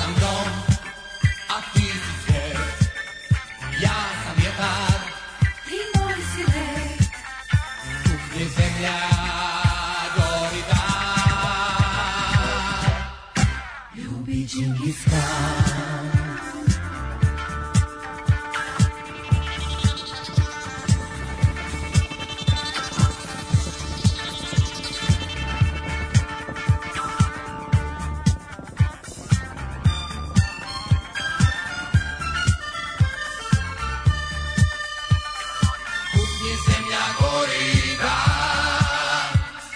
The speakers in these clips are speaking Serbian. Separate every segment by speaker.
Speaker 1: tak, tak. Florida,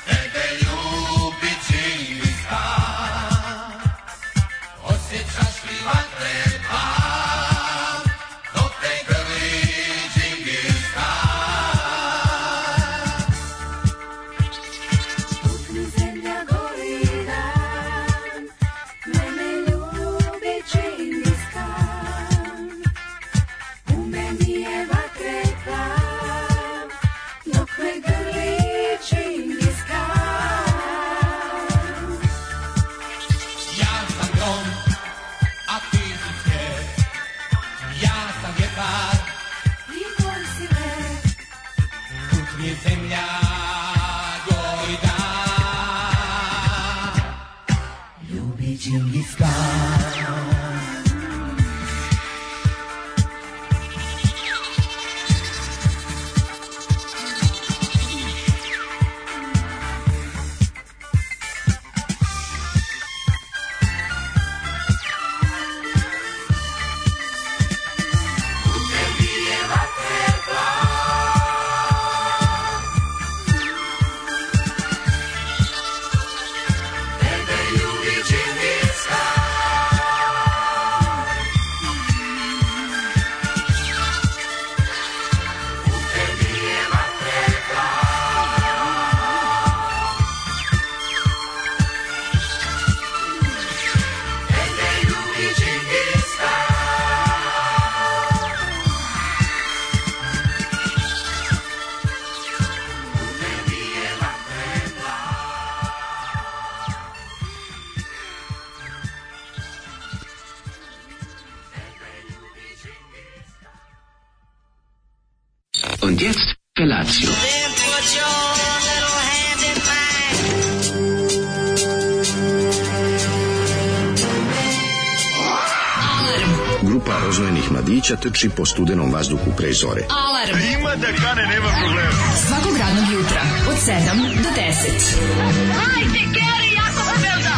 Speaker 1: tebe ljubit čista. Osjećaš li vatre plan, dok te grli Džingis
Speaker 2: Dok mi zemlja gori dan, mene ljubi Džingis Khan. U meni je vatre plav, dok me grli Džingis Khan.
Speaker 1: Ja sam grom, a ti si snijeg. Ja sam vjetar,
Speaker 2: Ti koji si me
Speaker 1: put mi je zemlja gori dan. Ljubi Džingis Khan.
Speaker 3: Und jetzt Felatio.
Speaker 4: Grupa roznojenih mladića trči po studenom vazduhu pre zore.
Speaker 5: Alarm. Ima da kane, nema problema. Svakog radnog jutra, od 7 do 10. Hajde, Keri, jako se belda.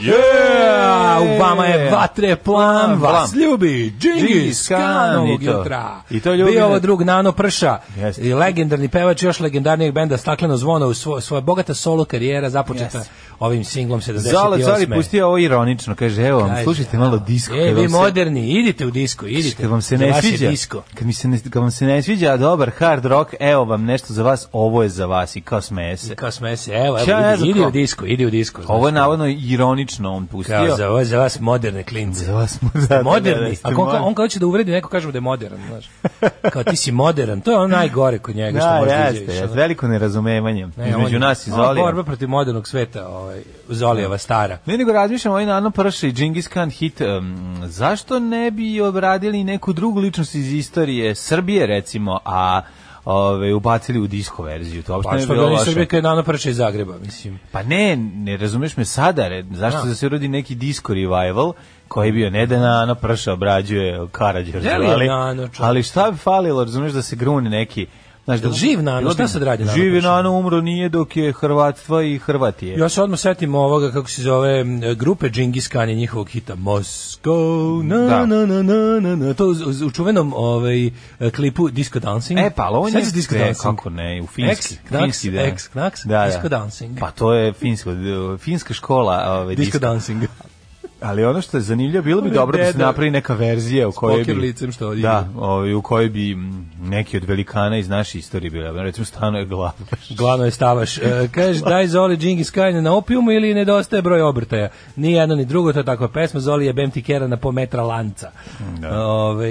Speaker 6: Yeah!
Speaker 7: U vama je vatreplan,
Speaker 6: Plan,
Speaker 7: vas
Speaker 6: plan.
Speaker 7: ljubi, Džingis
Speaker 6: Džingis Khan
Speaker 7: Khan ovog
Speaker 6: i to.
Speaker 7: jutra.
Speaker 6: I to ljubi
Speaker 7: Bio ovo
Speaker 6: me.
Speaker 7: drug Nano Prša,
Speaker 6: Jeste.
Speaker 7: i legendarni pevač još legendarnijeg benda Stakleno zvono u svo, svoja bogata solo karijera započeta
Speaker 6: Yes.
Speaker 7: ovim singlom 78.
Speaker 6: Zala Cari pustio ovo ironično, kaže, evo vam,
Speaker 7: Kaže,
Speaker 6: slušajte malo disko.
Speaker 7: E,
Speaker 6: kad
Speaker 7: vi
Speaker 6: vam se-
Speaker 7: moderni, idite u disko, idite.
Speaker 6: Kad vam se
Speaker 7: Za
Speaker 6: ne
Speaker 7: vas je
Speaker 6: sviđa,
Speaker 7: Disko.
Speaker 6: kad, mi se ne, kad vam se ne sviđa a dobar hard rock, evo vam nešto za vas, ovo je za vas i kao smeje se.
Speaker 7: Kao sme se, evo,
Speaker 6: Šta ja
Speaker 7: evo, idi,
Speaker 6: znam
Speaker 7: idi
Speaker 6: ko?
Speaker 7: u disko, idi u disko. znaš
Speaker 6: Ovo je
Speaker 7: šta.
Speaker 6: navodno ironično on pustio.
Speaker 7: Kao za, ovo je za vas moderne klince.
Speaker 6: Za vas smo
Speaker 7: Ste
Speaker 6: da, da, da,
Speaker 7: moderni.
Speaker 6: ste
Speaker 7: A on, kao-
Speaker 6: moderni.
Speaker 7: on kao hoće da uvredi neko kažemo da je modern, znaš. Kao ti si modern, to je ono najgore kod njega što
Speaker 6: Da,
Speaker 7: možda
Speaker 6: jeste,
Speaker 7: izjaviš,
Speaker 6: jeste,
Speaker 7: ono.
Speaker 6: veliko nerazumevanje
Speaker 7: Ne,
Speaker 6: između
Speaker 7: on-
Speaker 6: nas i
Speaker 7: ova
Speaker 6: Zolija.
Speaker 7: Borba protiv modernog sveta, ovaj, Zolijeva stara.
Speaker 6: Ne, nego razmišljam ovaj Nano Prša i Džingis Khan hit, em, zašto ne bi obradili neku drugu ličnost iz istorije Srbije, recimo, a ove, ubacili u disko verziju, to uopšte
Speaker 7: Pa
Speaker 6: ne bi
Speaker 7: što bi
Speaker 6: bilo
Speaker 7: oni
Speaker 6: loše.
Speaker 7: Srbije kad je Nana Prča iz Zagreba, mislim.
Speaker 6: Pa ne, ne razumeš me sada, re, zašto
Speaker 7: Da.
Speaker 6: da. se rodi neki disco revival, koji je bio ne da Nano Prša obrađuje Karadžorđe,
Speaker 7: Je li je
Speaker 6: ali,
Speaker 7: Nano, čovječe?
Speaker 6: ali šta bi falilo, razumeš da se grune neki Znaš,
Speaker 7: Jel živ Nano?
Speaker 6: bilo bi-
Speaker 7: Šta sad radi Nano
Speaker 6: Živi
Speaker 7: Prša?
Speaker 6: Nano umro nije dok je Hrvatstva i Hrvatije.
Speaker 7: Ja se odmah setim ovoga, kako se zove, m, grupe Džingis Khan i njihovog hita Moscow, na,
Speaker 6: Da.
Speaker 7: na, na, na, na, na. To u, u- u čuvenom ovaj, klipu Disco Dancing.
Speaker 6: E, pa ali on je...
Speaker 7: Sećaš Disco
Speaker 6: e,
Speaker 7: Dancing?
Speaker 6: Kako ne, u finski.
Speaker 7: Ex, Knacks,
Speaker 6: finski, da.
Speaker 7: ex, Knacks, disco dancing.
Speaker 6: Pa to je finsko, d- finska škola. Ove,
Speaker 7: Disco
Speaker 6: disco
Speaker 7: Dancing.
Speaker 6: Ali ono što je zanimljivo, bilo bi
Speaker 7: Ove,
Speaker 6: dobro da se
Speaker 7: deda
Speaker 6: napravi neka verzija u
Speaker 7: s
Speaker 6: kojoj bi...
Speaker 7: poker licem što igra.
Speaker 6: Da, ovaj, u kojoj bi m, neki od velikana iz naše istorije bili. Recimo, stano je glav.
Speaker 7: Glavno je stavaš. E, kaže, daj Zoli Džingis Khan na opijumu ili nedostaje broj obrtaja. Ni jedno ni drugo, to je takva pesma. Zoli je bem ti kera na po metra lanca. Da. Ove,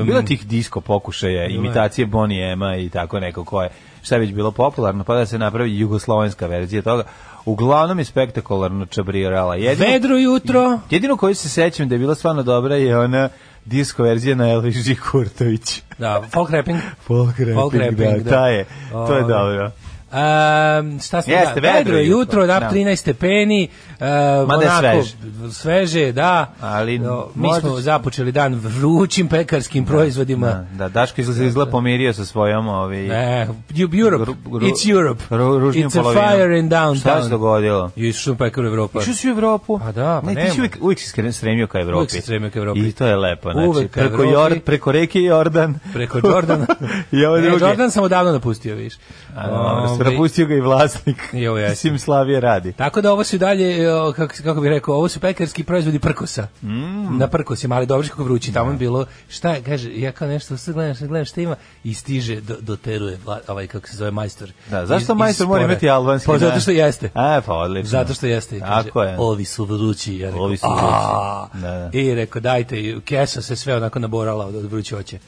Speaker 7: um,
Speaker 6: Bilo je tih disko pokušaja, imitacije Bonnie Ema i tako neko koje šta je već bilo popularno, pa da se napravi jugoslovenska verzija toga. Uglavnom je spektakularno čabrirala. Jedino
Speaker 7: Vedro jutro.
Speaker 6: Jedino koju se sećam da je bila stvarno dobra je ona disco verzija na Elviži Kurtović.
Speaker 7: Da, folk rapping.
Speaker 6: Folk rapping,
Speaker 7: Folk rapping,
Speaker 6: da,
Speaker 7: da.
Speaker 6: ta je, to je
Speaker 7: Ove.
Speaker 6: dobro.
Speaker 7: Um, šta smo
Speaker 6: Jeste,
Speaker 7: da, vedro je jutro, da,
Speaker 6: Da.
Speaker 7: 13 stepeni,
Speaker 6: Mada je sveže.
Speaker 7: sveže, da.
Speaker 6: Ali
Speaker 7: No, mi
Speaker 6: možda
Speaker 7: smo
Speaker 6: će-
Speaker 7: započeli dan vrućim pekarskim proizvodima.
Speaker 6: Da, da Daško izgleda, izgleda pomirio sa svojom ovaj
Speaker 7: Ne, Eu- E, Europe.
Speaker 6: Gru- gru-
Speaker 7: It's Europe.
Speaker 6: ru- ružnijom
Speaker 7: It's a
Speaker 6: polovinom.
Speaker 7: fire in downtown.
Speaker 6: Šta se dogodilo?
Speaker 7: Ju, išao sam pekar u Evropu.
Speaker 6: Išao si u Evropu?
Speaker 7: A da, pa
Speaker 6: ne, ti
Speaker 7: nema.
Speaker 6: si uvijek, uvijek si skre- stremio ka Evropi.
Speaker 7: Uvijek sam stremio ka Evropi.
Speaker 6: I to je lepo, znači,
Speaker 7: Uvijek ka
Speaker 6: preko,
Speaker 7: Evropi.
Speaker 6: Jord, preko reke Jordan.
Speaker 7: Preko Jordana.
Speaker 6: I ovo
Speaker 7: Ne,
Speaker 6: drugi.
Speaker 7: Jordan sam odavno napustio, viš.
Speaker 6: A, dobro,
Speaker 7: Ovaj,
Speaker 6: napustio ga i vlasnik.
Speaker 7: Jo, jeste.
Speaker 6: Sim Slavije radi.
Speaker 7: Tako da ovo su i dalje, e, o, kako, kako bih rekao, ovo su pekarski proizvodi prkosa.
Speaker 6: Mm.
Speaker 7: Na prkosima, ali dobro je kako vrući. Tamo je bilo, šta je, kaže, ja kao nešto sve gledam, sve gledam šta ima i stiže, do, doteruje vla- ovaj, kako se zove, majstor.
Speaker 6: Da, zašto
Speaker 7: Iz- iz
Speaker 6: majstor mora
Speaker 7: spora.
Speaker 6: imati albanski
Speaker 7: Pa zato
Speaker 6: dan?
Speaker 7: što jeste.
Speaker 6: A, pa odlično.
Speaker 7: Zato što jeste. i Kaže,
Speaker 6: Tako je.
Speaker 7: Ovi su vrući. Ja rekao,
Speaker 6: Ovi su vrući.
Speaker 7: "A."
Speaker 6: Da, da.
Speaker 7: I rekao, dajte, i kesa se sve onako naborala od, od vrućoće.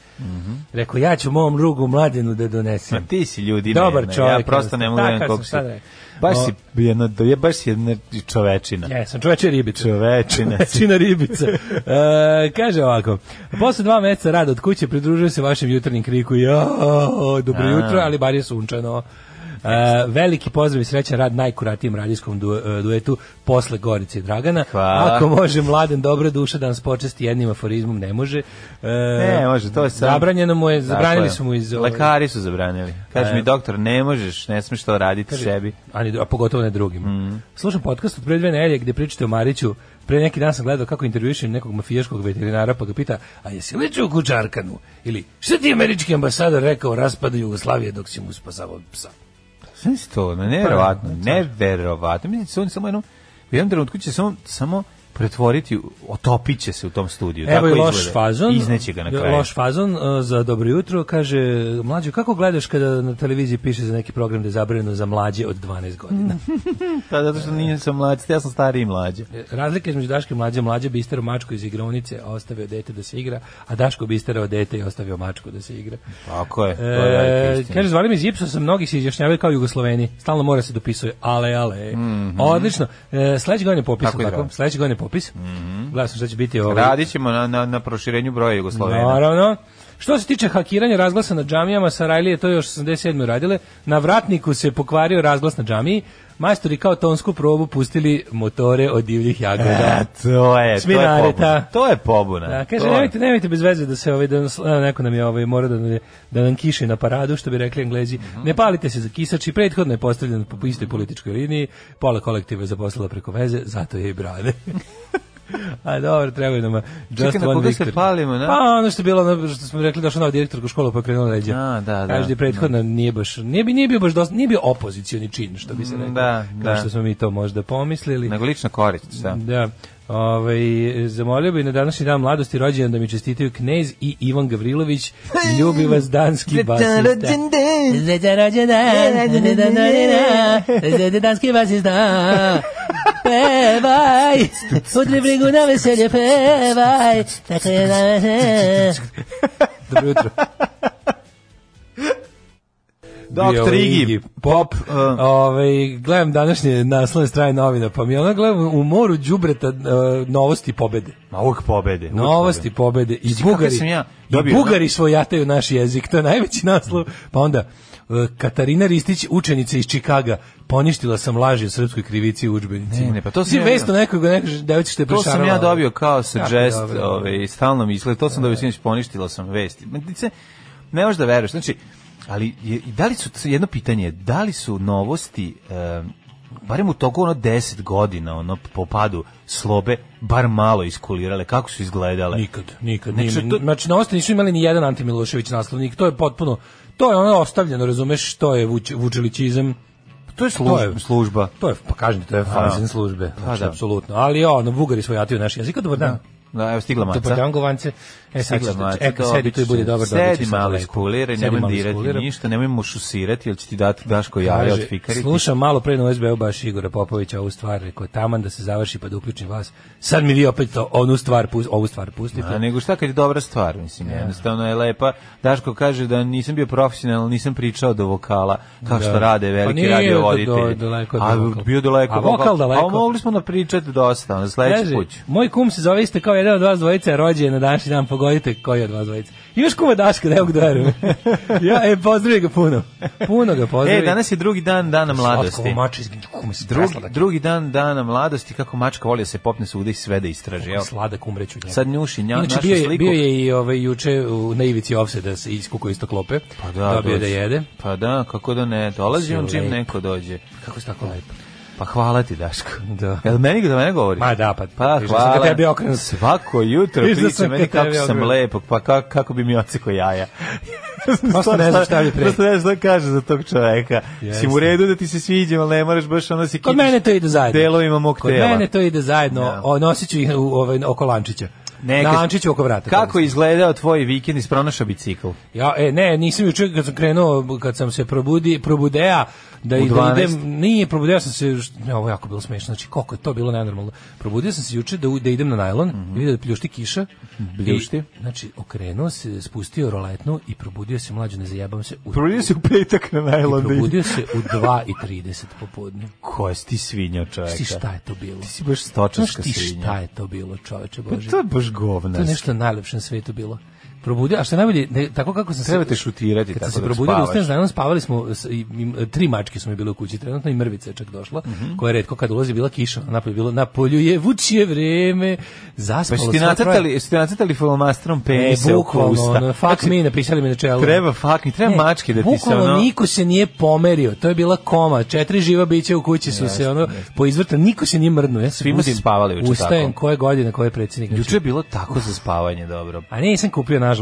Speaker 7: Rekao, ja ću mom drugu mladenu da
Speaker 6: Mhm. Ma
Speaker 7: donesem.
Speaker 6: ti si ljudi,
Speaker 7: Dobar
Speaker 6: ne, ja
Speaker 7: čovjek,
Speaker 6: prosto ne mogu da
Speaker 7: tako
Speaker 6: vidim
Speaker 7: sam,
Speaker 6: koliko si.
Speaker 7: sad rekao.
Speaker 6: Baš
Speaker 7: O.
Speaker 6: si jedna, je baš si jedna čovečina.
Speaker 7: Jesam, čoveče ribice.
Speaker 6: Čovečina si.
Speaker 7: Čina ribica. E, kaže ovako, posle dva meseca rada od kuće pridružujem se vašem jutarnjem kriku. Ja, dobro
Speaker 6: A.
Speaker 7: jutro, ali bar je sunčano. E, veliki pozdrav i srećan rad najkuratijem radijskom du- e, duetu posle Gorice i Dragana.
Speaker 6: Hvala.
Speaker 7: Ako može mladen dobra duša da nas počesti jednim aforizmom, ne može. E,
Speaker 6: Ne, može, to je sam.
Speaker 7: Zabranjeno mu je,
Speaker 6: Tako
Speaker 7: zabranili
Speaker 6: je.
Speaker 7: su mu iz... ovaj, E.
Speaker 6: Lekari su zabranili. Kaže mi, doktor, ne možeš, ne smiješ to raditi sebi.
Speaker 7: ali a pogotovo ne drugim.
Speaker 6: Mhm.
Speaker 7: Slušam podcast od pre dve nedelje gde pričate o Mariću. Pre neki dan sam gledao kako intervjuiše nekog mafijaškog veterinara pa ga pita: "A jesi ličio u Kučarkanu?" Ili: "Šta ti je američki ambasador rekao o raspadu Jugoslavije dok si mu spasavao psa?"
Speaker 6: Sve si to,
Speaker 7: Pa,
Speaker 6: ma neverovatno, neverovatno. ono, Mislim, se on samo jednom, u jednom trenutku će samo, samo pretvoriti, u- otopit će se u tom studiju.
Speaker 7: Evo
Speaker 6: Tako
Speaker 7: i loš
Speaker 6: izgleda.
Speaker 7: fazon.
Speaker 6: Izneće ga na kraju.
Speaker 7: Loš fazon e, za dobro jutro kaže: "Mlađo, kako gledaš kada na televiziji piše za neki program da je zabranjeno za mlađe od 12 godina?"
Speaker 6: Pa, zato što nije sam mlađi, ja sam stariji i mlađi.
Speaker 7: Razlika između Daške i mlađe, mlađe bi isterao mačku iz igronice, a ostavio dete da se igra, a Daško bi isterao dete i ostavio mačku da se igra.
Speaker 6: Tako je, to je velika
Speaker 7: E,
Speaker 6: istina.
Speaker 7: kaže, zvali mi iz Ipsosa, mnogi se izjašnjavaju kao Jugosloveni. Stalno mora se dopisuje, ale, ale. Odlično. E, sledeće godine popis,
Speaker 6: Mhm. Tako
Speaker 7: tako?
Speaker 6: je,
Speaker 7: tako?
Speaker 6: da. Mhm.
Speaker 7: Sledeće godine popis. Mm sam šta će biti ovaj.
Speaker 6: Radit ćemo na, na, na proširenju broja Jugoslovena.
Speaker 7: Naravno. Što se tiče hakiranja razglasa na džamijama, Sarajlije to još 87. radile, na vratniku se pokvario razglas na džamiji, majstori kao tonsku probu pustili motore od divljih jagoda.
Speaker 6: E, to je, to je
Speaker 7: Sminareta.
Speaker 6: pobuna. To je pobuna.
Speaker 7: Da, kaže,
Speaker 6: To je.
Speaker 7: nemojte, nemojte bez veze da se ovaj, da nas- a, neko nam je ovaj, mora da, nam je- da nam kiši na paradu, što bi rekli englezi.
Speaker 6: Mhm.
Speaker 7: Ne palite se za kisači, prethodno je postavljen po po istoj političkoj liniji, pola kolektiva je zaposlila preko veze, zato je i brane. A dobro, trebaju nam a, just
Speaker 6: Čekaj, na
Speaker 7: one
Speaker 6: koga se
Speaker 7: victory.
Speaker 6: palimo, na?
Speaker 7: Pa ono što je bilo, ono što smo rekli, došao nova direktorka u školu pa je krenula leđa.
Speaker 6: A, da, da.
Speaker 7: Kaže je prethodno nije baš, nije, bi- nije bio baš dosta, nije bio opozicioni čin, što bi se reklo.
Speaker 6: Mm, da,
Speaker 7: Kao
Speaker 6: da.
Speaker 7: što smo mi to možda pomislili.
Speaker 6: Nego lična korist, šta?
Speaker 7: Da. Ovaj zamolio bih na današnji dan mladosti rođendan da mi čestitaju Knez i Ivan Gavrilović. Ljubi vas danski basista. Srećan rođendan. Srećan danski basista. Pevaj, od Librigu na veselje pevaj. Tako je na veselje. Dobro jutro.
Speaker 6: Doktor
Speaker 7: bio
Speaker 6: Igi.
Speaker 7: Pop.
Speaker 6: Uh.
Speaker 7: Ovaj gledam današnje naslovne strane novina, pa mi ona gledam u moru đubreta eh, novosti pobede.
Speaker 6: Ma uvijek pobede. uvek
Speaker 7: Novosti pobede i
Speaker 6: Znači, kako sam
Speaker 7: Bugari.
Speaker 6: ja
Speaker 7: I
Speaker 6: dobio-
Speaker 7: Bugari svojataju naš jezik, to je najveći naslov. Pa onda eh, Katarina Ristić, učenica iz Čikaga, poništila sam laži o srpskoj krivici u udžbenicima.
Speaker 6: Ne, ne, pa to sam
Speaker 7: Si
Speaker 6: ja-
Speaker 7: vesto nekoga, neko devojčica što je
Speaker 6: To sam ja
Speaker 7: prešarovala.
Speaker 6: dobio kao suggest,
Speaker 7: Jako dobro.
Speaker 6: ovaj, stalno mi izgleda, to sam dobio sinoć, poništila sam vesti. Ma, ti se- Ne možeš da veruješ, znači, ali je, i da li su, jedno pitanje, je, da li su novosti, em, barem u toku ono 10 godina, ono, po padu slobe, bar malo iskulirale, kako su izgledale?
Speaker 7: Nikad, nikad.
Speaker 6: Znači,
Speaker 7: Znači,
Speaker 6: to-
Speaker 7: znači na ostavi nisu imali ni jedan Ante Milošević naslovnik, to je potpuno, to je ono ostavljeno, razumeš, to je vuč, vučilićizam,
Speaker 6: To je služba.
Speaker 7: To je-
Speaker 6: služba.
Speaker 7: to je, pa kažem, ti, to je fazin službe, znači,
Speaker 6: da.
Speaker 7: apsolutno, ali ono, bugari svojataju naš jezik, dobar dan.
Speaker 6: Da, evo stigla maca.
Speaker 7: Dobar dan, govance. E, sad
Speaker 6: Stigla
Speaker 7: ćete,
Speaker 6: maca,
Speaker 7: e,
Speaker 6: to
Speaker 7: sedi tu i budi
Speaker 6: obično.
Speaker 7: dobar dan. bit će
Speaker 6: Sedi
Speaker 7: sve
Speaker 6: malo
Speaker 7: lepo.
Speaker 6: iskuliraj,
Speaker 7: Sedi
Speaker 6: nemoj
Speaker 7: malo
Speaker 6: dirati
Speaker 7: iskuliraj.
Speaker 6: ništa, nemoj mu šusirati, jer će ti dati Daško jave od
Speaker 7: Kaže,
Speaker 6: fikariti.
Speaker 7: Slušam malo pre na USB-u baš Igora Popovića ovu stvar, rekao, taman da se završi pa da uključim vas. Sad mi vi opet to, onu stvar, pus- ovu stvar pustite.
Speaker 6: A nego šta kad je dobra stvar, mislim, jednostavno je lepa. Daško kaže da nisam bio profesional, nisam pričao do vokala, kao što rade
Speaker 7: Pa
Speaker 6: veliki
Speaker 7: nije
Speaker 6: radio voditelji.
Speaker 7: do- daleko je
Speaker 6: A
Speaker 7: bio vokal.
Speaker 6: bio daleko. Pa
Speaker 7: A vokal daleko.
Speaker 6: A mogli smo napričati dosta, na sledeći
Speaker 7: Kaže,
Speaker 6: kuću. E,
Speaker 7: Moj kum se zove isto kao jedan jedan od vas dvojica je rođen na današnji dan, pogodite koji od vas dvojica. Imaš kuma Daška, da evo ga verujem. ja, e, pozdravi ga puno. Puno ga pozdravi.
Speaker 6: E, danas je drugi dan dana mladosti.
Speaker 7: Slatko mače izginju, kuma si
Speaker 6: Drugi,
Speaker 7: presladak.
Speaker 6: drugi dan dana mladosti, kako mačka voli da se popne svuda i sve da istraži. Evo.
Speaker 7: sladak umreću njega.
Speaker 6: Sad njuši nja,
Speaker 7: Inače,
Speaker 6: našu
Speaker 7: bio je,
Speaker 6: sliku.
Speaker 7: bio je i ovaj, juče u, na ivici ofseda s- iskukao isto klope.
Speaker 6: Pa da,
Speaker 7: Dobio da
Speaker 6: dođe.
Speaker 7: jede.
Speaker 6: Pa da, kako da ne, dolazi on
Speaker 7: Si
Speaker 6: čim
Speaker 7: lep.
Speaker 6: neko dođe.
Speaker 7: Kako si tako lepo.
Speaker 6: Pa hvala ti, Daško.
Speaker 7: Da.
Speaker 6: Pa Jel meni da mene govori?
Speaker 7: Ma da, pa-
Speaker 6: pa
Speaker 7: viš da sam
Speaker 6: hvala.
Speaker 7: ka tebi okrenut.
Speaker 6: Svako jutro
Speaker 7: Viš da
Speaker 6: priča
Speaker 7: sam
Speaker 6: meni
Speaker 7: ka tebi
Speaker 6: kako sam
Speaker 7: okrenut.
Speaker 6: lepog, pa kako, kako bi mi oceko jaja.
Speaker 7: Prosto Pa ne znam šta bi pre.
Speaker 6: Prosto ne znam šta kaže za tog čoveka.
Speaker 7: Jeste.
Speaker 6: Si mu u redu da ti se sviđa, ali ne moraš baš ono si
Speaker 7: Kod
Speaker 6: kidiš
Speaker 7: mene to ide zajedno.
Speaker 6: Delovima mog
Speaker 7: Kod
Speaker 6: tela.
Speaker 7: mene to ide zajedno.
Speaker 6: Da.
Speaker 7: O, nosit ću ih u, ovaj, oko lančića.
Speaker 6: Neka-
Speaker 7: Na lančiću oko vrata.
Speaker 6: Kako je izgledao tvoj vikend iz pronaša bicikl?
Speaker 7: Ja, e, ne, nisam juče kad sam krenuo, kad sam se probudi, probudea, da, i, da
Speaker 6: 12.
Speaker 7: idem, nije, probudeo sam se, š- ne, ovo je jako bilo smešno, znači koliko je to bilo nenormalno. Probudio sam se juče da, u- da idem na najlon,
Speaker 6: Mhm.
Speaker 7: i vidio da pljušti kiša.
Speaker 6: Pljušti.
Speaker 7: I, znači, okrenuo se, spustio roletnu i probudio se mlađo, ne zajebam se, u,
Speaker 6: Probudio se u petak na najlondu.
Speaker 7: probudio se u 2.30 popodne.
Speaker 6: Ko je ti svinja čoveka?
Speaker 7: Ti šta je to bilo?
Speaker 6: Ti si baš
Speaker 7: Znaš
Speaker 6: stočarska
Speaker 7: ti
Speaker 6: svinja.
Speaker 7: šta je to bilo, čoveče
Speaker 6: Pa
Speaker 7: Bože?
Speaker 6: to je baš
Speaker 7: To je
Speaker 6: govnarski.
Speaker 7: nešto najlepše na svetu bilo. Probudio, a što je najbolje, ne, tako kako sam se-
Speaker 6: Treba te šutirati
Speaker 7: Kad
Speaker 6: tako
Speaker 7: sam se
Speaker 6: dok
Speaker 7: probudio, da
Speaker 6: spavaš.
Speaker 7: ustanem, znajem, spavali smo, s- i- i- tri mačke su mi bile u kući trenutno i mrvica je čak došla,
Speaker 6: Mhm.
Speaker 7: koja je redko kad ulazi bila kiša, a napolju je bilo, na polju je vučije vreme,
Speaker 6: Pa
Speaker 7: zaspalo
Speaker 6: jeste ti
Speaker 7: sva troje.
Speaker 6: nacrtali, jeste ti nacrtali filomastrom
Speaker 7: E,
Speaker 6: penise u
Speaker 7: bukvalno, ono,
Speaker 6: usta. Znači,
Speaker 7: fuck me, napisali mi na čelu.
Speaker 6: Treba fuck me, treba
Speaker 7: Ne,
Speaker 6: mačke da ti se
Speaker 7: bukvalno
Speaker 6: ono...
Speaker 7: niko se nije pomerio, to je bila koma, četiri živa bića u kući su se ono poizvrta, niko se nije mrnuo. Ja se
Speaker 6: Svima
Speaker 7: budim,
Speaker 6: se spavali juče
Speaker 7: Ustajem,
Speaker 6: tako.
Speaker 7: koje godine, koje predsjednik. znači,
Speaker 6: Juče je bilo tako za spavanje, dobro.
Speaker 7: A nisam kupio nažalost.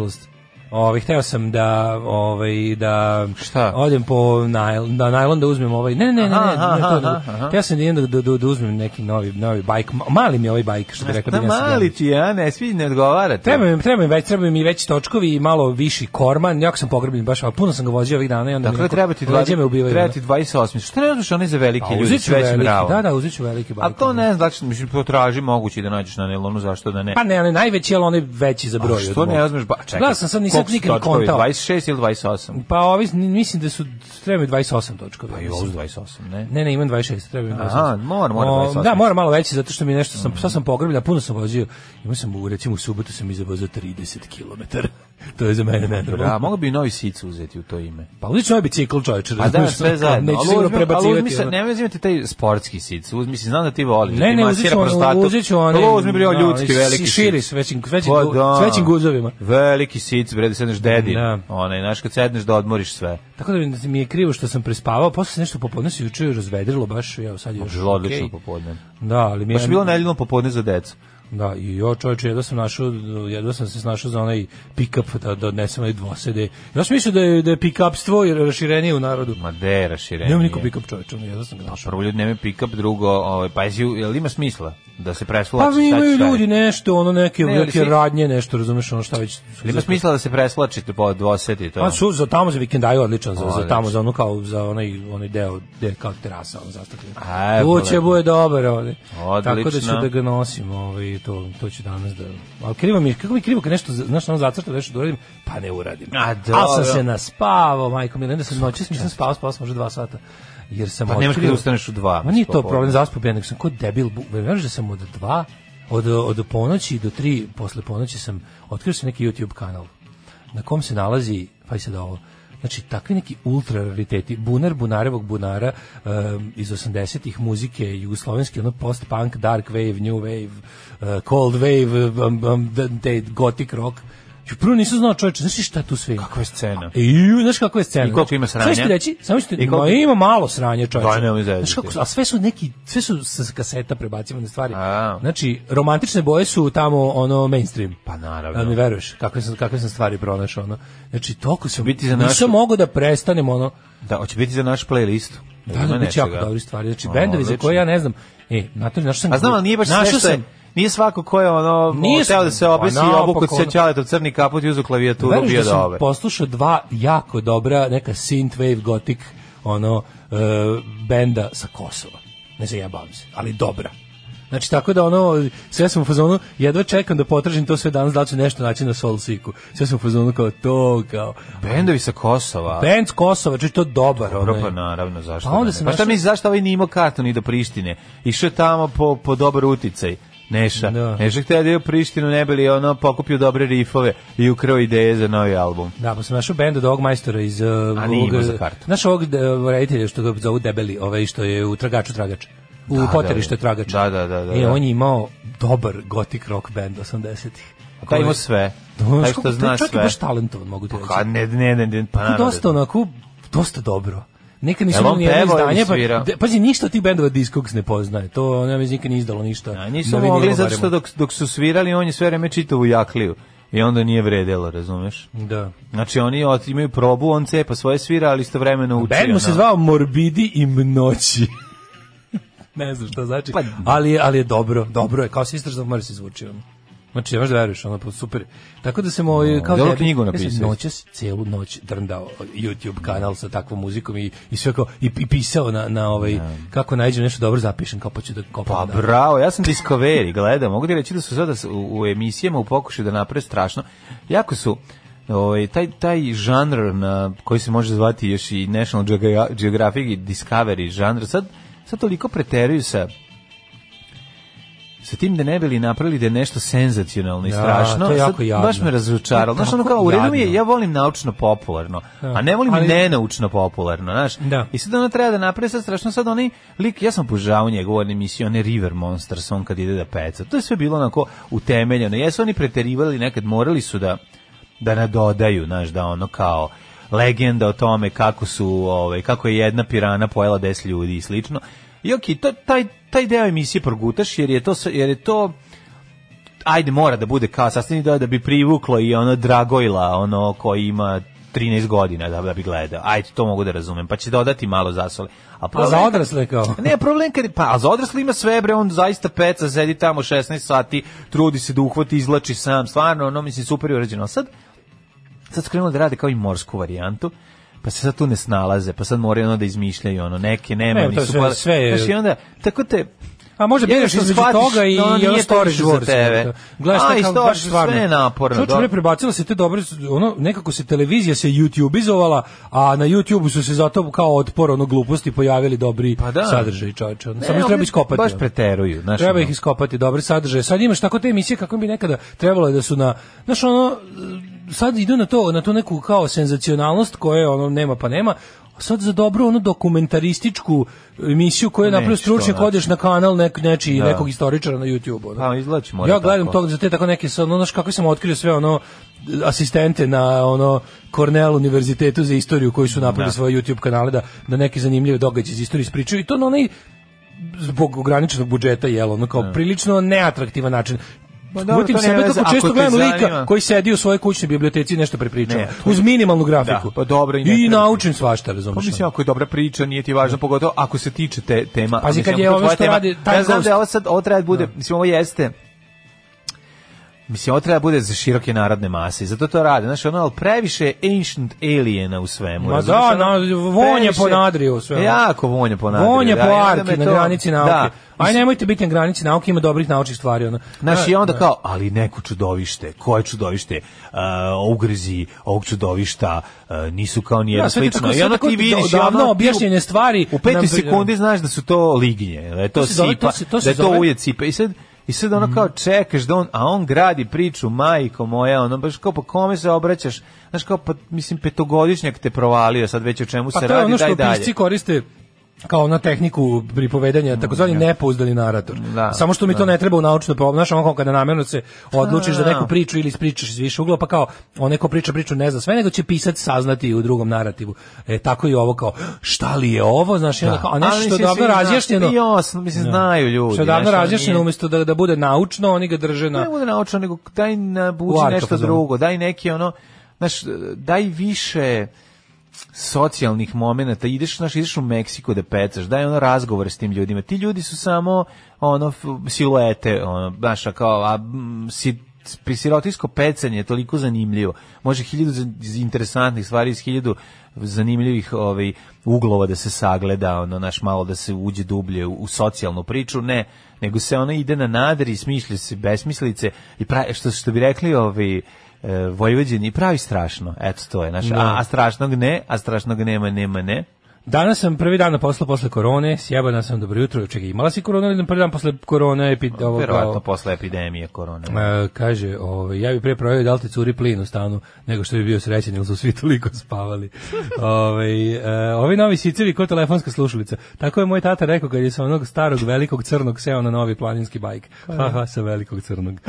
Speaker 7: Ovaj hteo sam da ovaj da
Speaker 6: Šta?
Speaker 7: odem po najl, da najlon da uzmem ovaj. Ne, ne, ne, ne,
Speaker 6: Aha,
Speaker 7: ne, ne to,
Speaker 6: aha,
Speaker 7: da,
Speaker 6: aha.
Speaker 7: hteo sam da idem da, da, da uzmem neki novi novi bajk. Ma- Mali mi je ovaj bajk što bi rekao
Speaker 6: Da
Speaker 7: da
Speaker 6: mali ti, a ne, svi ne odgovarate.
Speaker 7: Treba mi, treba mi već, treba mi veći točkovi i malo viši korman. Jako sam pogrebljen baš, a puno sam ga vozio ovih dana i onda
Speaker 6: Dakle, treba ti,
Speaker 7: leđe me
Speaker 6: 20,
Speaker 7: ubivaju.
Speaker 6: treba ti 28. Što ne znaš onaj za velike
Speaker 7: A
Speaker 6: ljudi,
Speaker 7: uzet ću
Speaker 6: sve će
Speaker 7: veliki,
Speaker 6: bravo.
Speaker 7: da, da, uzet ću ono. veliki bajk.
Speaker 6: A to ne znam, znači, mislim, to traži moguće da nađeš na nelonu, zašto da ne?
Speaker 7: Pa ne, ali najveći, ali on je veći za broj.
Speaker 6: A što
Speaker 7: od mog.
Speaker 6: ne uzmeš, ba, čekaj.
Speaker 7: Gledao sam sad, nisam
Speaker 6: koliko su
Speaker 7: nikad ni
Speaker 6: točkovi,
Speaker 7: kontao.
Speaker 6: 26 ili 28?
Speaker 7: Pa ovi, mislim da su, treba mi 28 točkovi.
Speaker 6: Pa i ovo su 28, ne?
Speaker 7: Ne, ne, imam 26, treba mi 26.
Speaker 6: Aha, mora, mora
Speaker 7: O,
Speaker 6: 28.
Speaker 7: Da, mora malo veći, zato što mi nešto
Speaker 6: Mm.
Speaker 7: sam, sad sam pogrebljen, a puno sam vozio. Imao sam, u, recimo, u subotu sam izavozio 30 km. to je za mene
Speaker 6: Da,
Speaker 7: nenormalno.
Speaker 6: mogao bi i novi sic uzeti u to ime.
Speaker 7: Pa uzet ću ovaj bicikl, čovječe.
Speaker 6: A da,
Speaker 7: razumiješ,
Speaker 6: sve
Speaker 7: ono,
Speaker 6: zajedno.
Speaker 7: Neću
Speaker 6: Ali
Speaker 7: sigurno
Speaker 6: uzmi- ali uzmi
Speaker 7: prebacivati.
Speaker 6: se-
Speaker 7: ono.
Speaker 6: Ne uzmi ti taj sportski sic, uzmi si, znam da ti voliš. da
Speaker 7: Ne,
Speaker 6: ti
Speaker 7: ne, uzet
Speaker 6: masira
Speaker 7: ću one,
Speaker 6: prostatus.
Speaker 7: uzet ću one.
Speaker 6: Prvo Pa uzmi bre
Speaker 7: da,
Speaker 6: ljudski
Speaker 7: i
Speaker 6: veliki
Speaker 7: Širi
Speaker 6: sic.
Speaker 7: s većim, s većim,
Speaker 6: Pa
Speaker 7: gu-
Speaker 6: da.
Speaker 7: s većim guzovima.
Speaker 6: Veliki sic, bre, da sedneš dedi.
Speaker 7: Da.
Speaker 6: Onaj, znaš, kad sedneš da odmoriš sve.
Speaker 7: Tako da mi- mi je krivo što sam prespavao, posle se nešto popodne se juče razvedrilo baš, evo sad još.
Speaker 6: Bilo odlično
Speaker 7: okej.
Speaker 6: popodne.
Speaker 7: Da, ali mi je
Speaker 6: Baš je bilo nedeljno popodne za decu.
Speaker 7: Da, i jo čovječe, jedva sam našao, jedva sam se snašao za onaj pick-up da, da odnesem onaj dvosede. Ja sam mislio da je, da je pick-upstvo jer raširenije u narodu.
Speaker 6: Ma de, raširenje.
Speaker 7: Nemam niko pick-up čovječe, ono, jedva sam ga našao.
Speaker 6: Prvo ljudi nemaju pick-up, drugo, ovaj, pa jesi- jel ima smisla da se
Speaker 7: Pa
Speaker 6: presvlači?
Speaker 7: mi imaju ljudi nešto, ono neke
Speaker 6: Ne, ali
Speaker 7: velike
Speaker 6: svi-
Speaker 7: radnje, nešto, razumeš ono šta već.
Speaker 6: Jel ima smisla da se presvlačite po dvoseti? To? ono?
Speaker 7: Pa su za tamo za vikendaju odličan za, za
Speaker 6: Odlično.
Speaker 7: tamo za ono kao za onaj onaj deo gde je kao terasa on zastakljen.
Speaker 6: A,
Speaker 7: Tu će
Speaker 6: lepo.
Speaker 7: bude dobar ovaj. Tako da ću
Speaker 6: Odlično.
Speaker 7: da ga nosim, ovaj to to ću danas da. Al krivo mi je- kako mi je krivo kad nešto za- znaš ono zacrtam nešto da uradim, pa ne uradim.
Speaker 6: A,
Speaker 7: Al
Speaker 6: dobro.
Speaker 7: sam se naspavao, majko mi, onda sam noćas nisam spavao, spavao sam možda 2 sata. Jer sam
Speaker 6: Pa nemaš
Speaker 7: otkrio-
Speaker 6: kada ustaneš u dva.
Speaker 7: Ma nije to
Speaker 6: popodne.
Speaker 7: problem, zaspao bi ja, nego sam kod debil, vjeruješ da sam od dva, od, od ponoći do tri, posle ponoći sam, otkrio sam neki YouTube kanal, na kom se nalazi, pa i sad ovo, znači takvi neki ultra rariteti, bunar bunarevog bunara em, iz 80-ih muzike, jugoslovenski, ono post-punk, dark wave, new wave, eh, cold wave, em, em, da- te gothic rock, Ju, Prvo nisam znao čoveče, znaš ti šta tu sve ima?
Speaker 6: Kakva je scena?
Speaker 7: I, znaš kako je scena?
Speaker 6: I koliko ima sranja?
Speaker 7: Znači, Samo ću ti reći, samo ću ti,
Speaker 6: I koliko-
Speaker 7: ma ima malo sranja čoveče.
Speaker 6: Daj, nemoj zezati.
Speaker 7: Znaš kako su- a sve su neki, sve su sa kaseta prebacivane stvari.
Speaker 6: A.
Speaker 7: Znači, romantične boje su tamo ono mainstream.
Speaker 6: Pa naravno.
Speaker 7: Da mi veruješ, kakve sam, kakve sam stvari pronašao. Ono. Znači, toliko sam,
Speaker 6: Biti za našu-
Speaker 7: nisam mogao da prestanem ono,
Speaker 6: Da, hoće biti za naš playlist.
Speaker 7: da, da, biće jako dobri stvari. Znači, bendovi za koje ja ne znam, e, znate, našao sam...
Speaker 6: Ono, A znam, ali nije baš sve
Speaker 7: našao
Speaker 6: što je,
Speaker 7: sam-
Speaker 6: nije svako ko je ono,
Speaker 7: Nije
Speaker 6: hteo
Speaker 7: sve-
Speaker 6: da se obesi
Speaker 7: Pa
Speaker 6: i
Speaker 7: naopako,
Speaker 6: obuku se
Speaker 7: ono.
Speaker 6: čaletov crni kaput i uzu klavijaturu
Speaker 7: Veruješ
Speaker 6: bio
Speaker 7: da sam
Speaker 6: dobar.
Speaker 7: poslušao dva jako dobra neka synthwave gothic ono e, benda sa Kosova. Ne zajebavam se, ali dobra. Znači, tako da ono, sve sam u fazonu, jedva čekam da potražim to sve danas, da li ću nešto naći na Solsiku. Sve sam u fazonu kao to, kao...
Speaker 6: Bendovi sa Kosova.
Speaker 7: Band s Kosova, znači to dobar.
Speaker 6: Dobro,
Speaker 7: onaj.
Speaker 6: pa naravno, zašto?
Speaker 7: Pa onda
Speaker 6: ne?
Speaker 7: sam
Speaker 6: pa šta
Speaker 7: našao-
Speaker 6: misliš, zašto ovaj nije imao kartu ni do Prištine? Išao je tamo po, po dobar uticaj. Neša.
Speaker 7: Da.
Speaker 6: Neša htio da je u Prištinu, ne bi li ono pokupio dobre rifove i ukrao ideje za novi album.
Speaker 7: Da, pa sam našao bend od ovog majstora iz... Uh,
Speaker 6: A nije imao za kartu.
Speaker 7: Znaš ovog uh, reditelja što ga zovu debeli, ovaj što je u Tragaču Tragač. U
Speaker 6: Da, da,
Speaker 7: poterište
Speaker 6: da.
Speaker 7: Tragač.
Speaker 6: Da, da, da, da,
Speaker 7: E,
Speaker 6: da.
Speaker 7: on je imao dobar gotik rock band 80-ih.
Speaker 6: Taj ima sve.
Speaker 7: Ono,
Speaker 6: Taj
Speaker 7: što-
Speaker 6: što zna
Speaker 7: taj čovjek je
Speaker 6: sve.
Speaker 7: baš talentovan, mogu ti reći.
Speaker 6: Ka, ne, ne, ne, ne, pa
Speaker 7: Pa
Speaker 6: naravno.
Speaker 7: dosta onako, dosta dobro. Nekad nisu
Speaker 6: Jel on
Speaker 7: imali nijedno
Speaker 6: pevao ili
Speaker 7: izdanje, pa,
Speaker 6: svirao?
Speaker 7: de, pazi, ništa od tih bendova Discogs ne poznaje. To, ne mislim, nikad nije izdalo ništa.
Speaker 6: A
Speaker 7: na
Speaker 6: nisu
Speaker 7: vinilu
Speaker 6: mogli zato što
Speaker 7: barem.
Speaker 6: dok, dok su svirali, on je sve vreme čitao u jakliju. I onda nije vredelo, razumeš?
Speaker 7: Da.
Speaker 6: Znači, oni od, imaju probu, on cepa svoje svira, ali istovremeno uči.
Speaker 7: Band mu se
Speaker 6: ono.
Speaker 7: zvao Morbidi i Mnoći. ne znam šta znači,
Speaker 6: Pa-
Speaker 7: ali, je, ali je dobro, dobro je, kao Sisters of Mercy zvuči on. Znači, ne možeš da veruješ, ono, pa super. Tako da sam ovaj, kao
Speaker 6: dobro
Speaker 7: debil,
Speaker 6: knjigu
Speaker 7: ja sam
Speaker 6: napisao.
Speaker 7: Noćas, celu noć drndao YouTube kanal sa takvom muzikom i, i sve kao, i, i pisao na, na ovaj, kako najđem nešto dobro zapišem, kao pa ću da kopam.
Speaker 6: Pa
Speaker 7: dalje.
Speaker 6: bravo, ja sam Discovery, gledam, mogu ti reći da su sada s- u, u emisijama u pokušaju da naprave strašno. Jako su ovaj, taj, taj žanr na, koji se može zvati još i National Geogra- Geographic i Discovery žanr, sad, sad toliko preteruju sa sa tim da ne bili napravili da je nešto senzacionalno i
Speaker 7: Da,
Speaker 6: strašno,
Speaker 7: to je
Speaker 6: sad
Speaker 7: jako jadno.
Speaker 6: baš me razočaralo.
Speaker 7: To je
Speaker 6: Znaš, ono
Speaker 7: tako
Speaker 6: kao, u redu mi je,
Speaker 7: jadno.
Speaker 6: ja volim naučno popularno, a ne volim
Speaker 7: ali-
Speaker 6: nenaučno popularno, znaš.
Speaker 7: Da.
Speaker 6: I sad ona treba da napravi sad strašno, sad oni lik, ja sam požao njegovu emisiju, one River Monsters, on kad ide da peca. To je sve bilo onako utemeljeno. Jesu oni preterivali nekad, morali su da da nadodaju, znaš, da ono kao legenda o tome kako su, ovaj, kako je jedna pirana pojela 10 ljudi i slično. I okej, to- taj, taj deo emisije progutaš jer je to, sve- jer je to ajde mora da bude kao sastavni deo da bi privuklo i ono Dragojla, ono koji ima 13 godina da, da bi gledao. Ajde, to mogu da razumem. Pa će dodati malo zasole.
Speaker 7: A
Speaker 6: problem-
Speaker 7: Pa za odrasle kao?
Speaker 6: Ne, problem kad pa a za odrasli ima sve bre, on zaista peca, sedi tamo 16 sati, trudi se da uhvati, izlači sam, stvarno, ono mislim super je urađeno. Sad sad skrenuli da rade kao i morsku varijantu. Pa se sad tu ne snalaze, pa sad moraju ono da izmišljaju ono neke nema
Speaker 7: Ne, to
Speaker 6: nisu
Speaker 7: sve-
Speaker 6: hvala-
Speaker 7: sve je-
Speaker 6: Znaš, i onda tako te
Speaker 7: A možda
Speaker 6: Jedno
Speaker 7: biraš
Speaker 6: što
Speaker 7: između
Speaker 6: shvatiš,
Speaker 7: toga i
Speaker 6: da ono
Speaker 7: i ono
Speaker 6: nije
Speaker 7: Storage
Speaker 6: previše za
Speaker 7: Wars.
Speaker 6: tebe.
Speaker 7: ono. Gledaš
Speaker 6: A,
Speaker 7: taj
Speaker 6: i
Speaker 7: kao
Speaker 6: Storage
Speaker 7: baš
Speaker 6: sve
Speaker 7: stvarno.
Speaker 6: je naporno,
Speaker 7: Čovječe,
Speaker 6: da.
Speaker 7: bre, prebacilo se te dobre, ono, nekako se televizija se YouTube-izovala, a na YouTube-u su se zato kao otpor ono gluposti pojavili dobri
Speaker 6: Pa da.
Speaker 7: sadržaji, čovječe. Ono,
Speaker 6: Ne,
Speaker 7: samo ih treba
Speaker 6: ovdje
Speaker 7: iskopati.
Speaker 6: Baš
Speaker 7: ono.
Speaker 6: preteruju, znaš.
Speaker 7: Treba
Speaker 6: ono.
Speaker 7: ih iskopati, dobre sadržaje. Sad imaš tako te emisije kako bi nekada trebalo je da su na, znaš ono, sad idu na to, na tu neku kao senzacionalnost koje ono nema pa nema, a sad za dobro ono dokumentarističku emisiju koju je
Speaker 6: Neće
Speaker 7: napravio
Speaker 6: to
Speaker 7: stručnjak,
Speaker 6: naći.
Speaker 7: odeš na kanal nek, nečiji,
Speaker 6: Da.
Speaker 7: nekog istoričara na YouTube. Ono.
Speaker 6: Pa, izgleda će mora
Speaker 7: Ja gledam
Speaker 6: tako.
Speaker 7: to za te tako neke, sa- ono, znaš kako sam otkrio sve ono, asistente na ono Cornell univerzitetu za istoriju koji su napravili
Speaker 6: Da.
Speaker 7: svoje YouTube kanale da, da neke zanimljive događaje iz istorije ispričaju i to na onaj zbog ograničenog budžeta jel ono kao prilično neatraktivan način
Speaker 6: Ma Pa dobro,
Speaker 7: Utim
Speaker 6: to nema
Speaker 7: sebe
Speaker 6: veze,
Speaker 7: kako
Speaker 6: ako
Speaker 7: često
Speaker 6: te
Speaker 7: gledam lika
Speaker 6: zanima.
Speaker 7: koji sedi u svojoj kućnoj biblioteci i nešto prepričava.
Speaker 6: Ne, to
Speaker 7: Uz minimalnu grafiku.
Speaker 6: Da, pa dobro i ne
Speaker 7: I
Speaker 6: treba ti.
Speaker 7: naučim svašta, ono. razumiješ.
Speaker 6: Pa mislim, ako je dobra priča, nije ti važno, pogotovo ako se tiče te tema.
Speaker 7: Pazi,
Speaker 6: Mislim,
Speaker 7: kad je
Speaker 6: ako to
Speaker 7: ovo
Speaker 6: tvoja
Speaker 7: što
Speaker 6: tema-
Speaker 7: radi Time
Speaker 6: Ja znam
Speaker 7: Ghost.
Speaker 6: da je ovo sad, ovo treba da bude, mislim, ovo jeste, mislim, ovo treba da bude za široke narodne mase i zato to rade, znaš, ono, ali previše je ancient aliena u svemu.
Speaker 7: Ma
Speaker 6: razumeš,
Speaker 7: da,
Speaker 6: ono,
Speaker 7: na- vonja po nadriju sve, ono.
Speaker 6: Jako vonja po nadriju.
Speaker 7: Vonja
Speaker 6: da,
Speaker 7: po
Speaker 6: i onda
Speaker 7: arki
Speaker 6: me
Speaker 7: na
Speaker 6: to-
Speaker 7: granici nauke.
Speaker 6: Da,
Speaker 7: Aj nemojte biti na granici nauke, ima dobrih naučnih stvari. Ono.
Speaker 6: Znaš, i onda
Speaker 7: Da.
Speaker 6: kao, ali neko čudovište, koje čudovište, uh, ugrzi ovog čudovišta, uh, nisu kao ni jedno
Speaker 7: Da, sve ti
Speaker 6: slično.
Speaker 7: tako-
Speaker 6: I onda
Speaker 7: sve
Speaker 6: ti
Speaker 7: tako
Speaker 6: vidiš, i
Speaker 7: davno
Speaker 6: ono, ti u-
Speaker 7: objašnjene stvari
Speaker 6: U peti
Speaker 7: nam- ono.
Speaker 6: sekundi znaš da su to liginje, da je to,
Speaker 7: To se zove-
Speaker 6: sipa,
Speaker 7: to se- to se
Speaker 6: da je to
Speaker 7: zove- Mm.
Speaker 6: ujed sipa. I sad, I sad ono kao čekaš da on, a on gradi priču, majko moja, ono baš kao pa kome se obraćaš, znaš kao pa mislim petogodišnjak te provalio, sad već o čemu se
Speaker 7: to je
Speaker 6: radi,
Speaker 7: ono
Speaker 6: daj
Speaker 7: što
Speaker 6: dalje.
Speaker 7: pisci koriste kao na tehniku pripovedanja, takozvani nepouzdani narator.
Speaker 6: Mm, Da,
Speaker 7: Samo što mi to ne treba u naučnoj pomoći. Znaš, ono kao kada namjerno se odlučiš za neku
Speaker 6: Da.
Speaker 7: priču ili ispričaš iz više ugla, pa kao onaj ko priča priču ne zna sve, nego će pisac saznati u drugom narativu. E, tako i ovo kao, šta li je ovo? Znaš, i onda kao, a nešto
Speaker 6: Ali
Speaker 7: što je
Speaker 6: mislim,
Speaker 7: davno
Speaker 6: svi zna-
Speaker 7: razjašnjeno.
Speaker 6: i osno- mislim,
Speaker 7: Da.
Speaker 6: znaju ljudi,
Speaker 7: Što je
Speaker 6: znaš,
Speaker 7: davno
Speaker 6: ono
Speaker 7: razjašnjeno,
Speaker 6: nije-
Speaker 7: umjesto da, da bude naučno, oni ga drže na...
Speaker 6: Ne bude naučio, nego daj nabuđi
Speaker 7: U
Speaker 6: nešto
Speaker 7: arkafazonu.
Speaker 6: drugo, daj neki ono, znaš, daj više socijalnih momenata, ideš, znaš, ideš u Meksiko da pecaš, daj ono razgovore s tim ljudima. Ti ljudi su samo ono f- siluete, ono, znaš, a kao, a mm, si sirotinsko pecanje je toliko zanimljivo. Može hiljadu za- interesantnih stvari iz hiljadu zanimljivih ovaj, uglova da se sagleda, ono, naš malo da se uđe dublje u, u socijalnu priču, ne, nego se ona ide na nadar i smišlja se besmislice i pravi, što, što bi rekli ovi e, Vojvođeni, pravi strašno. Eto to je, naš, a, a strašnog ne, a strašnog nema, nema, ne.
Speaker 7: Danas sam prvi dan na poslu posle korone, sjebana sam dobro jutro, čekaj, imala si koronu ili na prvi dan posle korone? Epi, ovoga-
Speaker 6: Pa, Verovatno posle epidemije korone.
Speaker 7: E, kaže, ovaj, ja bi pre provjerio da li ti curi plin u stanu, nego što bi bio srećen, jer su svi toliko spavali. ovaj, e, ovi novi sicevi ko telefonska slušalica. Tako je moj tata rekao kad je sa onog starog velikog crnog seo na novi planinski bajk.
Speaker 6: Pa
Speaker 7: Haha, sa velikog crnog.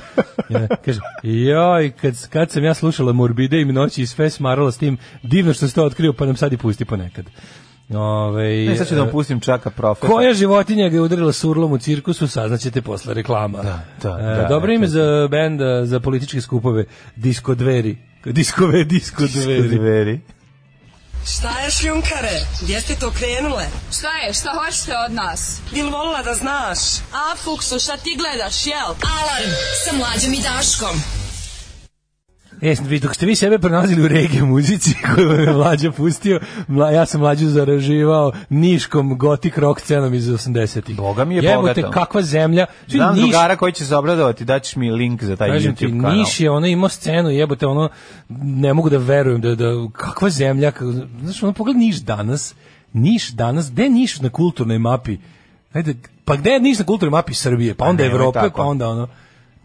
Speaker 7: Ja, kaže, joj, kad, kad sam ja slušala Morbide i noći i sve smarala s tim, divno što ste to otkrio, pa nam sad i pusti ponekad. Ovaj,
Speaker 6: Ne, sad ću da vam
Speaker 7: e,
Speaker 6: pustim čaka profesor.
Speaker 7: koja životinja ga je udarila surlom u cirkusu, saznaćete posle reklama.
Speaker 6: Da, da,
Speaker 7: E,
Speaker 6: da,
Speaker 7: dobro
Speaker 6: da,
Speaker 7: ime
Speaker 6: da.
Speaker 7: za benda, za političke skupove, Disko dveri. Diskove, disko dveri.
Speaker 6: dveri.
Speaker 8: Šta je šljunkare? Gdje ste to krenule?
Speaker 9: Šta je? Šta hoćete od nas?
Speaker 8: Bil volila da znaš?
Speaker 9: A, Fuksu, šta ti gledaš, jel? Alarm sa mlađom i Daškom.
Speaker 7: E, vi, dok ste vi sebe pronalazili u regije muzici koju vam je mlađa pustio, mla, ja sam mlađu zaraživao niškom gotik rock scenom iz 80-ih.
Speaker 6: Boga mi je
Speaker 7: Jebote,
Speaker 6: bogato.
Speaker 7: kakva zemlja. Čuj,
Speaker 6: Znam
Speaker 7: Niš,
Speaker 6: drugara koji će se obradovati, daćeš mi link za taj
Speaker 7: Kažem
Speaker 6: YouTube
Speaker 7: ti,
Speaker 6: kanal.
Speaker 7: Niš je ono imao scenu, jebote, ono, ne mogu da verujem da, da kakva zemlja, kak, znaš, ono, pogled Niš danas, Niš danas, gde je Niš na kulturnoj mapi? Ajde, pa gde je Niš na kulturnoj mapi Srbije, pa onda
Speaker 6: nemoj
Speaker 7: Evrope,
Speaker 6: tako.
Speaker 7: pa onda ono,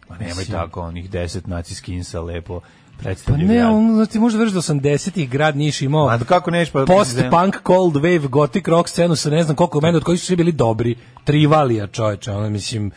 Speaker 6: Ma nemoj tako, onih deset naci skinsa lepo
Speaker 7: pa
Speaker 6: predstavljaju.
Speaker 7: ne,
Speaker 6: grad.
Speaker 7: ono, znaš, ti možda veriš da 80-ih grad Niš imao
Speaker 6: A kako neš pa...
Speaker 7: post-punk, cold wave, gothic rock scenu sa ne znam koliko meni od kojih su svi bili dobri, trivalija čoveče, ono, mislim,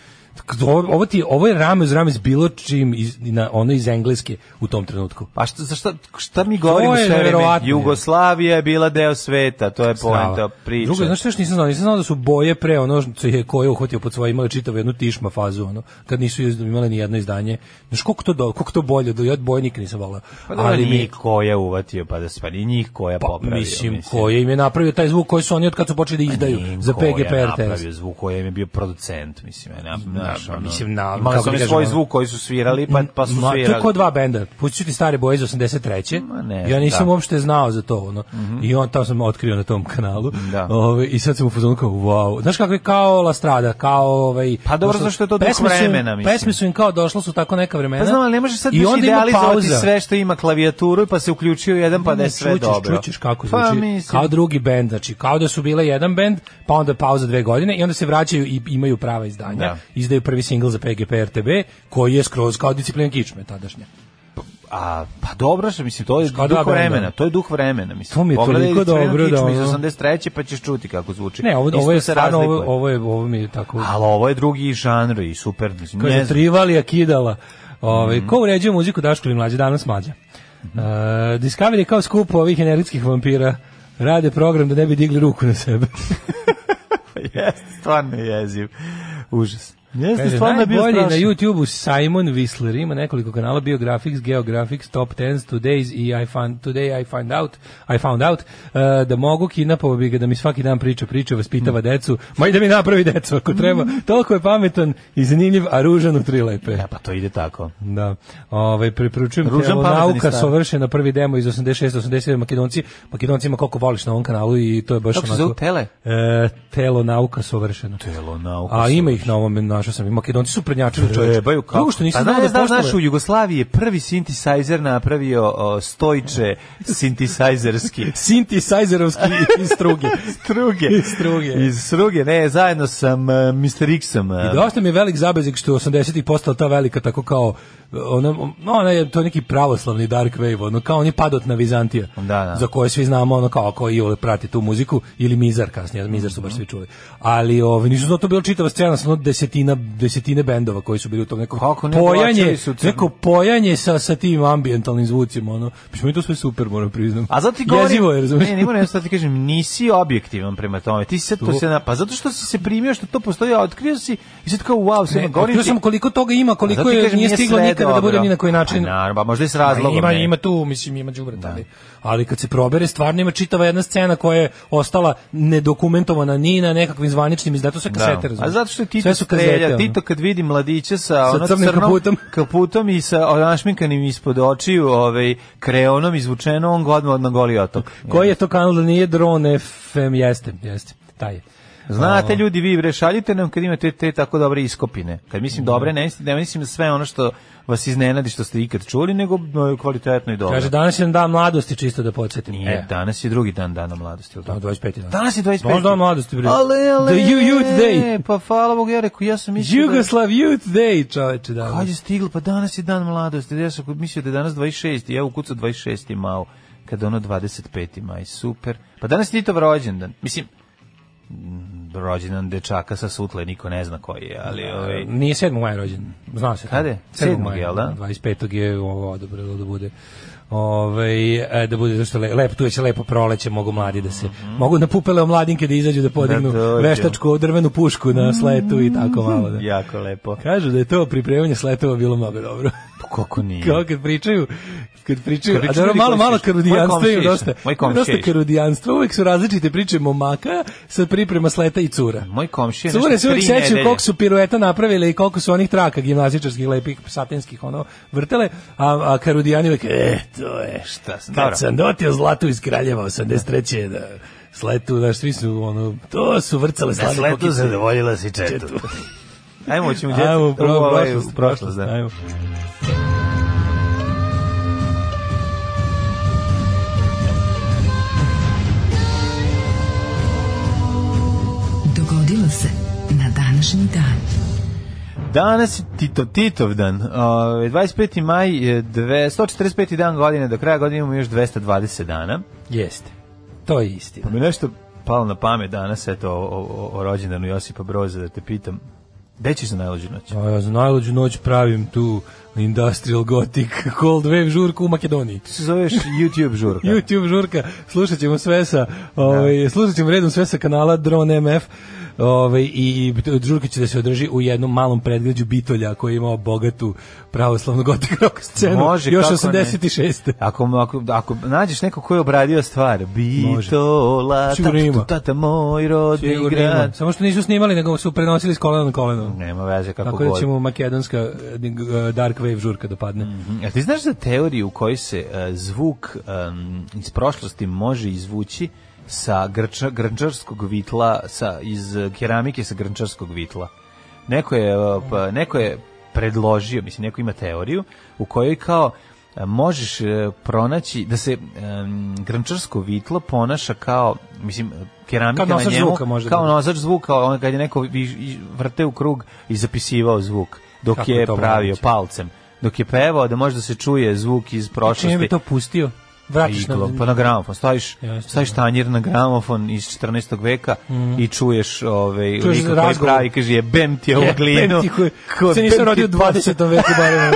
Speaker 7: ovo, ovo ti, ovo je rame uz rame s bilo čim iz, na, ono iz Engleske u tom trenutku.
Speaker 6: Pa šta, za šta, šta mi govorimo
Speaker 7: je
Speaker 6: sve vreme?
Speaker 7: neverovatno.
Speaker 6: Jugoslavija je bila deo sveta, to je poenta
Speaker 7: Strava.
Speaker 6: priče.
Speaker 7: Drugo, znaš što još nisam znao? Nisam znao da su boje pre ono što je koje uhvatio pod svoje imale čitavu jednu tišma fazu, ono, kad nisu iz- imale ni jedno izdanje. Znaš, koliko to, do, koliko to bolje, do, ja od boje nikad nisam volao.
Speaker 6: pa dobro, ali njih ko je uvatio, pa da se pa i njih ko je
Speaker 7: pa,
Speaker 6: popravio.
Speaker 7: mislim, koje im je napravio taj zvuk koji su oni od kad su počeli da izdaju
Speaker 6: Njim
Speaker 7: za
Speaker 6: ko je
Speaker 7: PGP RTS.
Speaker 6: napravio zvuk koji im je bio producent, mislim, je nap- znaš, ono,
Speaker 7: mislim, na-
Speaker 6: imali
Speaker 7: kako
Speaker 6: su
Speaker 7: bi
Speaker 6: oni
Speaker 7: kažem,
Speaker 6: svoj
Speaker 7: ono-
Speaker 6: zvuk koji su svirali, pa, pa su
Speaker 7: Ma,
Speaker 6: svirali.
Speaker 7: To je kao dva benda. Pustit ću ti stare boje iz 83.
Speaker 6: Ma ne,
Speaker 7: ja nisam
Speaker 6: da. Mhm.
Speaker 7: uopšte znao za to. Ono. I on tamo sam otkrio na tom kanalu.
Speaker 6: Da.
Speaker 7: Ove, I sad sam u fazonu kao, wow. Znaš kako je kao La Strada, kao... Ovaj,
Speaker 6: Pa dobro,
Speaker 7: došlo-
Speaker 6: zašto je to duh
Speaker 7: pesme su im-
Speaker 6: vremena, mislim.
Speaker 7: Pesme su im kao došlo su tako neka vremena.
Speaker 6: Pa znam, ali ne može sad
Speaker 7: I
Speaker 6: baš
Speaker 7: onda ima
Speaker 6: idealizovati
Speaker 7: pauza.
Speaker 6: sve što ima klavijaturu, pa se uključio jedan, pa da je sve
Speaker 7: čućeš,
Speaker 6: dobro.
Speaker 7: Čućeš kako zvuči,
Speaker 6: Pa mislim,
Speaker 7: kao drugi bend, znači kao da su bile jedan bend, pa onda pauza dve godine i onda se vraćaju i imaju prava izdanja.
Speaker 6: Da.
Speaker 7: Izdaju prvi singl za PGP RTB, koji je skroz kao disciplina kičme tadašnja.
Speaker 6: a, pa dobro, što mislim, to je
Speaker 7: Kao dva
Speaker 6: duh
Speaker 7: benda.
Speaker 6: vremena, to je duh vremena, mislim.
Speaker 7: To mi je
Speaker 6: Pogledaj
Speaker 7: toliko
Speaker 6: Crvenu
Speaker 7: dobro da
Speaker 6: kičmu
Speaker 7: ono-
Speaker 6: Iz 83. pa ćeš čuti kako zvuči.
Speaker 7: Ne, ovo,
Speaker 6: Isto
Speaker 7: ovo je
Speaker 6: se
Speaker 7: stvarno, ovo,
Speaker 6: razlikuje.
Speaker 7: ovo, je, ovo mi je tako...
Speaker 6: Ali ovo je drugi žanr i super, mislim,
Speaker 7: Kaže,
Speaker 6: ne znam. Mhm.
Speaker 7: Trivalija kidala. Ove, Ko uređuje muziku Daško ili mlađe? Danas mlađe. E, Discovery je kao skup ovih energijskih vampira. Rade program da ne bi digli ruku na sebe.
Speaker 6: Jeste, stvarno je jeziv. Užas. Jeste,
Speaker 7: Kaže,
Speaker 6: stvarno je bio
Speaker 7: najbolji na
Speaker 6: strašan.
Speaker 7: YouTube-u Simon Whistler. Ima nekoliko kanala, Biographics, Geographics, Top 10, Today's i I found, Today I Find Out. I found out e, da mogu kidnapovo bi ga da mi svaki dan priča priče,
Speaker 6: Mm.
Speaker 7: vaspitava decu. Ma i da mi napravi decu ako treba. Toliko je pametan i zanimljiv, a ružan u tri lepe.
Speaker 6: E, pa to ide tako.
Speaker 7: Da. Ovaj preporučujem
Speaker 6: Ružan
Speaker 7: Ružan
Speaker 6: pametni
Speaker 7: nauka
Speaker 6: stan.
Speaker 7: sovršena prvi demo iz 86 87 Makedonci. Makedoncima koliko voliš na ovom kanalu i to je baš
Speaker 6: Kako se
Speaker 7: onako-
Speaker 6: zove, Tele?
Speaker 7: E, telo nauka sovršena.
Speaker 6: Telo nauka
Speaker 7: A ima ih na ovom, našao sam. i Makedonci su prednjačili čoveče.
Speaker 6: Trebaju kako.
Speaker 7: Drugo što nisam
Speaker 6: pa,
Speaker 7: znao da
Speaker 6: znaš,
Speaker 7: postoje.
Speaker 6: znaš, u Jugoslaviji je prvi synthesizer napravio o, stojče synthesizerski.
Speaker 7: Synthesizerovski iz struge.
Speaker 6: Struge.
Speaker 7: Iz struge.
Speaker 6: Iz struge, ne, zajedno sam uh, Mr. X-om.
Speaker 7: I dosta mi je velik zabezik što je 80-ih postala ta velika tako kao ona, no, ona je to neki pravoslavni dark wave, ono kao on je padot na Vizantija.
Speaker 6: Da, da.
Speaker 7: Za koje svi znamo ono kao ko Iole prati tu muziku ili Mizar kasnije, Mizar
Speaker 6: Mhm.
Speaker 7: su baš svi čuli. Ali ovaj nisu znao to bila čitava scena sa ono desetina desetine bendova koji su bili u tom nekom
Speaker 6: Kako ne,
Speaker 7: pojanje,
Speaker 6: plaćali su cenu.
Speaker 7: neko pojanje sa sa tim ambientalnim zvucima, ono. Mislim mi to sve super, moram priznam.
Speaker 6: A zato ti govorim,
Speaker 7: Jezivo je, razumeš?
Speaker 6: ne, ne moram sad ti kažem, nisi objektivan prema tome. Ti si sad to se na, pa zato što si se primio što to postoji, a otkrio si i sad kao wow, sve
Speaker 7: Ne,
Speaker 6: govorim.
Speaker 7: otkrio
Speaker 6: ti-
Speaker 7: sam koliko toga ima,
Speaker 6: A zato
Speaker 7: koliko
Speaker 6: ti
Speaker 7: je,
Speaker 6: kažem,
Speaker 7: nije stiglo
Speaker 6: sve
Speaker 7: nikada da bude
Speaker 6: dobro.
Speaker 7: ni na koji način.
Speaker 6: Pa naravno, pa možda i s razlogom.
Speaker 7: Ima,
Speaker 6: ne.
Speaker 7: ima tu, mislim, ima đubreta, ali, ali kad se probere, stvarno ima čitava jedna scena koja je ostala nedokumentovana ni na nekakvim zvaničnim izdatom sve kasete,
Speaker 6: Da.
Speaker 7: razumiješ?
Speaker 6: A zato što je Tito
Speaker 7: Sve su
Speaker 6: želja.
Speaker 7: ono.
Speaker 6: Tito kad vidi mladića sa,
Speaker 7: Sa
Speaker 6: ono
Speaker 7: crnim
Speaker 6: crnom
Speaker 7: kaputom.
Speaker 6: kaputom i sa našminkanim ispod očiju, ovaj, kreonom izvučeno, on godno od na goli otok.
Speaker 7: Koji je to kanal da nije Drone FM? Jeste, jeste. Taj je.
Speaker 6: Znate ljudi, vi bre, šaljite nam kad imate te tako dobre iskopine. Kad mislim dobre, ne mislim, ne mislim sve ono što vas iznenadi što ste ikad čuli, nego no, kvalitetno i dobro.
Speaker 7: Kaže, danas je dan mladosti, čisto da podsjetim.
Speaker 6: E, danas je drugi dan dana mladosti, jel
Speaker 7: Da,
Speaker 6: tako?
Speaker 7: 25. dan.
Speaker 6: Danas je 25.
Speaker 7: Pa Danas dan mladosti, bre.
Speaker 6: Ale, ale,
Speaker 7: The You Youth Day.
Speaker 6: Pa hvala Bogu, ja rekao, ja sam mislio da...
Speaker 7: Jugoslav Youth Day, čoveče, da.
Speaker 6: Kad je stiglo, pa danas je dan mladosti. Ja sam mislio da je danas 26. Ja ukucao 26. mao, kada ono 25. maj, super. Pa danas je Titov rođendan. Mislim, mm, rođendan dečaka sa sutle, niko ne zna koji je, ali... Ovaj,
Speaker 7: Nije 7. maja rođen. Znao se. to.
Speaker 6: Kad je?
Speaker 7: 7.
Speaker 6: 7.
Speaker 7: maja,
Speaker 6: jel da?
Speaker 7: 25. je ovo odobrilo da bude. Ovaj e, da bude zašto le, lepo tu je će lepo proleće mogu mladi da se mogu na pupele omladinke da izađu da podignu
Speaker 6: Mhm. Da dođu.
Speaker 7: veštačku drvenu pušku na sletu i tako malo da.
Speaker 6: Jako lepo.
Speaker 7: Kažu da je to pripremanje sletova bilo mnogo dobro.
Speaker 6: Pa Kako nije?
Speaker 7: Kao kad pričaju, kad pričaju,
Speaker 6: Kad
Speaker 7: a
Speaker 6: pričaju
Speaker 7: dobro, malo,
Speaker 6: ljudi koji
Speaker 7: malo
Speaker 6: su- moj
Speaker 7: karudijanstva
Speaker 6: komšija
Speaker 7: ima
Speaker 6: išao,
Speaker 7: dosta.
Speaker 6: moj komšija
Speaker 7: Dosta
Speaker 6: išao.
Speaker 7: karudijanstva, uvek su različite priče momaka sa priprema sleta i cura.
Speaker 6: Moj komšija
Speaker 7: Cure se
Speaker 6: nešto
Speaker 7: uvijek
Speaker 6: tri
Speaker 7: sećaju
Speaker 6: nedelje.
Speaker 7: koliko su pirueta napravile i koliko su onih traka gimnazičarskih lepih satinskih ono vrtele, a, a Karudijani uvijek, e, to je,
Speaker 6: Šta sam, dobro.
Speaker 7: kad sam dotio zlatu iz Kraljeva 83. da sletu, znaš, svi su ono, to su vrcale slane kokice.
Speaker 6: zadovoljila si četu. Ajmo, hoćemo djecu.
Speaker 7: Ajmo, pro,
Speaker 6: U, ovaj,
Speaker 7: prošlost,
Speaker 6: u prošlost, da.
Speaker 7: Ajmo.
Speaker 5: Dogodilo se na današnji dan.
Speaker 6: Danas je Tito, Titov dan. Ovaj, 25. maj, je dve- 145. dan godine, do kraja godine imamo još 220 dana.
Speaker 7: Jeste. To je
Speaker 6: Pa
Speaker 7: istina.
Speaker 6: mi je nešto palo na pamet danas, eto, o, o, o rođendanu Josipa Broza, da te pitam. Gde ćeš za najlođu noć?
Speaker 7: A ja za najluđu noć pravim tu industrial gothic cold wave žurku u Makedoniji.
Speaker 6: Ti se zoveš YouTube žurka.
Speaker 7: YouTube žurka, slušat ćemo sve sa, ovaj, slušat ćemo redom sve sa kanala Drone MF, ovaj, i žurka će da se održi u jednom malom predgrađu Bitolja koji je imao bogatu pravoslavnu gotik rock scenu,
Speaker 6: Može,
Speaker 7: još
Speaker 6: kako ne.
Speaker 7: 86.
Speaker 6: Ako, ako, ako nađeš neko ko je obradio stvar, bitola,
Speaker 7: Sigurno ima.
Speaker 6: tatu, tata, moj rodni
Speaker 7: Sigurno ima.
Speaker 6: grad.
Speaker 7: Samo što nisu snimali, nego su prenosili s kolena na koleno.
Speaker 6: Nema veze kako
Speaker 7: Tako da
Speaker 6: god.
Speaker 7: ćemo makedonska eh, dark wave žurka da padne.
Speaker 6: Mhm. A ti znaš za teoriju u kojoj se e, zvuk em, iz prošlosti može izvući sa grča, grnčarskog vitla, sa, iz e, keramike sa grnčarskog vitla? Neko je, e, pa, neko je predložio, mislim, neko ima teoriju u kojoj kao e, možeš e, pronaći da se em, grnčarsko vitlo ponaša kao mislim keramika
Speaker 7: Kao
Speaker 6: na
Speaker 7: nosač
Speaker 6: njemu
Speaker 7: zvuka može da
Speaker 6: kao
Speaker 7: bude.
Speaker 6: nosač zvuka on kad je neko vi- i- vrte u krug i zapisivao zvuk dok
Speaker 7: Kako je
Speaker 6: je
Speaker 7: to
Speaker 6: pravio
Speaker 7: moguće?
Speaker 6: palcem dok je pevao da možda se čuje zvuk iz
Speaker 7: Čime bi
Speaker 6: prošlosti
Speaker 7: to pustio? Vratiš na...
Speaker 6: Iglom, pa na gramofon staviš
Speaker 7: Jeste,
Speaker 6: staviš
Speaker 7: da. Mhm.
Speaker 6: tanjir na gramofon iz 14. veka i čuješ ovaj
Speaker 7: Čuješ
Speaker 6: lika koji
Speaker 7: razgovor.
Speaker 6: pravi kaže jebem ti ovu
Speaker 7: Jebem
Speaker 6: glinu
Speaker 7: ti koji-
Speaker 6: Ko-
Speaker 7: se nisam
Speaker 6: jebem ti pa-
Speaker 7: rodio u
Speaker 6: posao."
Speaker 7: 20. veku barem.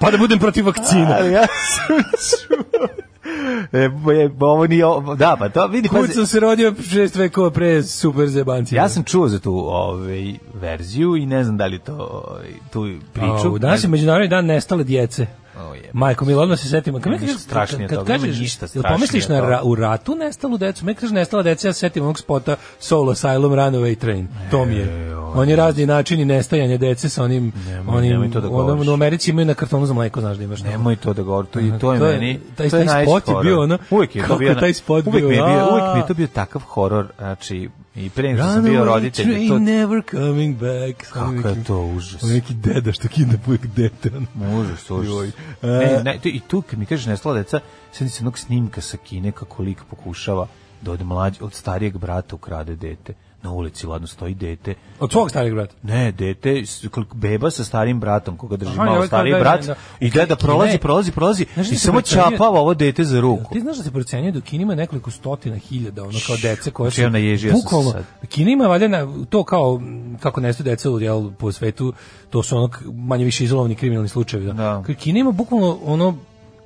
Speaker 7: Pa da budem protiv vakcina.
Speaker 6: Ali ja sam čuo. E, bo- je, bo- ovo nije, ovo- da, pa to vidi,
Speaker 7: Kud
Speaker 6: pazi,
Speaker 7: sam se rodio šest vekova pre super zebancije.
Speaker 6: ja sam čuo za tu ovaj, verziju i ne znam da li to ovaj, tu priču.
Speaker 7: Au, danas
Speaker 6: ne
Speaker 7: je
Speaker 6: znam.
Speaker 7: međunarodni dan nestale djece.
Speaker 6: O, jebe.
Speaker 7: Majko Milo, odmah se setimo. Kad,
Speaker 6: Ništa strašnije od toga, nema ništa
Speaker 7: jel pomisliš na
Speaker 6: strašnije od
Speaker 7: ra,
Speaker 6: toga.
Speaker 7: u ratu nestalu decu? Meni kažeš nestala deca, ja se setim onog spota Soul Asylum Runaway Train. To mi je. On je razni načini nestajanja dece sa onim...
Speaker 6: E, Nemoj,
Speaker 7: onim,
Speaker 6: nemoj to da
Speaker 7: onom-
Speaker 6: govoriš.
Speaker 7: U Americi imaju na kartonu za mleko, znaš da imaš. to.
Speaker 6: Nemoj to da govori, to, i to je meni...
Speaker 7: Ono, taj,
Speaker 6: to je
Speaker 7: taj
Speaker 6: najveći
Speaker 7: spot je
Speaker 6: horor.
Speaker 7: bio ono,
Speaker 6: Uvijek je to
Speaker 7: kako
Speaker 6: bio...
Speaker 7: je taj spot
Speaker 6: uvijek
Speaker 7: bio,
Speaker 6: Mi je bio
Speaker 7: a-
Speaker 6: uvijek mi je to bio takav horor, znači, i pre nego što sam bio
Speaker 7: Runaway
Speaker 6: roditelj, to
Speaker 7: train never coming back.
Speaker 6: Kako je to užas.
Speaker 7: Ono neki deda što kidne uvijek dete. ono.
Speaker 6: Užas,
Speaker 7: Joj.
Speaker 6: užas.
Speaker 7: E,
Speaker 6: Ne, ne, to, I tu, kad mi kažeš nestala deca, sedi se jednog snimka sa kine kako lik pokušava da od, mlađ, od starijeg brata ukrade dete. Na ulici, ladno, stoji dete.
Speaker 7: Od svog starijeg brata.
Speaker 6: Ne, dete, s- kol- beba sa starim bratom, koga drži
Speaker 7: Aha, i
Speaker 6: malo
Speaker 7: ovaj kao
Speaker 6: stariji
Speaker 7: da-
Speaker 6: brat,
Speaker 7: da- da.
Speaker 6: i deda prolazi,
Speaker 7: Ne.
Speaker 6: prolazi, prolazi,
Speaker 7: Znaš
Speaker 6: i
Speaker 7: šta se
Speaker 6: samo
Speaker 7: procenjuje?
Speaker 6: čapava ovo dete za
Speaker 7: Jel
Speaker 6: ruku.
Speaker 7: Ti znaš da se procenjuje da u Kini ima nekoliko stotina hiljada ono kao dece koje
Speaker 6: znači ja naježio sam se
Speaker 7: bukvalno
Speaker 6: sad.
Speaker 7: Kina ima valjda na- to kao m, kako nestaju deca u jel, po svetu, to su ono k- manje više izolovani kriminalni slučajevi. Da.
Speaker 6: Da.
Speaker 7: Dakle, Kina ima bukvalno ono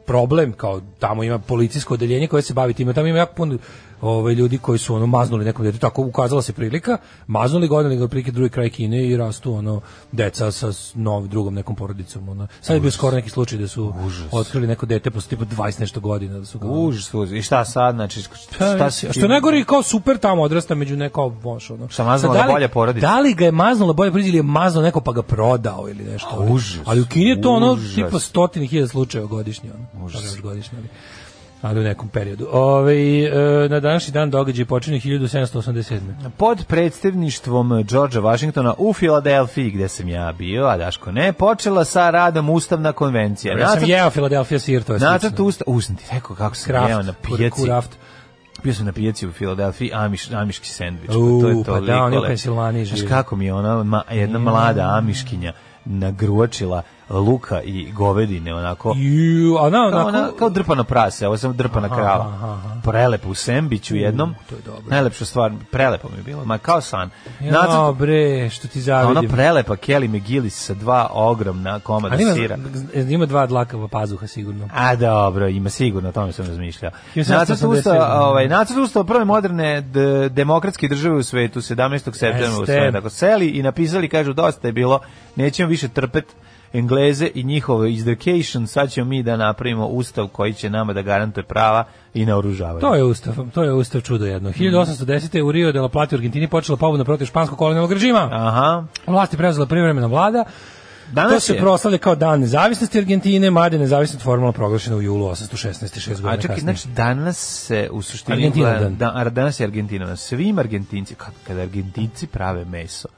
Speaker 7: problem kao tamo ima policijsko odeljenje koje se bavi time, tamo ima jako puno ovaj ljudi koji su ono maznuli nekom detetu tako ukazala se prilika maznuli godine ga prilike drugi kraj Kine i rastu ono deca sa s- nov drugom nekom porodicom ono sad je bio skoro neki slučaj da su otkrili neko dete posle tipa 20 nešto godina da su ga ono-
Speaker 6: Užas, užas. I šta sad, znači, šta si
Speaker 7: Pa, a
Speaker 6: ti-
Speaker 7: što ne gori kao super tamo odrasta među neko boš ono.
Speaker 6: Šta, maznula
Speaker 7: Sad, da li-
Speaker 6: bolja porodica?
Speaker 7: Da li ga je maznula bolja porodica ili je maznula neko pa ga prodao ili nešto. ali-
Speaker 6: užas,
Speaker 7: ali u Kini je to ono
Speaker 6: užas.
Speaker 7: tipa stotine hiljada slučajeva godišnje. Ono, Užas. Godišnje, ali, ali u nekom periodu. Ove, e, na današnji dan događaj počinje 1787.
Speaker 6: Pod predstavništvom Georgea Washingtona u Filadelfiji, gde sam ja bio, a Daško ne, počela sa radom Ustavna konvencija.
Speaker 7: Ja sam jeo Philadelphia sir, to je
Speaker 6: Nacrt
Speaker 7: slično.
Speaker 6: usta, ustan ti rekao kako sam
Speaker 7: Kraft,
Speaker 6: jeo na
Speaker 7: kur-
Speaker 6: pijaci.
Speaker 7: kuraft.
Speaker 6: Bio sam na pijaci u Filadelfiji, amiš, amiški sendvič.
Speaker 7: U,
Speaker 6: to je
Speaker 7: pa da,
Speaker 6: toliko
Speaker 7: oni u
Speaker 6: lepo.
Speaker 7: Pensilvaniji žive.
Speaker 6: Znaš kako mi je ona ma, jedna mlada amiškinja nagruočila luka i govedine onako
Speaker 7: Ju, a na,
Speaker 6: kao,
Speaker 7: onako,
Speaker 6: ona, kao drpano prase, ovo sam drpana krava. Prelepo u Sembiću jednom.
Speaker 7: to je dobro.
Speaker 6: Najlepša stvar, prelepo mi je bilo, ma kao san.
Speaker 7: Ja,
Speaker 6: Nacrt, Ono
Speaker 7: bre, što ti
Speaker 6: a ona
Speaker 7: zavidim.
Speaker 6: prelepa Kelly McGillis sa dva ogromna komada
Speaker 7: Ali ima,
Speaker 6: sira.
Speaker 7: ima dva dlakava pazuha sigurno.
Speaker 6: A dobro, ima sigurno, o tome sam razmišljao.
Speaker 7: 1787.
Speaker 6: Nacrt ustava, ovaj, nacrt ustava prve moderne d- demokratske države u svetu, 17. septembra u
Speaker 7: Jeste.
Speaker 6: svetu. Tako seli i napisali, kažu, dosta je bilo, nećemo više trpet Engleze i njihove izdrkation, sad ćemo mi da napravimo ustav koji će nama da garantuje prava i naoružavanje.
Speaker 7: To je ustav, to je ustav čudo jedno. 1810. u Rio de la Plata u Argentini počela pobuna protiv španskog kolonijalnog režima.
Speaker 6: Aha.
Speaker 7: Vlast je preuzela privremena vlada. to
Speaker 6: Danas
Speaker 7: se
Speaker 6: je.
Speaker 7: proslavlja kao dan nezavisnosti Argentine, mada je nezavisnost formalno proglašena u julu 816. šest
Speaker 6: A
Speaker 7: godina
Speaker 6: čekaj,
Speaker 7: kasnije.
Speaker 6: znači danas se u suštini
Speaker 7: Argentina
Speaker 6: gleda-
Speaker 7: dan.
Speaker 6: da, a danas je Argentina. dan. Svim Argentinci, kad, kada Argentinci prave meso,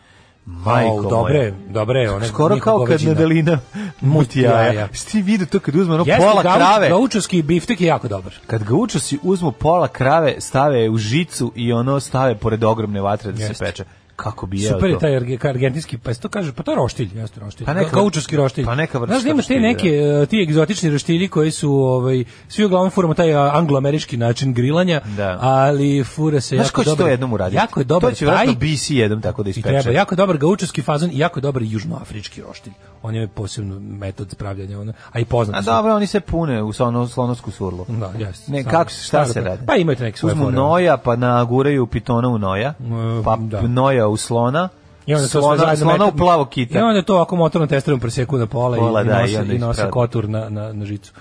Speaker 6: majko
Speaker 7: Au,
Speaker 6: moja.
Speaker 7: Pa, dobre, dobre, one
Speaker 6: Skoro kao kad
Speaker 7: na
Speaker 6: Nedelina muti jaja.
Speaker 7: jaja.
Speaker 6: Sti vidu to kad uzme ono
Speaker 7: Jeste,
Speaker 6: pola
Speaker 7: gauč-
Speaker 6: krave.
Speaker 7: Gaučovski biftek je jako dobar.
Speaker 6: Kad ga uču si uzmu pola krave, stave je u žicu i ono stave pored ogromne vatre da se
Speaker 7: Jeste.
Speaker 6: peče. Kako bi jeo
Speaker 7: Super je
Speaker 6: to?
Speaker 7: taj arge- argentinski, pa se to kaže, pa to je roštilj, jeste roštilj.
Speaker 6: Pa
Speaker 7: Pa
Speaker 6: neka-
Speaker 7: neka, gaučovski roštilj.
Speaker 6: pa neka vrsta
Speaker 7: Znaš, da ima te
Speaker 6: roštilja,
Speaker 7: neke, e, ti egzotični roštilji koji su, ovaj, svi uglavnom furamo taj a, angloamerički način grilanja,
Speaker 6: Da.
Speaker 7: ali fura se
Speaker 6: Znaš
Speaker 7: jako
Speaker 6: ko će
Speaker 7: dobar.
Speaker 6: to jednom uraditi?
Speaker 7: Jako je dobar
Speaker 6: To će
Speaker 7: taj
Speaker 6: vjerojatno BC jednom tako da
Speaker 7: i
Speaker 6: ispeče.
Speaker 7: treba, jako je dobar gaučovski fazon i jako je dobar južnoafrički roštilj. On je posebno metod spravljanja, ono, a i poznat.
Speaker 6: A
Speaker 7: su.
Speaker 6: dobro, oni se pune u ono slonovsku surlu.
Speaker 7: Da, jeste.
Speaker 6: Ne,
Speaker 7: Staro-
Speaker 6: kako, se- šta
Speaker 7: staro
Speaker 6: se
Speaker 7: pre-
Speaker 6: radi?
Speaker 7: Pa imate neke svoje
Speaker 6: Uzmu
Speaker 7: fore. Mm,
Speaker 6: noja, pa naguraju pitona u noja, pa
Speaker 7: da.
Speaker 6: noja u slona,
Speaker 7: I onda to sve
Speaker 6: slona,
Speaker 7: zajedno
Speaker 6: slona u
Speaker 7: metu-
Speaker 6: plavo kita.
Speaker 7: I onda to ako motorno testerom preseku na pola,
Speaker 6: Pola,
Speaker 7: i,
Speaker 6: da, i
Speaker 7: i
Speaker 6: onda
Speaker 7: nose, i nose
Speaker 6: isprave.
Speaker 7: kotur na, na, na žicu.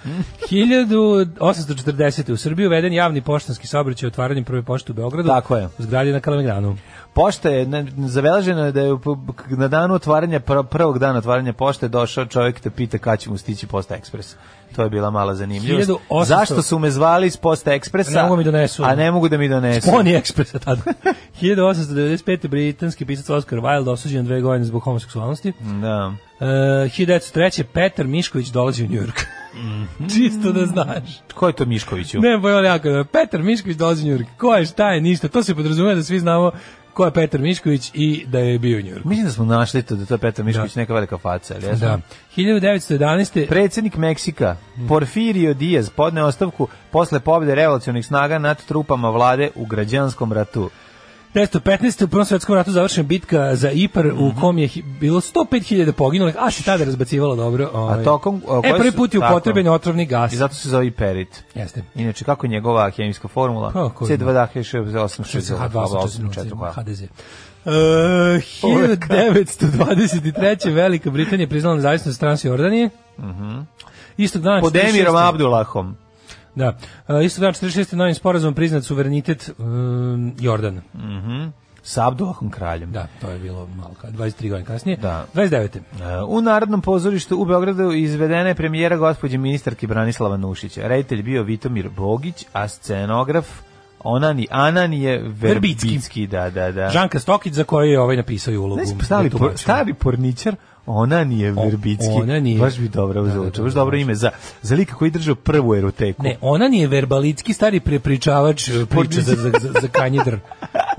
Speaker 7: 1840. u Srbiji uveden javni poštanski saobraćaj otvaranjem prve pošte u Beogradu.
Speaker 6: Tako je.
Speaker 7: U zgradi na Kalemegranu.
Speaker 6: Pošta je na- zabeleženo je da je po- na danu otvaranja pr- prvog dana otvaranja pošte došao čovjek da pita kada će mu stići Posta Ekspres. To je bila mala zanimljivost.
Speaker 7: 1800
Speaker 6: Zašto su me zvali iz Posta Ekspresa?
Speaker 7: Ne mogu mi donesu.
Speaker 6: A ne mogu da mi donesu.
Speaker 7: Poni ekspresa tada. 1895. britanski pisac Oscar Wilde osuđen na dve godine zbog homoseksualnosti.
Speaker 6: Da.
Speaker 7: E, 1903. Petar Mišković dolazi u Njujork.
Speaker 6: Mhm.
Speaker 7: Čisto da znaš.
Speaker 6: Ko je to Miškoviću?
Speaker 7: Ne, pa je on jako dobar. Petar Mišković dolazi u Njurk. Ko je, šta je, ništa. To se podrazumeva da svi znamo ko je Petar Mišković i da je bio u Njurku.
Speaker 6: Mislim da smo našli to da je to Petar Mišković neka velika faca, ali jesmo?
Speaker 7: Da. 1911.
Speaker 6: Predsjednik Meksika Porfirio Diaz podneo ostavku posle pobjede revolucionih snaga nad trupama vlade u građanskom ratu.
Speaker 7: 1915. u Prvom svjetskom ratu završena bitka za Ipar u
Speaker 6: Mhm.
Speaker 7: kom je hi- bilo 105.000 poginulih, a se tada razbacivalo dobro. ovaj.
Speaker 6: tokom- a koje
Speaker 7: E, prvi
Speaker 6: su-
Speaker 7: put je
Speaker 6: tako.
Speaker 7: upotrebljen otrovni gas.
Speaker 6: I zato se zove i Perit.
Speaker 7: Jeste.
Speaker 6: Inače, kako je njegova hemijska formula? dakle,
Speaker 7: Pa, ko
Speaker 6: C2
Speaker 7: zna.
Speaker 6: dahe 860 pa.
Speaker 7: HDZ. Uh, 1923. Velika Britanija priznala nezavisnost Transjordanije. Istog dana...
Speaker 6: Mhm. Pod
Speaker 7: 46.
Speaker 6: Emirom Abdullahom.
Speaker 7: Da. E, isto dan 46. novim sporazumom priznat suverenitet um, Jordana.
Speaker 6: Mm. Sa Abdullahom kraljem.
Speaker 7: Da, to je bilo malo ka- 23 godine kasnije.
Speaker 6: Da.
Speaker 7: 29.
Speaker 6: E, U Narodnom pozorištu u Beogradu izvedena je premijera gospođe ministarke Branislava Nušića. Reditelj bio Vitomir Bogić, a scenograf Onani Ananije
Speaker 7: Verbicki.
Speaker 6: Verbicki. Da, da, da.
Speaker 7: Žanka Stokić za koju je ovaj napisao i ulogu.
Speaker 6: Znaš, stavi,
Speaker 7: za
Speaker 6: por,
Speaker 7: tumača.
Speaker 6: stavi porničar, ona nije Verbicki.
Speaker 7: ona nije.
Speaker 6: Baš bi dobro
Speaker 7: da,
Speaker 6: zvuče,
Speaker 7: da,
Speaker 6: baš
Speaker 7: da,
Speaker 6: dobro
Speaker 7: baš.
Speaker 6: ime za, za lika koji je držao prvu eroteku.
Speaker 7: Ne, ona nije verbalitski stari prepričavač e, priče za, za, za, za kanjidr.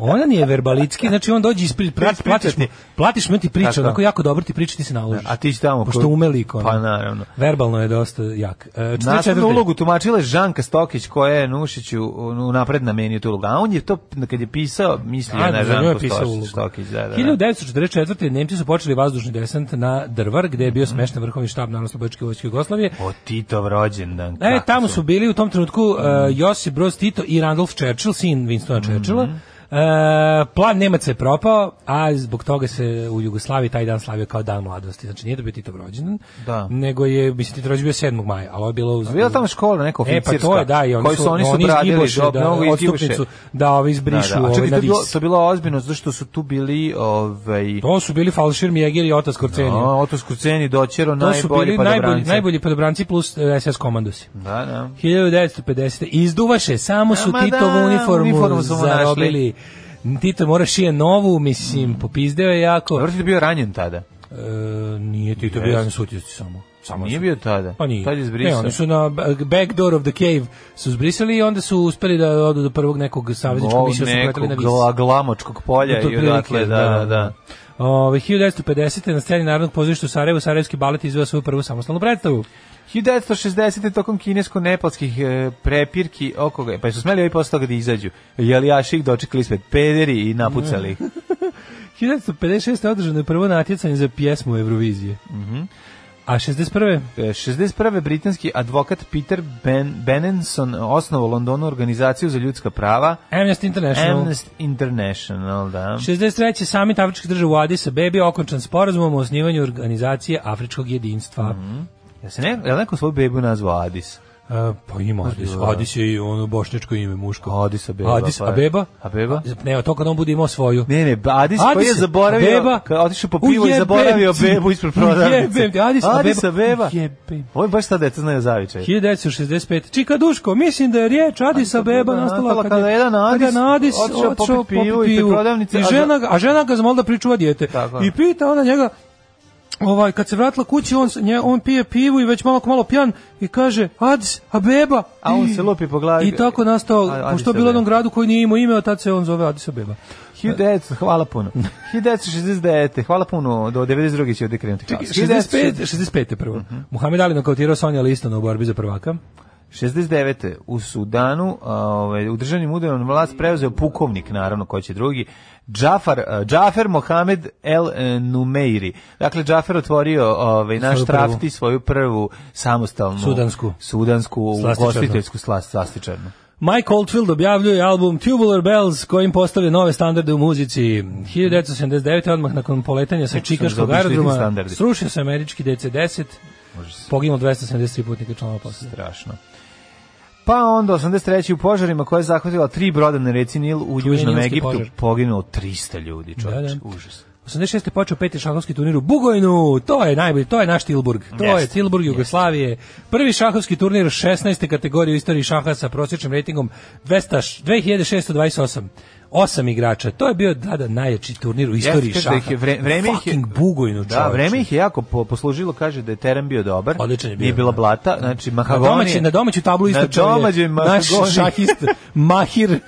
Speaker 7: Ona nije verbalitski, znači on dođe ispred, platiš, platiš, mu, platiš mu on ti priča,
Speaker 6: Tako.
Speaker 7: onako jako dobro ti priča, ti se naložiš.
Speaker 6: A ti si tamo
Speaker 7: Pošto
Speaker 6: ko-
Speaker 7: ume lik, ono.
Speaker 6: Pa naravno.
Speaker 7: Verbalno je dosta jak. E, 44.
Speaker 6: Nastavnu ulogu tumačila je Žanka Stokić koja je Nušiću u napred namenio tu ulogu. A on je to, kad je pisao, mislio
Speaker 7: A,
Speaker 6: na
Speaker 7: za nju je
Speaker 6: Žanku
Speaker 7: pisao
Speaker 6: Stošić-
Speaker 7: ulogu.
Speaker 6: Stokić. Da, da, da.
Speaker 7: 1944. Nemci su počeli vazdušni desant na na Drvar, gde je bio
Speaker 6: Mhm.
Speaker 7: smešten vrhovni štab narodno-slobodačke vojske Jugoslavije.
Speaker 6: O Titov rođendan.
Speaker 7: E,
Speaker 6: kako
Speaker 7: tamo su bili u tom trenutku uh,
Speaker 6: Mhm.
Speaker 7: Josip Broz Tito i Randolph Churchill, sin Winstona Churchilla. E, plan Nemaca je propao, a zbog toga se u Jugoslaviji taj dan slavio kao dan mladosti. Znači nije da bio Titov rođendan,
Speaker 6: Da.
Speaker 7: nego je, mislim, Titov rođendan bio 7. maja, ali ovo je bilo uz...
Speaker 6: A bila tamo škola neka
Speaker 7: E, pa
Speaker 6: oficirska.
Speaker 7: to je, da, i oni
Speaker 6: koju
Speaker 7: su,
Speaker 6: su, oni su
Speaker 7: oni
Speaker 6: bradili,
Speaker 7: izgiboše,
Speaker 6: do-
Speaker 7: da,
Speaker 6: mnogo izgiboše.
Speaker 7: odstupnicu, da, ovi izbrišu,
Speaker 6: da. A
Speaker 7: ovaj,
Speaker 6: čekaj, to,
Speaker 7: na
Speaker 6: je bilo,
Speaker 7: vis.
Speaker 6: to je bilo ozbiljno, zato što su tu bili ovaj,
Speaker 7: To su bili Falšir Mjeger i Otas Korcenija.
Speaker 6: a, Otos Kuceni, Doćero,
Speaker 7: to su bili
Speaker 6: najbolji
Speaker 7: najbolji,
Speaker 6: padobranci.
Speaker 7: najbolji podobranci plus e, SS komandosi.
Speaker 6: Da, da.
Speaker 7: 1950. Izduvaše, samo su
Speaker 6: Ama
Speaker 7: Titovu
Speaker 6: da,
Speaker 7: uniformu,
Speaker 6: uniformu su mu našli.
Speaker 7: zarobili. Tito mora šije novu, mislim, popizdeo je jako.
Speaker 6: Mm. Dobro što je bio ranjen tada.
Speaker 7: E, nije Tito
Speaker 6: Jest.
Speaker 7: bio jedan sutjesci samo. samo
Speaker 6: Nije
Speaker 7: su-
Speaker 6: bio tada.
Speaker 7: Pa nije.
Speaker 6: Tad je
Speaker 7: Ne,
Speaker 6: zbrisao.
Speaker 7: oni su na b- back door of the cave su zbrisali i onda su uspeli da odu do prvog nekog savezničkog misija su
Speaker 6: nekog
Speaker 7: pratili na vis.
Speaker 6: gla- glamočkog polja
Speaker 7: To je
Speaker 6: i odatle,
Speaker 7: otprilike,
Speaker 6: da, da, da.
Speaker 7: Ove, 1950. na sceni Narodnog pozorišta u Sarajevu, Sarajevski balet izveo svoju prvu samostalnu predstavu.
Speaker 6: 1960. tokom kinesko-nepalskih e, prepirki oko ga, pa su smeli ovi posle toga da izađu. Jelijaši ih dočekali ispred pederi i napucali ih.
Speaker 7: 1956. održano je prvo natjecanje za pjesmu Eurovizije.
Speaker 6: Mhm.
Speaker 7: A 61.
Speaker 6: E, 61. britanski advokat Peter Ben Benenson osnovao u Londonu organizaciju za ljudska prava
Speaker 7: Amnesty International.
Speaker 6: Amnesty International, da.
Speaker 7: 63. samit Afričkih država u Addis Abebi okončan sporazumom o osnivanju organizacije Afričkog jedinstva.
Speaker 6: Mhm. Ja se ne, je li neko svoju bebu nazvao Adis?
Speaker 7: E, pa ima Addis. Addis je i ono bošnjačko ime muško.
Speaker 6: Adis Abeba.
Speaker 7: Addis
Speaker 6: pa-
Speaker 7: Abeba?
Speaker 6: Abeba?
Speaker 7: Ne, to kad on bude imao svoju.
Speaker 6: Ne, ne, Adis, koji je
Speaker 7: Adise,
Speaker 6: zaboravio,
Speaker 7: Abeba.
Speaker 6: kad je otišao po pivu i
Speaker 7: Ujebem
Speaker 6: zaboravio
Speaker 7: ti.
Speaker 6: bebu ispred prodavnice.
Speaker 7: Ujebem ti, Adis Abeba.
Speaker 6: Adis Abeba.
Speaker 7: Ujebem.
Speaker 6: Ovo je baš ta deca znaju zavičaj.
Speaker 7: 1965. Čika Duško, mislim da je riječ Adis Abeba nastala kada je
Speaker 6: jedan Adis
Speaker 7: jedan Adis
Speaker 6: otišao popit
Speaker 7: otišao popit
Speaker 6: pivo i
Speaker 7: pivu.
Speaker 6: pred prodavnice,
Speaker 7: I
Speaker 6: a za-
Speaker 7: žena, ga- a žena ga zamolila da pričuva dijete.
Speaker 6: Tako je.
Speaker 7: I pita ona njega, ovaj, kad se vratila kući, on, s- nje, on pije pivu i već malo malo pjan i kaže Adis Abeba.
Speaker 6: A on se lupi po glavi.
Speaker 7: I tako nastao,
Speaker 6: A- Addis
Speaker 7: pošto je bilo u jednom
Speaker 6: Abeba.
Speaker 7: gradu koji nije imao ime, a tad se on zove Adis Abeba.
Speaker 6: 1900, hvala puno. 1969, hvala puno, do 92. će ovdje krenuti.
Speaker 7: Čekaj, 65, 65. prvo.
Speaker 6: Mhm.
Speaker 7: Muhammed Ali nokautirao Sonja Listona u borbi za prvaka.
Speaker 6: 69. u Sudanu a, ovaj, u državnim udarom vlast preuzeo pukovnik, naravno, ko će drugi, Džafar, eh, Džafer Mohamed El eh, Numeiri. Dakle, Džafer otvorio ovaj, naš
Speaker 7: Svoju prvu.
Speaker 6: trafti, svoju prvu samostalnu
Speaker 7: Sudansku.
Speaker 6: sudansku
Speaker 7: Slastičarnu.
Speaker 6: ugostiteljsku slast, slastičarnu.
Speaker 7: Mike Oldfield objavljuje album Tubular Bells kojim postavlja nove standarde u muzici. 1979. odmah nakon poletanja sa Čikaškog
Speaker 6: zaobišli ti
Speaker 7: aerodroma
Speaker 6: standardi.
Speaker 7: srušio se američki DC-10, poginulo 273 putnika članova posade.
Speaker 6: Strašno. Pa onda 83. u požarima koja je zahvatila tri broda na reci Nil u Južnom
Speaker 7: Nilski
Speaker 6: Egiptu
Speaker 7: požar.
Speaker 6: poginulo 300 ljudi, čovječe,
Speaker 7: Da, da.
Speaker 6: užas.
Speaker 7: 86. je počeo peti šahovski turnir u Bugojnu, to je najbolji, to je naš Tilburg, to je
Speaker 6: Jeste,
Speaker 7: Tilburg Jugoslavije. Prvi šahovski turnir 16. kategorije u istoriji šaha sa prosječnim ratingom 200, 2628. Osam igrača. To je bio tada najjači turnir u istoriji
Speaker 6: Jeste,
Speaker 7: šaha.
Speaker 6: da ih je vre- vreme ih je-
Speaker 7: Fucking Bugojnu,
Speaker 6: Da,
Speaker 7: čoveče.
Speaker 6: vreme ih je jako po- poslužilo, kaže da je teren bio dobar.
Speaker 7: Odličan je bio,
Speaker 6: Nije bila
Speaker 7: da.
Speaker 6: blata, znači
Speaker 7: Na
Speaker 6: Mahagoni.
Speaker 7: domaći, na domaću tablu isto
Speaker 6: Na domaćoj
Speaker 7: naš
Speaker 6: Mahagoni.
Speaker 7: šahist Mahir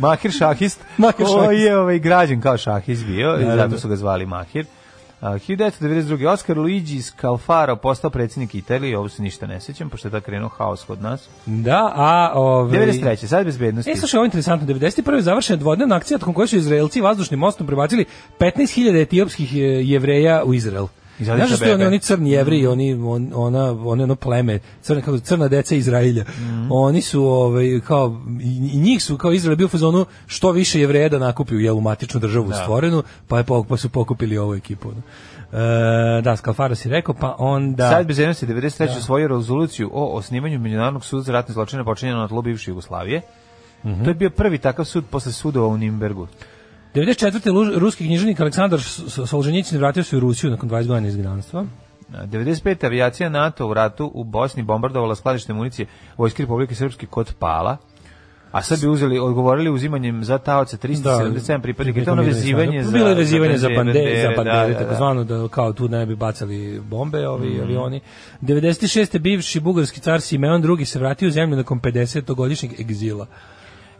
Speaker 6: Mahir šahist,
Speaker 7: Mahir
Speaker 6: koji
Speaker 7: šahist.
Speaker 6: je ovaj, građen kao šahist bio, i
Speaker 7: da,
Speaker 6: zato
Speaker 7: da.
Speaker 6: su ga zvali Mahir. A, 1992. Oscar Luigi Scalfaro postao predsjednik Italije, ovo se ništa ne sećam, pošto je tako krenuo haos kod nas.
Speaker 7: Da, a ovaj
Speaker 6: 93. sad bezbednosti.
Speaker 7: E, slušaj, ovo je interesantno. 91. je završena dvodnevna akcija tokom koje su Izraelci vazdušnim mostom prebacili 15.000 etiopskih e, jevreja u Izrael.
Speaker 6: Iz Adisa Mm.
Speaker 7: Znaš što je
Speaker 6: Abebe.
Speaker 7: oni, oni crni jevri, oni, on, ona, oni ono pleme, crna, kako, crna deca Izraelja.
Speaker 6: Mm.
Speaker 7: Oni su, ovaj, kao, i i njih su, kao Izrael je bio u fazonu što više jevreja da nakupi u jelu matičnu državu stvorenu, pa, je, po- pa su pokupili ovu ekipu. ono. E, da, Skalfaro si rekao, pa onda...
Speaker 6: Sad bez jednosti 93. Da. svoju rezoluciju o osnivanju Međunarodnog suda za ratne zločine počinjeno na tlu bivše Jugoslavije.
Speaker 7: Mhm.
Speaker 6: To je bio prvi takav sud posle sudova u Nimbergu.
Speaker 7: 94. lu- ruski književnik Aleksandar S- S- Solženjicin vratio se u Rusiju nakon 20 godina izgnanstva.
Speaker 6: 95. avijacija NATO u ratu u Bosni bombardovala skladište municije Vojske Republike Srpske kod Pala. A sad bi uzeli, odgovorili uzimanjem za taoce 377 pripadnika. To je ono vezivanje za...
Speaker 7: Bilo je vezivanje za bandere, za
Speaker 6: da,
Speaker 7: bandere,
Speaker 6: da, da.
Speaker 7: takozvano da Mhm. kao tu ne bi bacali bombe ovi avioni. 96. bivši bugarski car Simeon II se vratio u zemlju nakon 50-godišnjeg egzila.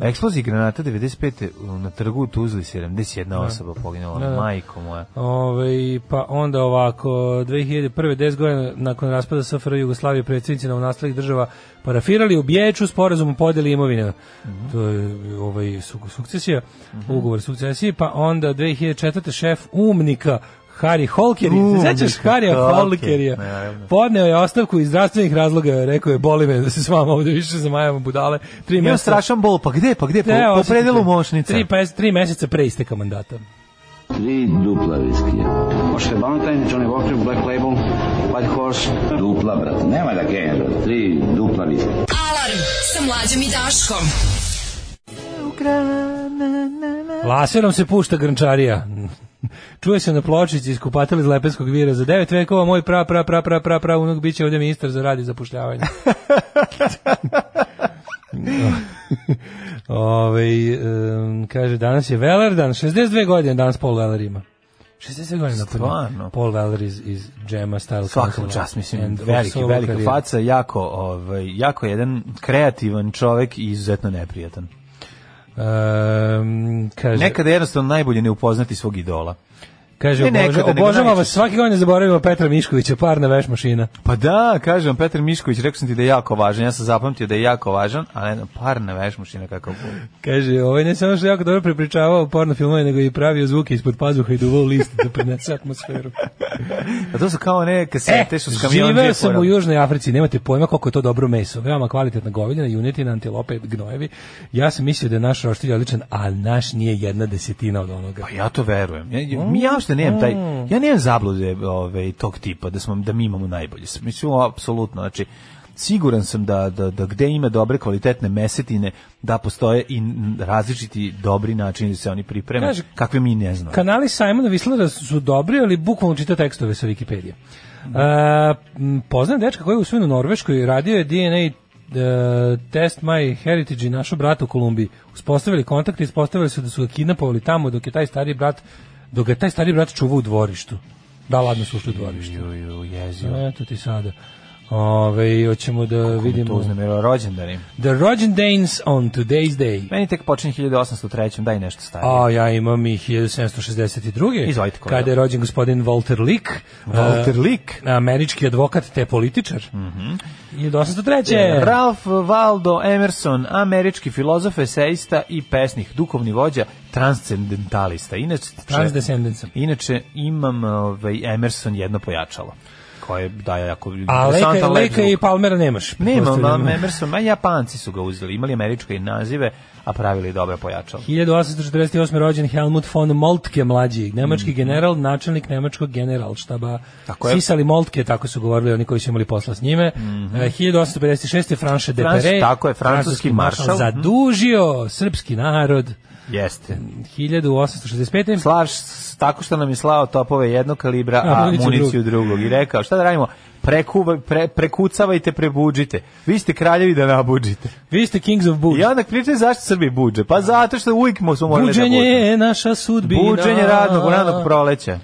Speaker 6: Eksplozija granata 95. u- na trgu u Tuzli 71 osoba poginula.
Speaker 7: da.
Speaker 6: Majko moja.
Speaker 7: Ove, pa onda ovako, 2001. 10 godina nakon raspada SFRJ Jugoslavije predsjednici novonastalih država parafirali u Bječu sporazum o podeli imovine.
Speaker 6: Mhm.
Speaker 7: To je ovaj, su- sukcesija, ugovor sukcesije, pa onda 2004. šef umnika Hari Holkeri,
Speaker 6: U,
Speaker 7: se sećaš
Speaker 6: Miško
Speaker 7: Harija
Speaker 6: Holker,
Speaker 7: Holkerija?
Speaker 6: naravno.
Speaker 7: Podneo je ostavku iz zdravstvenih razloga, rekao je, boli me da se s vama ovde više zamajamo budale. Tri
Speaker 6: Imam
Speaker 7: meseca,
Speaker 6: strašan bol, pa gde, pa gde, po,
Speaker 7: Ne,
Speaker 6: po
Speaker 7: osjetite.
Speaker 6: predelu mošnica.
Speaker 7: Tri, pa- pes- tri meseca pre isteka mandata.
Speaker 3: Tri dupla viskija. Možete Valentine, Johnny Walker, Black Label, White Horse. Dupla, brate, nema da kenja, brate. Tri dupla viskija.
Speaker 9: Alarm sa mlađom i Daškom.
Speaker 7: Laserom se pušta grnčarija. Čuje se na pločici iz kupatela iz Lepenskog vira za devet vekova moj pra pra pra pra pra pra unuk biće ovdje ministar za rad i zapošljavanje. Ove, e, kaže, danas je Velerdan, 62 godine danas Paul Veler ima. 62 godine
Speaker 6: Stvarno?
Speaker 7: napunio. Paul Veler iz, iz Gemma Style
Speaker 6: Svaka mu
Speaker 7: Council
Speaker 6: čast, mislim,
Speaker 7: and
Speaker 6: veliki,
Speaker 7: solo
Speaker 6: velika
Speaker 7: career.
Speaker 6: faca, jako, ovaj, jako jedan kreativan čovek i izuzetno neprijatan.
Speaker 7: Em, kaže,
Speaker 6: Nekada je jednostavno najbolje ne upoznati svog idola.
Speaker 7: kaže
Speaker 6: ne nekada,
Speaker 7: obožava-
Speaker 6: nego
Speaker 7: obožava vas,
Speaker 6: najčešće.
Speaker 7: svake godine zaboravimo Petra Miškovića, parna veš mašina.
Speaker 6: Pa da, kažem, Petar Mišković, rekao sam ti da je jako važan, ja sam zapamtio da je jako važan, a ne znam, par na veš mušina kakav bol.
Speaker 7: Kaže, ovaj ne samo što je jako dobro prepričavao porno filmove, nego i pravio zvuke ispod pazuha i duvao list da prenese atmosferu.
Speaker 6: A to su kao one kasete što E, s kamionom
Speaker 7: živeo sam u Južnoj Africi, nemate pojma koliko je to dobro meso. Veoma kvalitetna govedina, junetina, antilope, gnojevi. Ja sam mislio da je naš roštilj odličan, a naš nije jedna desetina od onoga.
Speaker 6: Pa ja to verujem. Ja, ja, mi ja uopšte nemam taj, ja nemam zablude ove, tog tipa, da, smo, da mi imamo najbolje. Mislim, apsolutno, znači, siguran sam da, da, da gde ima dobre kvalitetne mesetine, da postoje i n- različiti dobri načini da se oni pripreme,
Speaker 7: Kaže-
Speaker 6: kakve mi ne znamo.
Speaker 7: Kanali Simona Vislera su dobri, ali bukvalno čita tekstove sa Wikipedije. E, m, poznajem dečka koji je usvojen u Norveškoj, radio je DNA e, test My Heritage i našo brata u Kolumbiji. Uspostavili kontakt i ispostavili se da su ga kidnapovali tamo dok je taj stari brat dok ga je taj stari brat čuvao u dvorištu. Da, ladno su ušli u dvorište.
Speaker 6: Ju, ju, jezio.
Speaker 7: Eto ti sada. Ove, hoćemo da
Speaker 6: To
Speaker 7: vidimo
Speaker 6: uznemirao rođendani.
Speaker 7: The Rođendanes on today's day.
Speaker 6: Meni tek počinje 1803. Daj nešto stavio.
Speaker 7: A ja imam i 1762.
Speaker 6: Izvolite, kolega.
Speaker 7: Kada je rođen gospodin Walter Lick.
Speaker 6: Walter Lick.
Speaker 7: eh, Američki advokat te političar. Mhm. 1803.
Speaker 6: Ralph Waldo Emerson, američki filozof, eseista i pesnik, dukovni vođa, transcendentalista. Inače,
Speaker 7: Transdescendent sam.
Speaker 6: inače imam ovaj, Emerson jedno pojačalo, koje daje jako
Speaker 7: A Leka,
Speaker 6: interesantan lep
Speaker 7: Leka i
Speaker 6: zvuk.
Speaker 7: Palmera nemaš.
Speaker 6: Nemam
Speaker 7: pretpostavljam.
Speaker 6: mam Emerson, ma Japanci su ga uzeli, imali američke nazive, a pravili dobra pojačala.
Speaker 7: 1848. rođen Helmut von Moltke mlađi, nemački general, načelnik nemačkog generalštaba.
Speaker 6: Mhm. Tako je.
Speaker 7: Sisali Moltke, tako su govorili oni koji su imali posla s njime. Eh, 1856. Franše de
Speaker 6: Mhm. Franš-
Speaker 7: Perre,
Speaker 6: tako je, francuski maršal. Mhm.
Speaker 7: zadužio srpski narod.
Speaker 6: Jeste.
Speaker 7: 1865.
Speaker 6: Slaž s- tako što nam je slao topove jednog kalibra,
Speaker 7: A,
Speaker 6: a
Speaker 7: municiju
Speaker 6: municiju drugog. I rekao, šta da radimo? Prekuva, pre, prekucavajte, prebuđite. Vi ste kraljevi da nabuđite.
Speaker 7: Vi ste Kings of Buđ.
Speaker 6: I onda pričaju zašto Srbi buđe. Pa zato što uvijek smo morali
Speaker 7: Buđenje
Speaker 6: da
Speaker 7: je naša sudbina.
Speaker 6: buđe. Buđenje radnog, radnog proleća.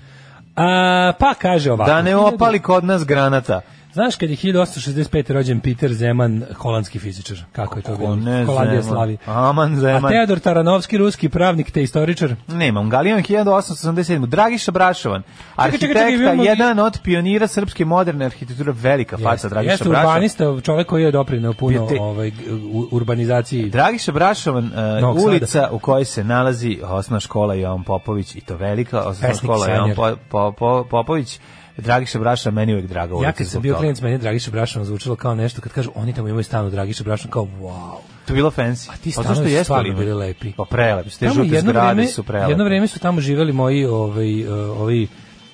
Speaker 7: A, pa kaže ovako.
Speaker 6: Da ne opali kod nas granata.
Speaker 7: Znaš kad je 1865. rođen Peter Zeman, holandski fizičar. Kako je to bilo?
Speaker 6: ne
Speaker 7: Holandija
Speaker 6: Zeman.
Speaker 7: slavi.
Speaker 6: Aman
Speaker 7: A
Speaker 6: Zeman.
Speaker 7: Teodor Taranovski, ruski pravnik te istoričar.
Speaker 6: Nemam, Galijan 1887. Dragiša Brašovan,
Speaker 7: čekaj,
Speaker 6: arhitekta,
Speaker 7: čekaj, imamo-
Speaker 6: jedan od pionira srpske moderne arhitekture, velika faca Pa Dragiša
Speaker 7: Jeste
Speaker 6: Brašovan.
Speaker 7: urbanista, čovjek koji je doprinao puno
Speaker 6: Pijete-
Speaker 7: ovaj, g- u- urbanizaciji.
Speaker 6: Dragiša Brašovan, e,
Speaker 7: Novog Sada.
Speaker 6: ulica u kojoj se nalazi osnovna škola Jovan Popović i to velika osnovna
Speaker 7: Pesnik i
Speaker 6: škola Jovan
Speaker 7: sanjar.
Speaker 6: po, po, po, Popović. Dragiša Brašovan meni je uvijek draga ulica.
Speaker 7: Ja kad sam
Speaker 6: zbog
Speaker 7: bio
Speaker 6: toga.
Speaker 7: klinac, meni je Dragiša Brašan zvučilo kao nešto, kad kažu oni tamo imaju stan u Dragiša Brašan, kao wow.
Speaker 6: To je bilo fancy.
Speaker 7: A ti
Speaker 6: Pa
Speaker 7: stanovi
Speaker 6: zašto
Speaker 7: su
Speaker 6: jesu
Speaker 7: stvarno
Speaker 6: li?
Speaker 7: bili lepi.
Speaker 6: Pa prelepi, su, te
Speaker 7: Tamo
Speaker 6: žute
Speaker 7: jedno
Speaker 6: zgrade
Speaker 7: vreme-
Speaker 6: su prelepe.
Speaker 7: Jedno vreme su tamo živeli moji ovaj e, ovi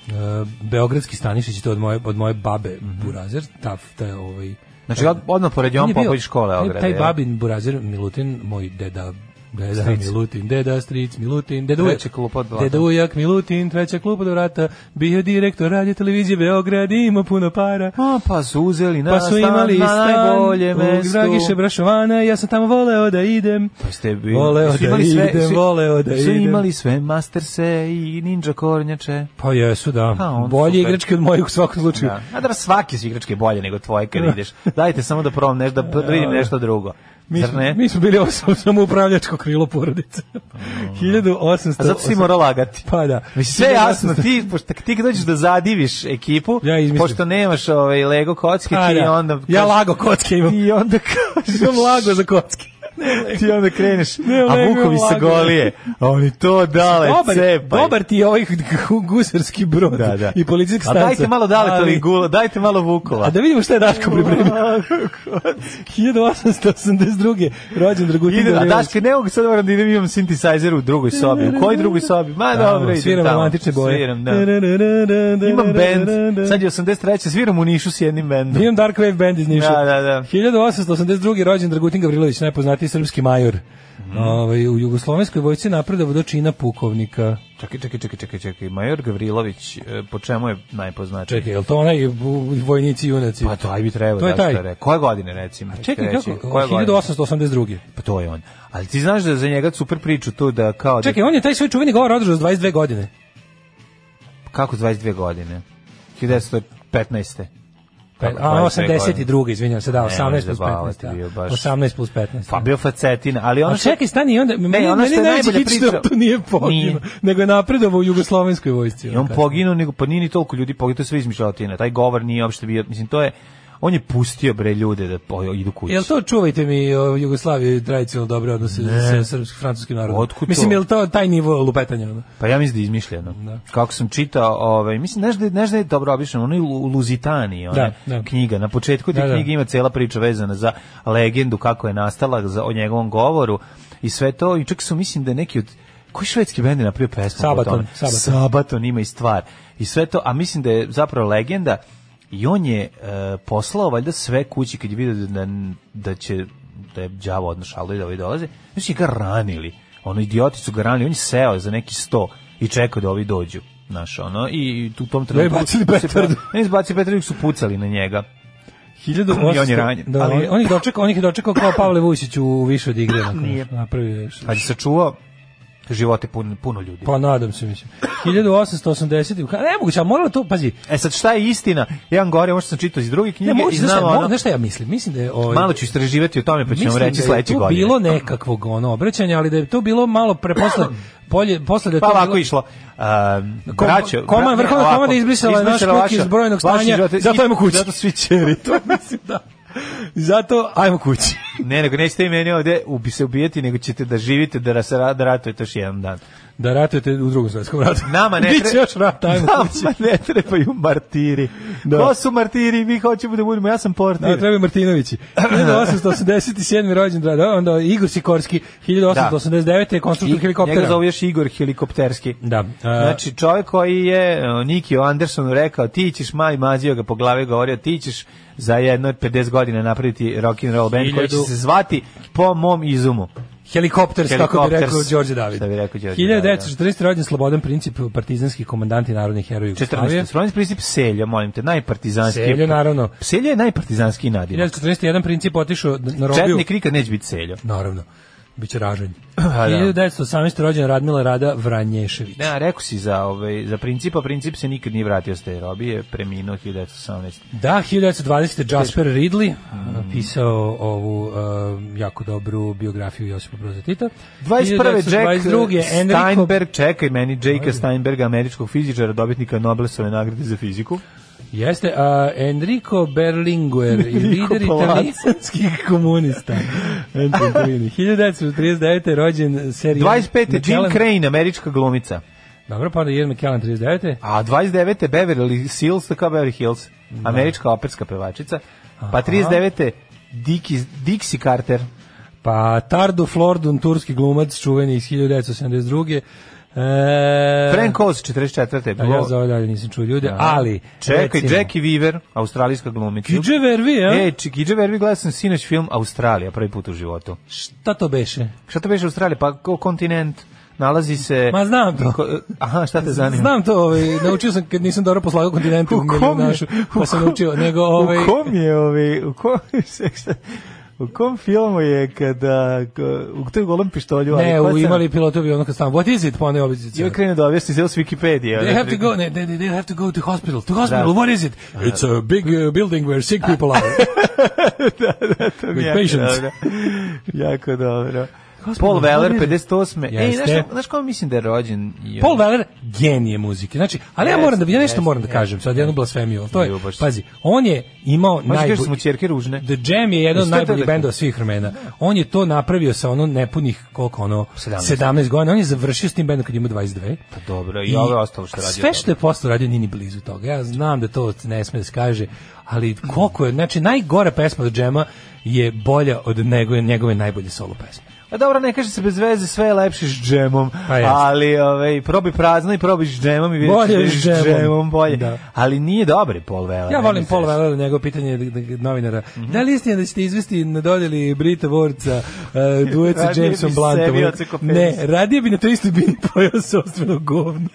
Speaker 7: e, beogradski Stanišići to od moje od moje babe Burazer, ta ta ovaj
Speaker 6: Mhm. Znači, od- odmah pored
Speaker 7: on
Speaker 6: Jovan
Speaker 7: je bio-
Speaker 6: Popović škole
Speaker 7: taj-
Speaker 6: Ograda.
Speaker 7: Taj
Speaker 6: jel?
Speaker 7: babin Burazer Milutin, moj deda Deda
Speaker 6: Stric.
Speaker 7: Milutin, deda stric Milutin, deda ujak,
Speaker 6: Treća klupa od vrata.
Speaker 7: deda ujak Milutin, treća klupa do vrata, bio direktor radio televizije Beograd, ima puno para.
Speaker 6: A, pa su uzeli na,
Speaker 7: Pa su imali
Speaker 6: na
Speaker 7: stan
Speaker 6: najbolje
Speaker 7: u
Speaker 6: mesto.
Speaker 7: Dragiše Brašovana, ja sam tamo voleo da idem.
Speaker 6: Pa ste bili-
Speaker 7: Voleo
Speaker 6: su
Speaker 7: da
Speaker 6: imali sve-
Speaker 7: idem,
Speaker 6: su-
Speaker 7: voleo da
Speaker 6: Su
Speaker 7: idem.
Speaker 6: imali sve masterse i ninja kornjače.
Speaker 7: Pa jesu, da.
Speaker 6: Pa, on
Speaker 7: Bolje
Speaker 6: super.
Speaker 7: igrački od mojih u svakom slučaju.
Speaker 6: Da. A da svaki su igračke bolje nego tvoje kad ideš. Dajte samo da probam nešto, da vidim nešto drugo.
Speaker 7: Mi,
Speaker 6: Zar
Speaker 7: smo-
Speaker 6: ne?
Speaker 7: mi smo bili osam, samo upravljačko krilo porodice. 1800...
Speaker 6: A zato si morao lagati.
Speaker 7: Pa da.
Speaker 6: Mislim, sve je jasno, ti, pošto ti kad dođeš da zadiviš ekipu,
Speaker 7: Ja izmislim.
Speaker 6: pošto nemaš ovaj Lego kocke,
Speaker 7: Pa
Speaker 6: ti
Speaker 7: da.
Speaker 6: onda...
Speaker 7: Ja lago kocke imam.
Speaker 6: I onda kažeš...
Speaker 7: Imam lago za kocke.
Speaker 6: ti onda kreneš,
Speaker 7: Ne,
Speaker 6: a
Speaker 7: Lego
Speaker 6: Vukovi sa
Speaker 7: vlago.
Speaker 6: golije, a oni to dale,
Speaker 7: dobar,
Speaker 6: cepaj.
Speaker 7: dobar ti je ovaj gusarski brod
Speaker 6: Da, da.
Speaker 7: i policijska
Speaker 6: A
Speaker 7: stanca.
Speaker 6: dajte malo dale
Speaker 7: Ali-
Speaker 6: to gula, dajte malo Vukova.
Speaker 7: A da vidimo šta je Daško pripremio. 1882. rođen Dragutin
Speaker 6: Ide, a
Speaker 7: Gavrilović.
Speaker 6: Daške, ne mogu sad moram da idem, imam synthesizer u drugoj sobi. U kojoj drugoj sobi? Ma dobro, idem
Speaker 7: sviram
Speaker 6: tamo.
Speaker 7: romantične boje.
Speaker 6: Sviram, da. Imam band, sad je 83. Sviram u Nišu s jednim bandom.
Speaker 7: Imam Dark Wave band iz Niša.
Speaker 6: Da, da, da.
Speaker 7: 1882. rođen Dragutin Gavrilović, najpoznatiji srpski major. Ovaj, u jugoslovenskoj vojci napredovao do čina pukovnika.
Speaker 6: Čekaj, čekaj, čekaj, čekaj, čekaj. Major Gavrilović, e, po čemu je najpoznačiji?
Speaker 7: Čekaj, je li to onaj u- u- vojnici i junaci?
Speaker 6: Pa to aj bi trebao
Speaker 7: To je
Speaker 6: da
Speaker 7: taj.
Speaker 6: što rekao. Koje godine recimo?
Speaker 7: Čekaj,
Speaker 6: Treći,
Speaker 7: kako?
Speaker 6: Koje godine?
Speaker 7: 1882.
Speaker 6: Pa to je on. Ali ti znaš da je za njega super priču tu da kao...
Speaker 7: Čekaj, on je taj svoj čuveni govor održao s 22 godine.
Speaker 6: Da, kako 22 godine? 1915.
Speaker 7: Pe-
Speaker 6: Kako
Speaker 7: A,
Speaker 6: 22 godine?
Speaker 7: 82, izvinjam se, da,
Speaker 6: Nemoj
Speaker 7: 18 plus
Speaker 6: zabavati,
Speaker 7: 15. da.
Speaker 6: bio baš-
Speaker 7: 18 plus 15.
Speaker 6: Pa bio facetina, ali ono
Speaker 7: A
Speaker 6: što...
Speaker 7: čekaj, stani, i onda, ne, meni,
Speaker 6: ono
Speaker 7: meni
Speaker 6: što je
Speaker 7: najbolje
Speaker 6: najbolja
Speaker 7: priča,
Speaker 6: priča-
Speaker 7: to nije poginuo,
Speaker 6: Nije.
Speaker 7: nego je napredovao u jugoslovenskoj vojsci.
Speaker 6: I on
Speaker 7: Ono,
Speaker 6: poginuo, nego pa nije ni toliko ljudi poginuo, to je sve izmišljotina. Taj govor nije uopšte bio, mislim, to je, on je pustio bre ljude da po, idu kući.
Speaker 7: Jel to čuvajte mi o Jugoslaviji tradicionalno dobre odnose sa srpskim francuskim narodom?
Speaker 6: Otkud to?
Speaker 7: Mislim, jel to taj nivo lupetanja? Ono?
Speaker 6: Pa ja mislim da je izmišljeno. Kako sam čitao, ovaj, mislim, znaš da, je- znaš da je dobro obično, ono je u Luzitaniji, ona
Speaker 7: Da, da.
Speaker 6: knjiga. Na početku te
Speaker 7: Da, da.
Speaker 6: knjige ima cela priča vezana za legendu, kako je nastala, za, o njegovom govoru i sve to. I čak su, mislim, da je neki od koji švedski bend je napravio pesmu? po
Speaker 7: Sabaton,
Speaker 6: tome?
Speaker 7: Sabaton.
Speaker 6: Sabaton ima pa i stvar. I sve to, a mislim da je zapravo legenda i on je e, poslao valjda sve kući kad je vidio da, da će da je đavo odnašalo i da ovi dolaze. Znači ga ranili. Ono idioti su ga ranili, on je seo za neki sto i čekao da ovi dođu. Znaš, ono, i tu u tom trenutku...
Speaker 7: bacili
Speaker 6: se- pa-
Speaker 7: petardu.
Speaker 6: Ne izbacili petardu, nego su pucali na njega.
Speaker 7: 1800
Speaker 6: I on je ranjen.
Speaker 7: Da,
Speaker 6: Ali-
Speaker 7: on, on, ih dočekao, on ih je dočekao kao Pavle Vujšić u više od igre. onako,
Speaker 6: Nije.
Speaker 7: Napravio je š-
Speaker 6: Ali Pa je sačuvao živote puno, puno ljudi.
Speaker 7: Pa nadam se, mislim. 1880. Ka- Ne moguće, ali moralo to, pazi,
Speaker 6: E sad, šta je istina? Jedan govori, ovo što sam čitao iz druge knjige
Speaker 7: ne
Speaker 6: i
Speaker 7: moguće, znaš
Speaker 6: znam,
Speaker 7: šta, mo-
Speaker 6: ono,
Speaker 7: znaš šta ja mislim? Mislim da je... Ovaj,
Speaker 6: malo ću istraživati o tome, pa ću vam
Speaker 7: Mislim
Speaker 6: reći
Speaker 7: da je
Speaker 6: sledeće
Speaker 7: tu
Speaker 6: godine.
Speaker 7: bilo nekakvog ono obraćanja, ali da je to bilo malo preposle polje posle da je
Speaker 6: Pa
Speaker 7: to
Speaker 6: ovako
Speaker 7: bilo-
Speaker 6: išlo. Um,
Speaker 7: Kom-
Speaker 6: braćo,
Speaker 7: Koman,
Speaker 6: bra-
Speaker 7: vrhovna
Speaker 6: ovako,
Speaker 7: komanda izbrisala je naš
Speaker 6: izbrisala
Speaker 7: kuk iz
Speaker 6: vaša-
Speaker 7: brojnog
Speaker 6: vaši
Speaker 7: stanja,
Speaker 6: živote-
Speaker 7: zato ajmo kući.
Speaker 6: Zato svi čeri.
Speaker 7: to mislim da. Zato ajmo kući.
Speaker 6: ne, nego nećete i meni ovde ubi se ubijeti, nego ćete da živite, da, ras, da ratujete još jedan dan.
Speaker 7: Da ratujete u drugom svetskom ratu.
Speaker 6: Nama ne
Speaker 7: Biće
Speaker 6: treba-
Speaker 7: još rat, ajmo kući.
Speaker 6: Nama ne trebaju martiri.
Speaker 7: Da.
Speaker 6: Ko su martiri? Mi hoćemo da budemo, ja sam portir.
Speaker 7: Da, treba Martinovići. 1887. rođen, da, da, onda Igor Sikorski, 1889. je konstruktor helikoptera.
Speaker 6: Njega zove još Igor helikopterski.
Speaker 7: Da. A,
Speaker 6: Znači, čovjek koji je e, Nikio Andersonu rekao, ti ćeš, maj, mazio ga po glavi, govorio, ti ćeš za jedno od 50 godina napraviti rock and roll band koji će
Speaker 7: Hiljadu-
Speaker 6: se zvati po mom izumu.
Speaker 7: Helikopters, kako bi
Speaker 6: Helikopters,
Speaker 7: rekao Đorđe David.
Speaker 6: šta bi rekao Đorđe David,
Speaker 7: 1940. rođen Slobodan Princip, partizanski komandant i narodni heroj
Speaker 6: 14.
Speaker 7: Jugoslavije.
Speaker 6: Slovens princip Selja, molim te, najpartizanski.
Speaker 7: Seljo, naravno.
Speaker 6: Selja je najpartizanski nadimak.
Speaker 7: 1941. jedan Princip otišao na robiju.
Speaker 6: Četnik nikad neće biti Seljo.
Speaker 7: Naravno, biće ražanj.
Speaker 6: da.
Speaker 7: 1918. rođen Radmila Rada Vranješević.
Speaker 6: Ne, a rekao si za, ovaj, za principa, princip se nikad nije vratio s te robije, preminuo 1918.
Speaker 7: Da, 1920. Jasper Ridley
Speaker 6: Mm.
Speaker 7: pisao ovu um, jako dobru biografiju Josipa Broza Tita.
Speaker 6: 21. Jack
Speaker 7: 1922. Enrico
Speaker 6: Steinberg, čekaj meni, Jake Steinberga, američkog fizičara, dobitnika Nobelove nagrade za fiziku.
Speaker 7: Jeste, a Enrico Berlinguer, i
Speaker 6: Enrico
Speaker 7: lider
Speaker 6: Palazzo.
Speaker 7: italijanskih komunista. Anthony Quinn. 1939. je rođen serija...
Speaker 6: 25. Jim Crane, američka glumica.
Speaker 7: Dobro, pa onda Ian McKellen 39.
Speaker 6: A 29. Beverly Hills, tako Beverly Hills, američka operska pevačica. Pa 39. Diki, Dixie Carter.
Speaker 7: Pa Tardo Flordun, turski glumac, čuveni iz 1972. E,
Speaker 6: Frank Oz, 44.
Speaker 7: A ja za ovo dalje nisam čuo ljude, ali...
Speaker 6: Čekaj,
Speaker 7: recimo,
Speaker 6: Jackie Weaver, australijska glumica.
Speaker 7: Kidže Vervi, ja?
Speaker 6: E, Či- Kidže Verbi gledao sam sinoć film Australija, prvi put u životu.
Speaker 7: Šta to beše?
Speaker 6: Šta to beše Australija? Pa ko kontinent nalazi se...
Speaker 7: Ma znam to.
Speaker 6: Ko- Aha, šta te zanima?
Speaker 7: Znam to, ovaj, naučio sam kad nisam dobro poslagao kontinentu u
Speaker 6: U kom je-
Speaker 7: našu,
Speaker 6: u
Speaker 7: pa sam
Speaker 6: kom-
Speaker 7: naučio, nego ovaj...
Speaker 6: U kom je ovaj, u kom, šta- u kom filmu je kada, ko- u toj golom pištolju, ali
Speaker 7: Ne,
Speaker 6: ko
Speaker 7: u,
Speaker 6: sam-
Speaker 7: imali pilotovi ono kad stavim, what is it, pa ono
Speaker 6: I ovaj
Speaker 7: oblizice.
Speaker 6: krenuo da objasni sve s Wikipedije.
Speaker 7: They
Speaker 6: ali-
Speaker 7: have to go, ne, they, they have to go to hospital. To hospital,
Speaker 6: Da.
Speaker 7: what is it? It's a big uh, building where sick people are.
Speaker 6: To mi je jako
Speaker 7: With patience.
Speaker 6: dobro. jako dobro. Paul
Speaker 7: Gospodine,
Speaker 6: Weller
Speaker 7: Weller.
Speaker 6: 58. Ej,
Speaker 7: Jeste.
Speaker 6: znaš, šta- znaš ko mislim da je rođen? Jo.
Speaker 7: Paul Weller genije muzike. Znači, ali ja
Speaker 6: Jeste,
Speaker 7: moram da ja
Speaker 6: jeste,
Speaker 7: nešto moram da
Speaker 6: jeste,
Speaker 7: kažem, sad jednu blasfemiju, ali to je
Speaker 6: Ju, baš.
Speaker 7: pazi, on je imao
Speaker 6: Možeš kažeš da smo
Speaker 7: najbolji
Speaker 6: čerke ružne.
Speaker 7: The Jam je jedan od
Speaker 6: Jeste to
Speaker 7: najboljih
Speaker 6: rekao?
Speaker 7: bendova svih vremena. On je to napravio sa ono nepunih koliko ono
Speaker 6: 17.
Speaker 7: 17, godina. On je završio s tim bendom kad je imao 22.
Speaker 6: Pa dobro, i ovo je ostalo što je radio
Speaker 7: Sve što
Speaker 6: dobro.
Speaker 7: je posle radio nije ni blizu toga. Ja znam da to ne sme da se kaže, ali koliko je, znači najgora pesma od Jama je bolja od njegove, njegove najbolje solo pesme.
Speaker 6: A dobro, ne kaže se bez veze, sve je lepše s džemom.
Speaker 7: Pa jeste.
Speaker 6: ali ovaj probi prazno i probi s džemom i vidiš
Speaker 7: Bolje
Speaker 6: da je
Speaker 7: s džemom.
Speaker 6: bolje.
Speaker 7: Da.
Speaker 6: Ali nije dobar Paul Weller.
Speaker 7: Ja
Speaker 6: Pa, ne
Speaker 7: volim
Speaker 6: mi se Mhm.
Speaker 7: Paul
Speaker 6: reći.
Speaker 7: Weller, njegovo pitanje da- da- novinara. Da li je istina da ćete izvesti na dodeli Brita Vorca uh, duet sa
Speaker 6: Radije
Speaker 7: Jamesom
Speaker 6: bi
Speaker 7: Bluntom?
Speaker 6: sebi odsekao penis.
Speaker 7: Ne, radije bi na to isto bini pojao sostveno govno.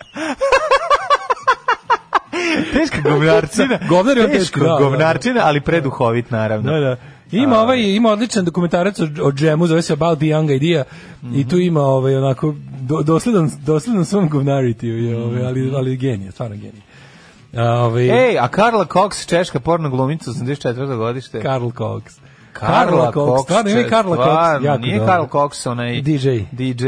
Speaker 6: Teška govnarčina.
Speaker 7: Govnar je on
Speaker 6: teško.
Speaker 7: teško, da, da, da.
Speaker 6: govnarčina, ali preduhovit, naravno.
Speaker 7: Da, da. Ima ovaj ima odličan dokumentarac o, o džemu, zove se About the Young Idea i
Speaker 6: Mhm.
Speaker 7: tu ima ovaj onako do, dosledan dosledan svom govnaritiju, je ovaj, ali ali genije, stvarno genije. A, ovaj
Speaker 6: Mhm. Ej, a Karla Cox, češka porno glumica 84. godište.
Speaker 7: Karl Cox.
Speaker 6: Karla Cox,
Speaker 7: stvarno ima i Karla Cox,
Speaker 6: stvarno,
Speaker 7: jako
Speaker 6: Nije
Speaker 7: dobro.
Speaker 6: Karla Cox onaj
Speaker 7: DJ.
Speaker 6: DJ,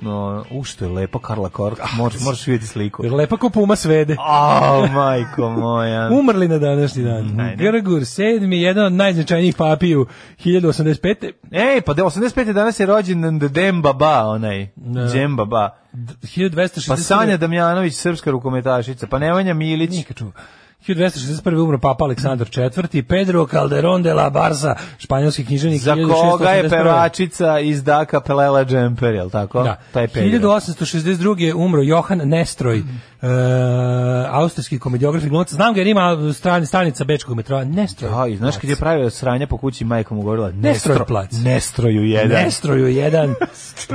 Speaker 6: no, u što je lepa Karla Cox, možeš možeš vidjeti sliku.
Speaker 7: Jer lepa ko puma svede.
Speaker 6: A, majko moja.
Speaker 7: Umrli na današnji dan.
Speaker 6: Mhm. Ajde.
Speaker 7: Grgur sedmi, jedan od najznačajnijih papiju 1085.
Speaker 6: Ej, pa de- 85. danas je rođen The Dem Baba, onaj.
Speaker 7: Da.
Speaker 6: Dem Baba.
Speaker 7: 1260.
Speaker 6: Pa Sanja Damjanović, srpska rukometašica. Pa Nemanja Milić.
Speaker 7: Nikad čuo. 1261. umro papa Aleksandar IV. Pedro Calderón de la Barza, španjolski književnik.
Speaker 6: Za koga je
Speaker 7: 1681.
Speaker 6: pevačica iz Daka Pelela Džemper, jel tako?
Speaker 7: Da.
Speaker 6: Taj Mhm. period.
Speaker 7: 1862. je umro Johan Nestroj, e, austrijski komediograf i glumac. Znam ga jer ima strani, stanica Bečkog metroa. Nestroj.
Speaker 6: Da, i znaš kad je pravio sranja po kući, majka mu govorila
Speaker 7: Nestroj
Speaker 6: Nestro-
Speaker 7: plac.
Speaker 6: Nestroju jedan.
Speaker 7: Nestroju jedan.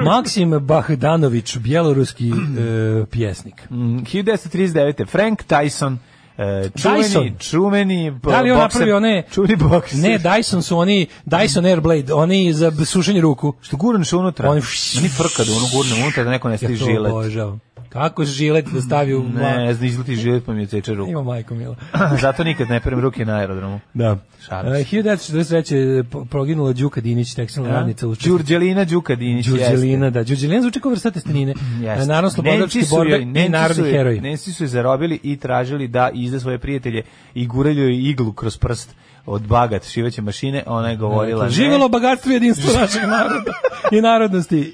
Speaker 7: Maksim Bahdanović, bjeloruski e, pjesnik.
Speaker 6: Mhm. Mm, 1939. Frank Tyson, e, čuveni,
Speaker 7: Dyson.
Speaker 6: čuveni bo-
Speaker 7: Da li je on
Speaker 6: bokser-
Speaker 7: napravio one-
Speaker 6: čuveni bokser.
Speaker 7: Ne, Dyson su oni, Dyson Airblade, oni za b- sušenje ruku.
Speaker 6: što gurneš unutra.
Speaker 7: Oni-
Speaker 6: Oni frka da ono gurne unutra da neko ne
Speaker 7: Ja
Speaker 6: stiže
Speaker 7: to
Speaker 6: žilet.
Speaker 7: obožavam. Kako žilet da stavi u...
Speaker 6: Ne, zna izleti žilet pa mi je ceče ruku.
Speaker 7: Ima majko mila.
Speaker 6: Zato nikad ne perem ruke na aerodromu.
Speaker 7: Da.
Speaker 6: Šalim
Speaker 7: Uh,
Speaker 6: se.
Speaker 7: 1943. je po- proginula Đuka Dinić, tekstilna radnica u
Speaker 6: Đurđelina Đukadinić.
Speaker 7: Đurđelina, da. Đurđelina zvuči kao vrsta testenine.
Speaker 6: Jeste.
Speaker 7: E, Naravno, slobodarčki
Speaker 6: Nemci su
Speaker 7: borbe
Speaker 6: joj- Nemci
Speaker 7: i
Speaker 6: su
Speaker 7: narodni
Speaker 6: joj-
Speaker 7: heroji.
Speaker 6: Nemci su je zarobili i tražili da izda svoje prijatelje i guralju joj iglu kroz prst od bagat šivaće mašine, a ona je govorila ne.
Speaker 7: Živelo bogatstvo i jedinstvo našeg naroda i narodnosti.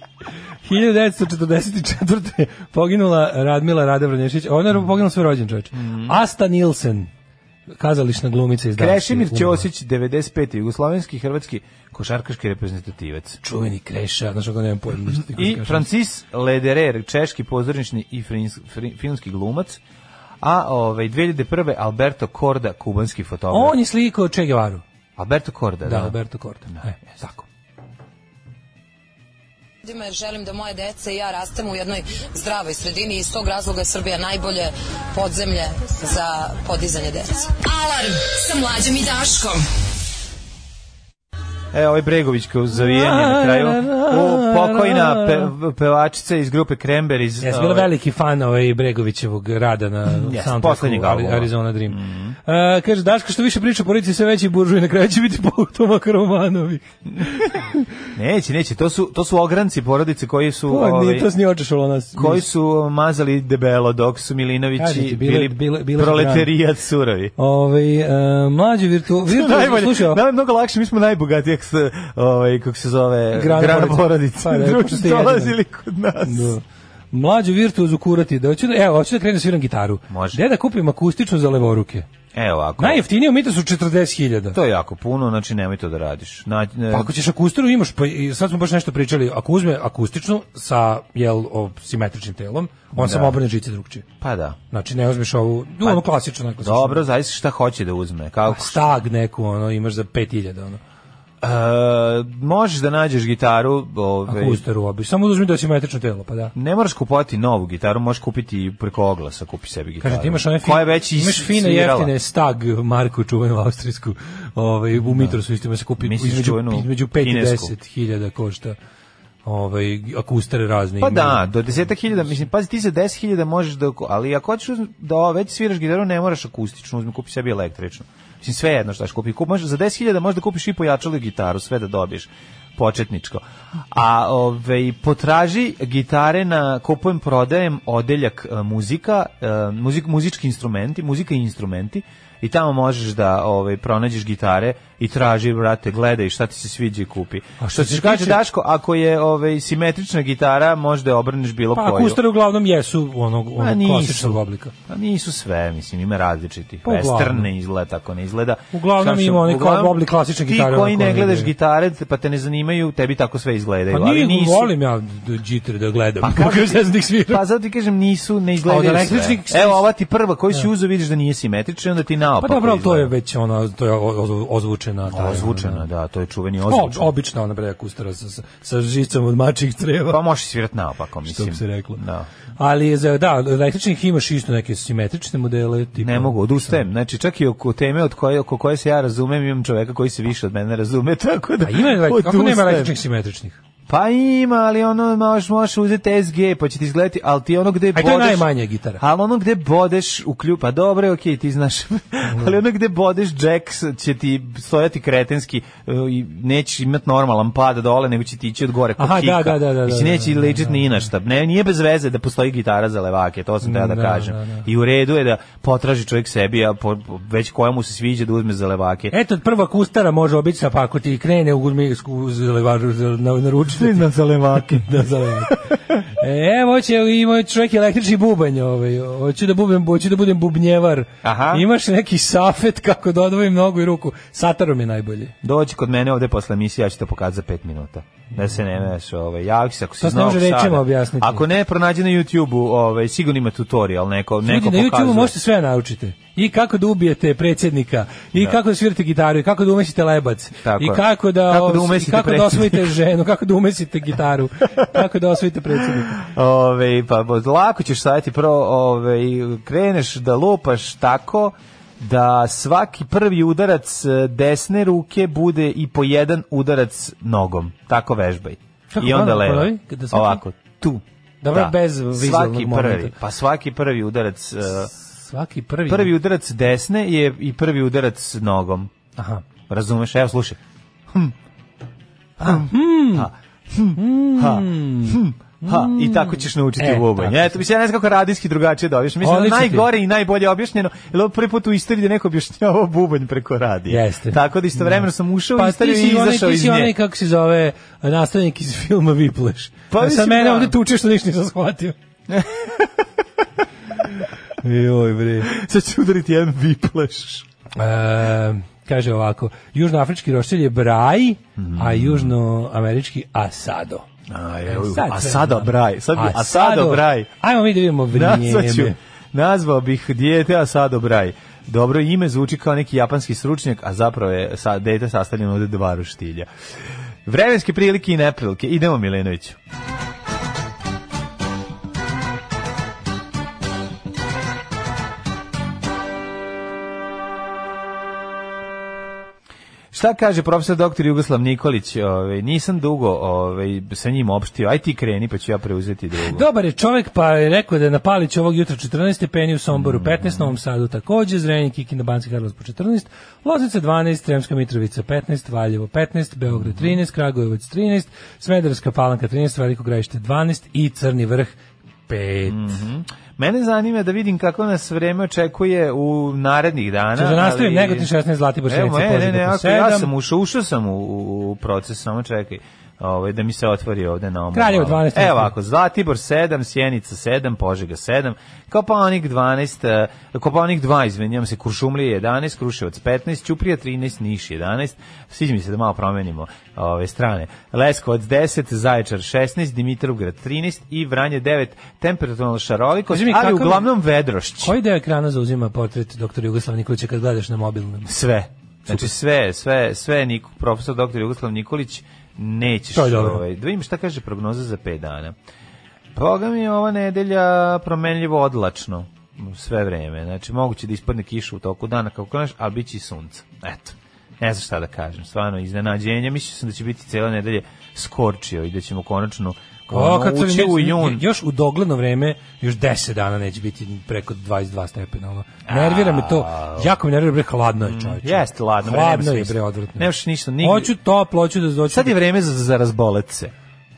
Speaker 7: 1944. poginula Radmila Rada Vranješić. Ona je poginula svoj rođen čovječ.
Speaker 6: Mm.
Speaker 7: Asta Nilsen, kazališna glumica iz Danske.
Speaker 6: Krešimir
Speaker 7: umrla.
Speaker 6: Ćosić, 95. jugoslovenski i hrvatski košarkaški reprezentativac.
Speaker 7: Čuveni Kreša, znaš kako nemam pojma. ništa ti
Speaker 6: I
Speaker 7: kažem.
Speaker 6: Francis Lederer, češki pozornični i frins- fri- filmski glumac. A ovaj 2001. Alberto Korda, kubanski fotograf.
Speaker 7: On je slikao Che Guevaru.
Speaker 6: Alberto Korda,
Speaker 7: Da,
Speaker 6: da.
Speaker 7: Alberto Korda. E, tako.
Speaker 9: ljudima jer želim da moje dece i ja rastemo u jednoj zdravoj sredini i iz tog razloga je Srbija najbolje podzemlje za podizanje dece. Alarm sa mlađom i Daškom.
Speaker 6: E, ovaj Bregović kao zavijanje na kraju. U pokojna pe, pevačica iz grupe Krember iz...
Speaker 7: Ja sam bila veliki fan ovaj Bregovićevog rada na soundtracku
Speaker 6: poslednjeg
Speaker 7: Ari-
Speaker 6: albuma.
Speaker 7: Arizona Dream.
Speaker 6: Mhm.
Speaker 7: E, kaže, Daško, što više priča o porodici, sve veći buržuj, na kraju će biti Toma Karomanovi.
Speaker 6: Neće, neće, to su, to su ogranci porodice koji su...
Speaker 7: To
Speaker 6: ovaj,
Speaker 7: ni to ni očešalo nas.
Speaker 6: koji su mazali debelo dok su Milinovići
Speaker 7: Kažem ti, bile-
Speaker 6: bili,
Speaker 7: bile- bile su
Speaker 6: proletarijat surovi.
Speaker 7: Ovaj e, mlađi virtu virtu
Speaker 6: Najbolje,
Speaker 7: slušao.
Speaker 6: nama je mnogo lakše, mi smo najbogatiji, kako se, ovaj, kako se zove,
Speaker 7: Grana
Speaker 6: grana porodica.
Speaker 7: porodica. Pa, da,
Speaker 6: Drugi
Speaker 7: pošto
Speaker 6: su
Speaker 7: je jedino.
Speaker 6: dolazili kod nas.
Speaker 7: Da. Mlađu virtuozu kurati, da hoću da, evo, hoću da krenem da sviram gitaru.
Speaker 6: Može.
Speaker 7: Gde da kupim akustičnu za levoruke?
Speaker 6: E, ovako,
Speaker 7: Najjeftinije u Mitosu 40.000.
Speaker 6: to je jako puno, znači nemoj to da radiš. Na, e,
Speaker 7: Pa ako ćeš akustiru imaš, pa i sad smo baš nešto pričali, ako uzme akustičnu sa jel, o, simetričnim telom, on samo obrne žice drugčije.
Speaker 6: pa da.
Speaker 7: Znači ne uzmeš ovu, pa, ono klasično, onako.
Speaker 6: Dobro, zavisi šta hoće da uzme.
Speaker 7: Pa
Speaker 6: Kako,
Speaker 7: Stag neku, ono, imaš za 5000, ono.
Speaker 6: E, možeš da nađeš gitaru, ovaj
Speaker 7: Akustaru obi. Samo uzmi da je simetrično telo, pa da.
Speaker 6: ne moraš kupovati novu gitaru, možeš kupiti preko oglasa, kupi sebi gitaru.
Speaker 7: Kaže, ti imaš one
Speaker 6: koja je već
Speaker 7: fine, imaš fine
Speaker 6: isvirala.
Speaker 7: jeftine stag marku čuvenu austrijsku, ovaj, u Mitrosu isto ima se kupi
Speaker 6: Misliš
Speaker 7: između,
Speaker 6: čuvenu
Speaker 7: između 5 i
Speaker 6: kinesku?
Speaker 7: 10 hiljada košta ovaj, akustare razne.
Speaker 6: Pa
Speaker 7: imaju.
Speaker 6: da, do 10.000,
Speaker 7: Znači.
Speaker 6: mislim, pazi, ti za 10.000 možeš da, ali ako hoćeš uzm- da o, već sviraš gitaru, ne moraš akustičnu, uzmi, kupi sebi električnu. Mislim, sve jedno šta ćeš kupi. Kup, možeš, za 10.000 možeš da kupiš i pojačalu gitaru, sve da dobiješ. početničko. A ovaj potraži gitare na kupujem prodajem odeljak e, muzika, e, muzik muzički instrumenti, muzika i instrumenti i tamo možeš da ovaj pronađeš gitare i traži brate, gledaj šta ti se sviđa i kupi.
Speaker 7: A
Speaker 6: A što
Speaker 7: što se
Speaker 6: ti kaže
Speaker 7: tiče-
Speaker 6: Daško, ako je ovaj simetrična gitara, možda je obrneš bilo
Speaker 7: Pa
Speaker 6: koju.
Speaker 7: kustare uglavnom jesu onog,
Speaker 6: Pa
Speaker 7: onog
Speaker 6: nisu.
Speaker 7: Ono, klasičnog oblika.
Speaker 6: Pa nisu sve, mislim, ima različitih.
Speaker 7: Pa
Speaker 6: Pa,
Speaker 7: uglavnom.
Speaker 6: Western ne izgleda tako, ne izgleda.
Speaker 7: Uglavnom
Speaker 6: Znaš,
Speaker 7: ima onaj kao
Speaker 6: uglavnom,
Speaker 7: oblik klasične gitare,
Speaker 6: Ti koji
Speaker 7: onako
Speaker 6: ne
Speaker 7: ono
Speaker 6: gledaš
Speaker 7: ide.
Speaker 6: gitare, pa te ne zanimaju, tebi tako sve izgledaju.
Speaker 7: Pa
Speaker 6: ali
Speaker 7: nije,
Speaker 6: nisu,
Speaker 7: volim ja džitre da gledam. Pa kako
Speaker 6: kažem
Speaker 7: ne
Speaker 6: ti-
Speaker 7: znam da ih svira.
Speaker 6: Pa zato ti kažem, nisu, ne
Speaker 7: A od
Speaker 6: izgledaju sve.
Speaker 7: električnih-
Speaker 6: Evo, ova ti prva koju si uzeo, vidiš da nije simetrična, i onda ti naopako
Speaker 7: Pa dobro, ali to je
Speaker 6: izgleda.
Speaker 7: već ona, to je o- o- ozvučena. taj,
Speaker 6: Ozvučena, da, to je čuveni
Speaker 7: O,
Speaker 6: ozvučen.
Speaker 7: obična ona bre kustara sa, sa, sa žicom od mačih creva.
Speaker 6: Pa možeš svirat naopako, mislim.
Speaker 7: što bi se reklo.
Speaker 6: Da.
Speaker 7: Ali za da, od električnih imaš isto neke simetrične modele, tipa.
Speaker 6: Ne mogu, odustajem. Znači, čak i oko teme od koje, oko koje se ja razumem, imam čoveka koji se više od mene razume, tako da
Speaker 7: A ima elek- kako nema
Speaker 6: odustajem.
Speaker 7: električnih simetričnih?
Speaker 6: Pa ima, ali ono možeš, možeš uzeti SG pa će ti izgledati, ali ti ono gde
Speaker 7: A i
Speaker 6: bodeš...
Speaker 7: to je najmanja gitara.
Speaker 6: Ali ono gde bodeš u klju, pa dobro, okej, ti znaš, ali ono gde bodeš jack s- će ti stojati kretenski e, i neće imat normalan pad dole, nego će ti ići od gore kod
Speaker 7: Aha,
Speaker 6: kika.
Speaker 7: da, da, da, da,
Speaker 6: Mislim,
Speaker 7: da,
Speaker 6: neće
Speaker 7: da,
Speaker 6: legit ni na šta. Ne, nije bez veze da postoji gitara za levake, to sam teo da,
Speaker 7: Da,
Speaker 6: kažem.
Speaker 7: da, da.
Speaker 6: I u redu je da potraži čovjek sebi, a po, po- već koja mu se sviđa da uzme za levake.
Speaker 7: Eto, prva kustara može obična, pa ako ti krene u gurmijsku zalevažu, E, na, naručite.
Speaker 6: na za levake.
Speaker 7: da zaleva. E, evo će i moj čovjek je električni bubanj, ovaj. Hoću da budem, hoću da budem bubnjevar.
Speaker 6: Aha.
Speaker 7: Imaš neki safet kako da odvojim nogu i ruku. Satarom je najbolje.
Speaker 6: Dođi kod mene ovde posle emisije, ja ću te pokazati za 5 minuta. Da se ne meš, ovaj, javi se ako si
Speaker 7: To se
Speaker 6: znao
Speaker 7: ne može
Speaker 6: sada.
Speaker 7: rečima objasniti.
Speaker 6: Ako ne, pronađi na YouTube-u, ovaj, sigurno ima tutorial, neko, neko
Speaker 7: Ljudi, na
Speaker 6: pokazuje.
Speaker 7: YouTube možete sve naučiti. I kako da ubijete predsjednika, i kako da svirate gitaru, i kako da umesite lebac,
Speaker 6: Tako
Speaker 7: i
Speaker 6: je.
Speaker 7: kako da,
Speaker 6: Kako da
Speaker 7: os-
Speaker 6: umesite
Speaker 7: i kako da
Speaker 6: predsjednika.
Speaker 7: osvojite ženu, kako da umesite gitaru, kako da osvojite predsjednika.
Speaker 6: Ovaj, pa bo- lako ćeš sajati pro, ovaj, kreneš da lupaš tako da svaki prvi udarac e, desne ruke bude i po jedan udarac nogom. Tako vežbaj.
Speaker 7: Kako,
Speaker 6: I onda
Speaker 7: ponovi,
Speaker 6: levo.
Speaker 7: ponovi, da svaki-
Speaker 6: Ovako, tu.
Speaker 7: Dobro, bez vizualnog
Speaker 6: svaki
Speaker 7: momenta.
Speaker 6: prvi, pa svaki prvi udarac e,
Speaker 7: Svaki prvi.
Speaker 6: prvi udarac desne je i prvi udarac nogom.
Speaker 7: Aha.
Speaker 6: Razumeš? Evo, slušaj.
Speaker 7: Ah, hmm.
Speaker 6: Hm. Ha. Hm. Ha. I tako ćeš naučiti
Speaker 7: E,
Speaker 6: e, bubanj.
Speaker 7: tako
Speaker 6: Eto, mislim, ja ne znam kako radijski drugačije dobiš. Mislim, da
Speaker 7: Odlično ti.
Speaker 6: najgore i najbolje objašnjeno, jer ovo prvi put u istoriji da neko objašnjava bubanj preko radija.
Speaker 7: Jeste.
Speaker 6: Tako da istovremeno sam ušao u
Speaker 7: Pa ti
Speaker 6: istoriju
Speaker 7: si
Speaker 6: i
Speaker 7: onaj,
Speaker 6: izašao
Speaker 7: ti
Speaker 6: iz
Speaker 7: si onaj,
Speaker 6: nje.
Speaker 7: kako se zove, nastavnik iz filma Vipleš.
Speaker 6: Pa
Speaker 7: Pa Sad
Speaker 6: mislim,
Speaker 7: mene
Speaker 6: da.
Speaker 7: ovde tuče što ništa nisam shvatio. Joj, bre.
Speaker 6: Sad ću udariti jedan vipleš.
Speaker 7: E, kaže ovako, južnoafrički roštilj je braj, a južnoamerički asado.
Speaker 6: Mm. A,
Speaker 7: E,
Speaker 6: evo,
Speaker 7: sad
Speaker 6: a
Speaker 7: sve
Speaker 6: sada
Speaker 7: znam.
Speaker 6: braj. Sad, bi- a sada
Speaker 7: Asado.
Speaker 6: braj.
Speaker 7: Ajmo mi da vidimo vrijeme.
Speaker 6: Nazvat ću, nazvao bih dijete, a sad obraj. Dobro ime zvuči kao neki japanski stručnjak, a zapravo je sa, dete sastavljeno od dva roštilja. Vremenske prilike i neprilike. Idemo, Milenoviću. Šta kaže profesor doktor Jugoslav Nikolić? Ovaj, nisam dugo ovaj, sa njim opštio. Aj ti kreni, pa ću ja preuzeti drugo.
Speaker 7: Dobar je čovjek, pa je rekao da je na Paliću ovog jutra 14 stepeni, u
Speaker 6: Mm.
Speaker 7: Somboru 15, Novom Sadu takođe, Zrenjanin, Kikinda, Banski Karlovac po 14, Loznica 12, Sremska Mitrovica 15, Valjevo 15,
Speaker 6: Mhm.
Speaker 7: Beograd 13, Kragujevac 13, Smederevska Palanka 13, Veliko Grajište 12 i Crni Vrh 5.
Speaker 6: Mhm. Mene zanima da vidim kako nas vreme očekuje u narednih dana.
Speaker 7: Češ da nastavim,
Speaker 6: Pa ali-
Speaker 7: Negotin 16, Zlatibor 16,
Speaker 6: Evo, e, ne, ne, ne, ako
Speaker 7: Požega
Speaker 6: ja
Speaker 7: 7,
Speaker 6: sam ušao, ušao sam u, u, u proces, samo čekaj. Ovaj da mi se otvori ovde na ovom.
Speaker 7: Kraljevo
Speaker 6: malom.
Speaker 7: 12.
Speaker 6: Evo ako Zlatibor 7, Sjenica 7, Požega 7, Kopaonik 12, eh, Kopaonik 2, izvinjavam se, Kuršumlija 11, Kruševac 15, Ćuprija 13, Niš 11. Sviđa mi se da malo promenimo ove strane. Leskovac 10, Zaječar 16, Dimitrovgrad 13 i Vranje 9. Temperaturno šarolikost,
Speaker 7: Kaži mi,
Speaker 6: ali
Speaker 7: kakav-
Speaker 6: uglavnom vedrošć.
Speaker 7: Koji deo ekrana zauzima portret doktora Jugoslava Nikolića kad gledaš na mobilnom?
Speaker 6: Sve. Znači sve, sve, sve Nik, profesor doktor Jugoslav Nikolić nećeš.
Speaker 7: To je dobro.
Speaker 6: Ovaj, da vidim šta kaže prognoza za 5 dana. Boga mi je ova nedelja promenljivo odlačno sve vreme. Znači moguće da ispadne kiša u toku dana kako kažeš, ali bit će i sunca. Eto. Ne znam šta da kažem, stvarno iznenađenje. Mislio sam da će biti cijela nedelje skorčio i da ćemo konačno
Speaker 7: O,
Speaker 6: Ono,
Speaker 7: kad crni
Speaker 6: ući
Speaker 7: mjesec,
Speaker 6: u jun.
Speaker 7: Još u dogledno vreme, još 10 dana neće biti preko 22 stepena. Ono. Nervira me to. Jako me nervira, bre, hladno je čovječe.
Speaker 6: Mm, Jeste, ladno. bre, nema
Speaker 7: Hladno je,
Speaker 6: smisla.
Speaker 7: bre, odvratno.
Speaker 6: Nemaš ništa, nigde.
Speaker 7: Hoću toplo, hoću da doću.
Speaker 6: Sad je vreme za, za razbolet se.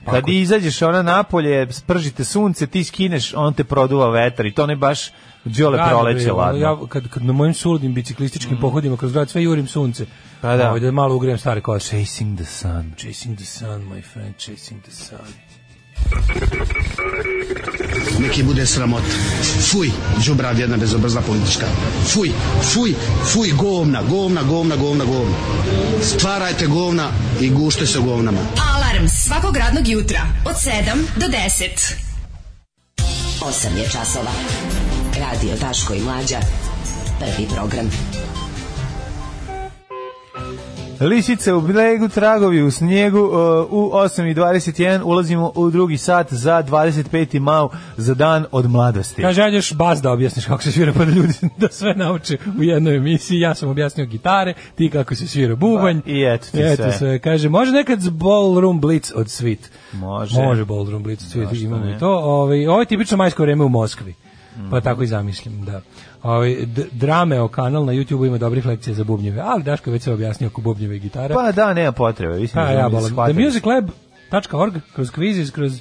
Speaker 6: Kad izađeš ona napolje, spržite sunce, ti skineš, on te produva vetar i to ne baš đole
Speaker 7: Gadno, bre,
Speaker 6: proleće
Speaker 7: ono,
Speaker 6: ladno.
Speaker 7: Ja, kad, kad na mojim suludim biciklističkim pohodima kroz grad sve jurim sunce.
Speaker 6: Pa da.
Speaker 7: Ovaj, da malo ugrijem stare kose.
Speaker 6: Chasing the sun.
Speaker 7: Chasing the sun, my friend, chasing the sun.
Speaker 4: Neki bude sramot. Fuj, džubrav jedna bezobrzna politička. Fuj, fuj, fuj, govna, govna, govna, govna, govna. Stvarajte govna i gušte se govnama.
Speaker 5: Alarm svakog radnog jutra od 7 do 10.
Speaker 9: 8 je časova. Radio Daško i Mlađa. Prvi program.
Speaker 6: Lisice u blegu, tragovi u snijegu, uh, u 8.21 ulazimo u drugi sat za 25. mau za dan od mladosti.
Speaker 7: Kaže, ajde još bas da objasniš kako se svira, pa da ljudi da sve nauče u jednoj emisiji. Ja sam objasnio gitare, ti kako se svira bubanj.
Speaker 6: Pa, i eto ti sve.
Speaker 7: Kaže, može nekad z Ballroom Blitz od Svit.
Speaker 6: Može.
Speaker 7: Može Ballroom Blitz od Svit,
Speaker 6: Zašto
Speaker 7: imamo
Speaker 6: ne? Mhm.
Speaker 7: i to. Ovaj, ovo je tipično majsko vreme u Moskvi. Pa tako i zamislim, da. Ovaj, d- drame o kanal na YouTube ima dobrih lekcija za bubnjeve, ali Daško je već sve objasnio oko bubnjeve i gitare.
Speaker 6: Pa da, nema potrebe. Mislim,
Speaker 7: Pa
Speaker 6: da
Speaker 7: ja
Speaker 6: smo
Speaker 7: bolam.
Speaker 6: shvatili.
Speaker 7: The Music Lab.org, kroz quizzes, kroz...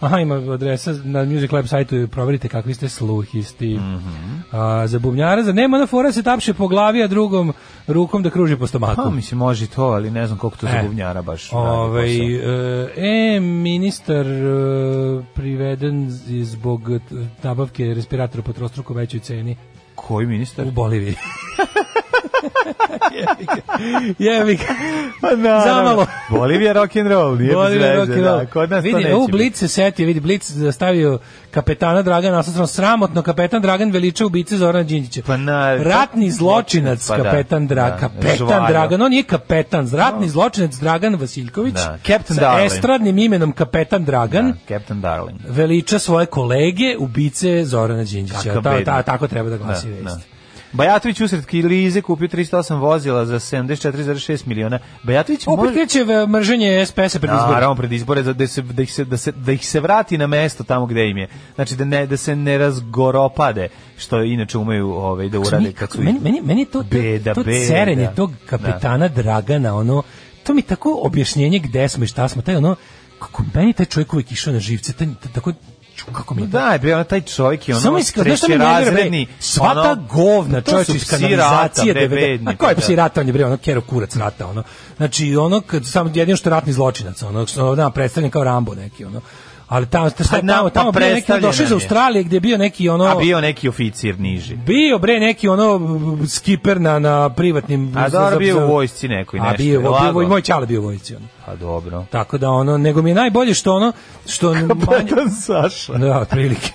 Speaker 7: Aha, ima adresa na Music Lab sajtu, proverite kakvi ste sluhisti.
Speaker 6: Mhm.
Speaker 7: A, za bubnjara, za nema na fora se tapše po glavi, a drugom rukom da kruži po stomaku.
Speaker 6: Pa mislim, može i to, ali ne znam koliko to za
Speaker 7: E.
Speaker 6: bubnjara baš radi
Speaker 7: Ovaj,
Speaker 6: posao.
Speaker 7: e, ministar e, priveden z- zbog e, nabavke respiratora po trostruko većoj ceni
Speaker 6: Koji ministar?
Speaker 7: u Boliviji. Jebi ga.
Speaker 6: Pa naravno.
Speaker 7: Zamalo.
Speaker 6: Bolivija rock and roll, nije bez
Speaker 7: Bolivija
Speaker 6: veze,
Speaker 7: rock and roll.
Speaker 6: da, kod nas to
Speaker 7: Vidi,
Speaker 6: neće
Speaker 7: u
Speaker 6: biti.
Speaker 7: Blic se setio, vidi, Blic stavio kapetana Dragana Asasrona, sramotno, kapetan Dragan veliča ubice Zorana Đinđića.
Speaker 6: Pa na-
Speaker 7: ratni zločinac,
Speaker 6: Pa da,
Speaker 7: kapetan
Speaker 6: da,
Speaker 7: Dragan, kapetan
Speaker 6: žvaljo.
Speaker 7: Dragan, on je kapetan, ratni zločinac Dragan Vasiljković,
Speaker 6: Da, Captain
Speaker 7: sa
Speaker 6: Darling.
Speaker 7: estradnim imenom kapetan Dragan,
Speaker 6: Da, Captain Darling.
Speaker 7: veliča svoje kolege ubice Zorana Đinđića.
Speaker 6: Kakav
Speaker 7: Ta, ta,
Speaker 6: bednik.
Speaker 7: tako treba da glasi
Speaker 6: Da,
Speaker 7: vest.
Speaker 6: da. Bajatović usred Kilize kupio 308 vozila za 74,6 miliona. Bajatović
Speaker 7: Opet
Speaker 6: može...
Speaker 7: kreće e, mržnje SPS-a pred izbore.
Speaker 6: Naravno, pred izbore, za- da, se, da, ih se, da, se, da ih se vrati na mesto tamo gde im je. Znači, da, ne, da se ne razgoropade, što inače umeju ovaj, da urade kad su...
Speaker 7: meni, meni, meni to, to,
Speaker 6: Beda,
Speaker 7: to
Speaker 6: beda.
Speaker 7: cerenje tog kapetana Dragana, ono, to mi tako objašnjenje gde smo i šta smo, taj ono, kako meni taj čovjek uvijek išao na živce, taj, taj- tako, ču, kako mi je to-
Speaker 6: Da, je bio taj čovjek i ono
Speaker 7: Samo iskaz, znaš šta mi nervira, bre?
Speaker 6: trećerazredni,
Speaker 7: Sva
Speaker 6: ono-
Speaker 7: ta govna,
Speaker 6: To
Speaker 7: čovječ
Speaker 6: su
Speaker 7: iz
Speaker 6: psi
Speaker 7: kanalizacije.
Speaker 6: rata, bre,
Speaker 7: 90.
Speaker 6: bedni,
Speaker 7: A ko je
Speaker 6: pa
Speaker 7: psi
Speaker 6: da.
Speaker 7: rata, on je bre, ono, kero kurac rata, ono. Znači, ono, kad, sam jedino što je ratni zločinac, ono, što ono, da, predstavljen kao Rambo neki, ono. Ali tamo, šta, šta,
Speaker 6: Pa, na-
Speaker 7: tamo,
Speaker 6: pa
Speaker 7: tamo bio neki,
Speaker 6: predstavljen
Speaker 7: došli iz
Speaker 6: nam je.
Speaker 7: Australije, gdje je bio neki, ono...
Speaker 6: A bio neki oficir niži.
Speaker 7: Bio bre neki ono b- skiper na na privatnim
Speaker 6: A
Speaker 7: za-
Speaker 6: dobro,
Speaker 7: za-
Speaker 6: bio u
Speaker 7: za-
Speaker 6: vojsci nekoj,
Speaker 7: A
Speaker 6: nešto
Speaker 7: bio,
Speaker 6: je
Speaker 7: bio,
Speaker 6: lagao.
Speaker 7: bio i moj ćale bio u vojsci ono.
Speaker 6: Pa dobro.
Speaker 7: Tako da ono nego mi je najbolje što ono
Speaker 6: Pa
Speaker 7: što manje,
Speaker 6: Petan Saša.
Speaker 7: da otprilike.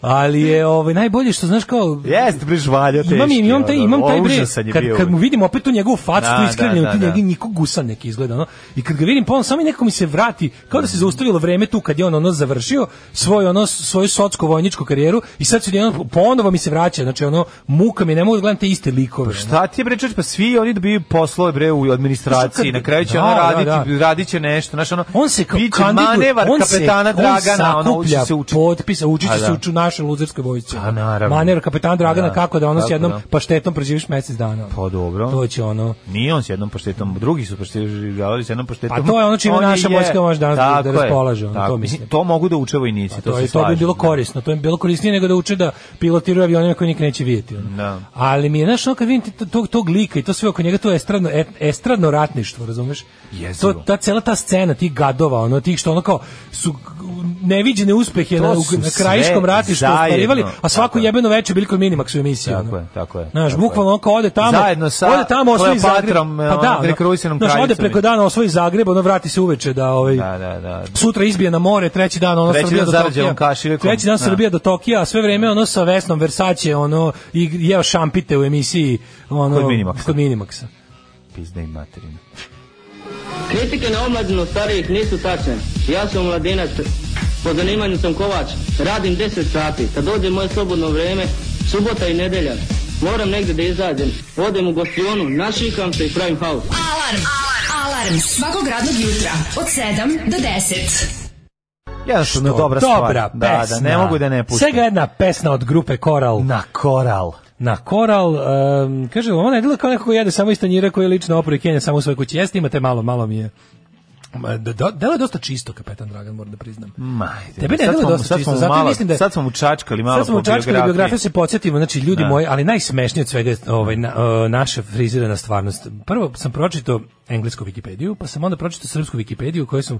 Speaker 7: Ali je ovaj najbolje što znaš kao
Speaker 6: Jeste, bre, žvalja teški.
Speaker 7: Imam, imam taj,
Speaker 6: ono,
Speaker 7: imam taj
Speaker 6: o,
Speaker 7: bre,
Speaker 6: užasan je
Speaker 7: kad,
Speaker 6: bio
Speaker 7: kad mu
Speaker 6: uvek.
Speaker 7: vidim opet tu njegovu facu,
Speaker 6: Da,
Speaker 7: tu
Speaker 6: da,
Speaker 7: iskrivljenu,
Speaker 6: da,
Speaker 7: tu
Speaker 6: da.
Speaker 7: njegi niko gusan neki izgleda, ono. I kad ga vidim, pa on samo nekako mi se vrati, kao da se zaustavilo vreme tu kad je on ono završio svoj ono svoju socsko vojničku karijeru i sad se odjednom ponovo mi se vraća, znači ono muka mi ne mogu da gledam te iste likove. ono.
Speaker 6: Šta ti je bre čoveč, pa svi oni dobiju poslove bre u administraciji, na
Speaker 7: Znaš, kad-
Speaker 6: kraju će
Speaker 7: da,
Speaker 6: ono
Speaker 7: da,
Speaker 6: raditi,
Speaker 7: da.
Speaker 6: radit će nešto, znaš ono,
Speaker 7: On se kao
Speaker 6: bit će
Speaker 7: kandiduje,
Speaker 6: manevar
Speaker 7: on se,
Speaker 6: kapetana Dragana,
Speaker 7: on
Speaker 6: ono, uči
Speaker 7: sakuplja
Speaker 6: se uči.
Speaker 7: potpisa, uči
Speaker 6: A
Speaker 7: će se
Speaker 6: da.
Speaker 7: uči u našoj luzerskoj vojsci.
Speaker 6: A, naravno.
Speaker 7: Manevar kapetana Dragana
Speaker 6: Da,
Speaker 7: kako da ono s
Speaker 6: tako
Speaker 7: jednom
Speaker 6: da.
Speaker 7: paštetom preživiš mjesec dana. ono.
Speaker 6: Pa dobro.
Speaker 7: To će ono.
Speaker 6: Nije on s jednom paštetom, drugi su paštetom, s jednom paštetom.
Speaker 7: Pa to je ono čime
Speaker 6: On
Speaker 7: naša
Speaker 6: je-
Speaker 7: vojska može danas da- da
Speaker 6: Tako je,
Speaker 7: raspolaže, ono,
Speaker 6: tako.
Speaker 7: to
Speaker 6: Mislim,
Speaker 7: mislim. Pa
Speaker 6: To mogu da uče vojnici, Pa to
Speaker 7: to,
Speaker 6: se
Speaker 7: je, to bi
Speaker 6: slažem.
Speaker 7: bilo korisno, to bi bilo korisnije nego da uče da pilotiraju avionima koje nikad neće vidjeti. ono.
Speaker 6: Da.
Speaker 7: Ali mi je, znaš, ono kad vidim ti to- tog, tog lika i to sve oko njega, to je estradno, et- estradno ratništvo, razumeš?
Speaker 6: Jezivo.
Speaker 7: To, ta cela ta scena, tih gadova, ono, tih što ono kao su g- neviđene uspehe
Speaker 6: To
Speaker 7: na,
Speaker 6: su
Speaker 7: na
Speaker 6: sve
Speaker 7: krajiškom ratištu
Speaker 6: zajedno.
Speaker 7: ostvarivali, a svako
Speaker 6: Tako je.
Speaker 7: jebeno veče bili kod Minimax u emisiji.
Speaker 6: Tako
Speaker 7: ono.
Speaker 6: je, tako je,
Speaker 7: Znaš,
Speaker 6: tako
Speaker 7: bukvalno
Speaker 6: je.
Speaker 7: ono kao ode tamo,
Speaker 6: Zajedno sa
Speaker 7: ode tamo osvoji Zagreb.
Speaker 6: Kleopatrom,
Speaker 7: Pa
Speaker 6: onom
Speaker 7: da, ono,
Speaker 6: dekruisanom
Speaker 7: znaš, ode
Speaker 6: kraljicom.
Speaker 7: preko dana osvoji Zagreb, ono vrati se uveče da, ovaj,
Speaker 6: Da, da, da.
Speaker 7: sutra izbije na more, treći dan ono
Speaker 6: Treći
Speaker 7: Srbija
Speaker 6: dan
Speaker 7: do
Speaker 6: zarađenom
Speaker 7: Tokija.
Speaker 6: kašiljekom.
Speaker 7: Treći dan
Speaker 6: Da.
Speaker 7: Srbija do Tokija, a sve vreme ono sa Vesnom Versace ono i jeo šampite u emisiji ono
Speaker 6: Kod Minimaxa.
Speaker 7: Kod Minimaxa.
Speaker 6: Pizda im materina.
Speaker 10: Kritike na omladinu starijih nisu tačne. Ja sam mladinac, po zanimanju sam kovač, radim 10 sati. Kad dođe moje slobodno vrijeme, subota i nedelja, moram negdje da izađem. Odem u gostionu, našikam se i pravim haus.
Speaker 5: Alarm. Alarm svakog radnog jutra od 7 do 10.
Speaker 6: Jednostavno
Speaker 7: Što
Speaker 6: dobra stvar.
Speaker 7: Dobra
Speaker 6: Da, da,
Speaker 7: pesma.
Speaker 6: ne mogu da ne pustim.
Speaker 7: Svega jedna pesna od grupe Koral.
Speaker 6: Na koral.
Speaker 7: Na koral, um, kaže, ona je dela kao neko ko jede samo iz tanjira koji je lično opori Kenja samo u svojoj kući. Jeste, imate malo, malo mi je. Ma, da- da- Delo je dosta čisto, kapetan Dragan, moram da priznam.
Speaker 6: Mm, Majde,
Speaker 7: Tebe ne
Speaker 6: sad
Speaker 7: delo
Speaker 6: smo-
Speaker 7: dosta
Speaker 6: sad
Speaker 7: čisto,
Speaker 6: smo
Speaker 7: zato i
Speaker 6: malo-
Speaker 7: mislim da je-
Speaker 6: sad smo mu čačkali malo
Speaker 7: Sad smo
Speaker 6: po
Speaker 7: učačkali
Speaker 6: biografiji.
Speaker 7: biografiju, se podsjetimo, znači ljudi
Speaker 6: Da.
Speaker 7: moji, ali najsmešnije od svega je ovaj, na, e, naša frizirana stvarnost. Prvo sam pročitao englesku Wikipediju, pa sam onda pročitao srpsku Wikipediju koju sam,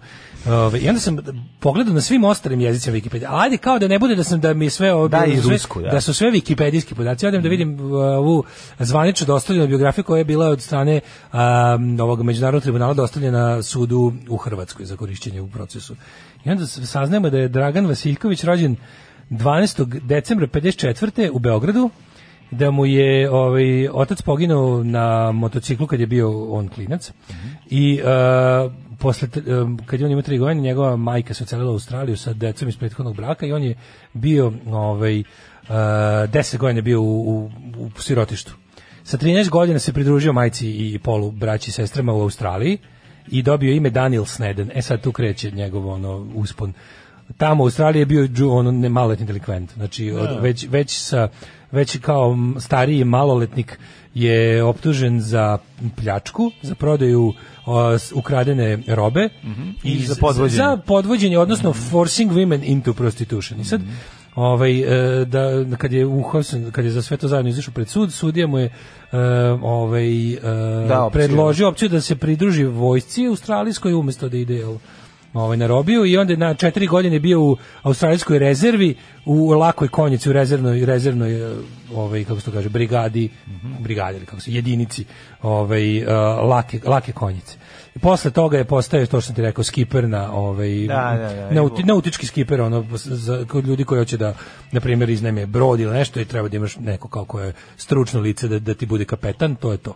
Speaker 7: ovaj, i onda sam pogledao na svim ostalim jezicima Wikipedije, ali ajde kao da ne bude da sam da mi je sve ovo,
Speaker 6: Da, i
Speaker 7: sve-
Speaker 6: rusku, da.
Speaker 7: da su sve wikipedijski podaci. Odem da vidim uh, ovu zvanično dostavljenu biografiju koja je bila od strane um, ovog međunarodnog tribunala dostavljena sudu u Hrvatskoj za korišćenje u procesu. I onda s- saznajemo da je Dragan Vasiljković rođen 12. decembra 54. u Beogradu da mu je ovaj otac poginuo na motociklu kad je bio on klinac i uh, posle tr- um, kad je on imao tri godine njegova majka se ocelila u Australiju sa decom iz prethodnog braka i on je bio ovaj uh, 10 godina bio u, u, u sirotištu. Sa 13 godina se pridružio majci i polu braći i sestrama u Australiji i dobio ime Daniel Sneden. E sad tu kreće njegov ono uspon. Tamo u Australiji je bio džu- ono ne maloletni delikvent. Znači od, već već sa već kao m, stariji maloletnik je optužen za pljačku, za prodaju o, s- ukradene robe
Speaker 6: Mhm. I za podvođenje.
Speaker 7: za podvođenje, odnosno forcing women into prostitution. I sad, ovaj, e, da, da kad je uhapšen, kad je za sve to zajedno izašao pred sud, sudija mu je e, ovaj, e,
Speaker 6: Da, opciju.
Speaker 7: predložio opciju da se pridruži vojsci australijskoj umesto da ide jel, ovaj, na robiju i onda je na četiri godine bio u australijskoj rezervi u lakoj konjici u rezervnoj rezervnoj e, ovaj kako se to kaže brigadi
Speaker 6: Mhm.
Speaker 7: brigadi ili kako se jedinici ovaj e, lake lake konjice I posle toga je postao to što sam ti rekao skiper na ovaj
Speaker 6: Da, da, da.
Speaker 7: nauti- nautički skiper ono za kod ljudi koji hoće da na primjer iznajme brod ili nešto i treba da imaš neko kao koje je stručno lice da, da ti bude kapetan to je to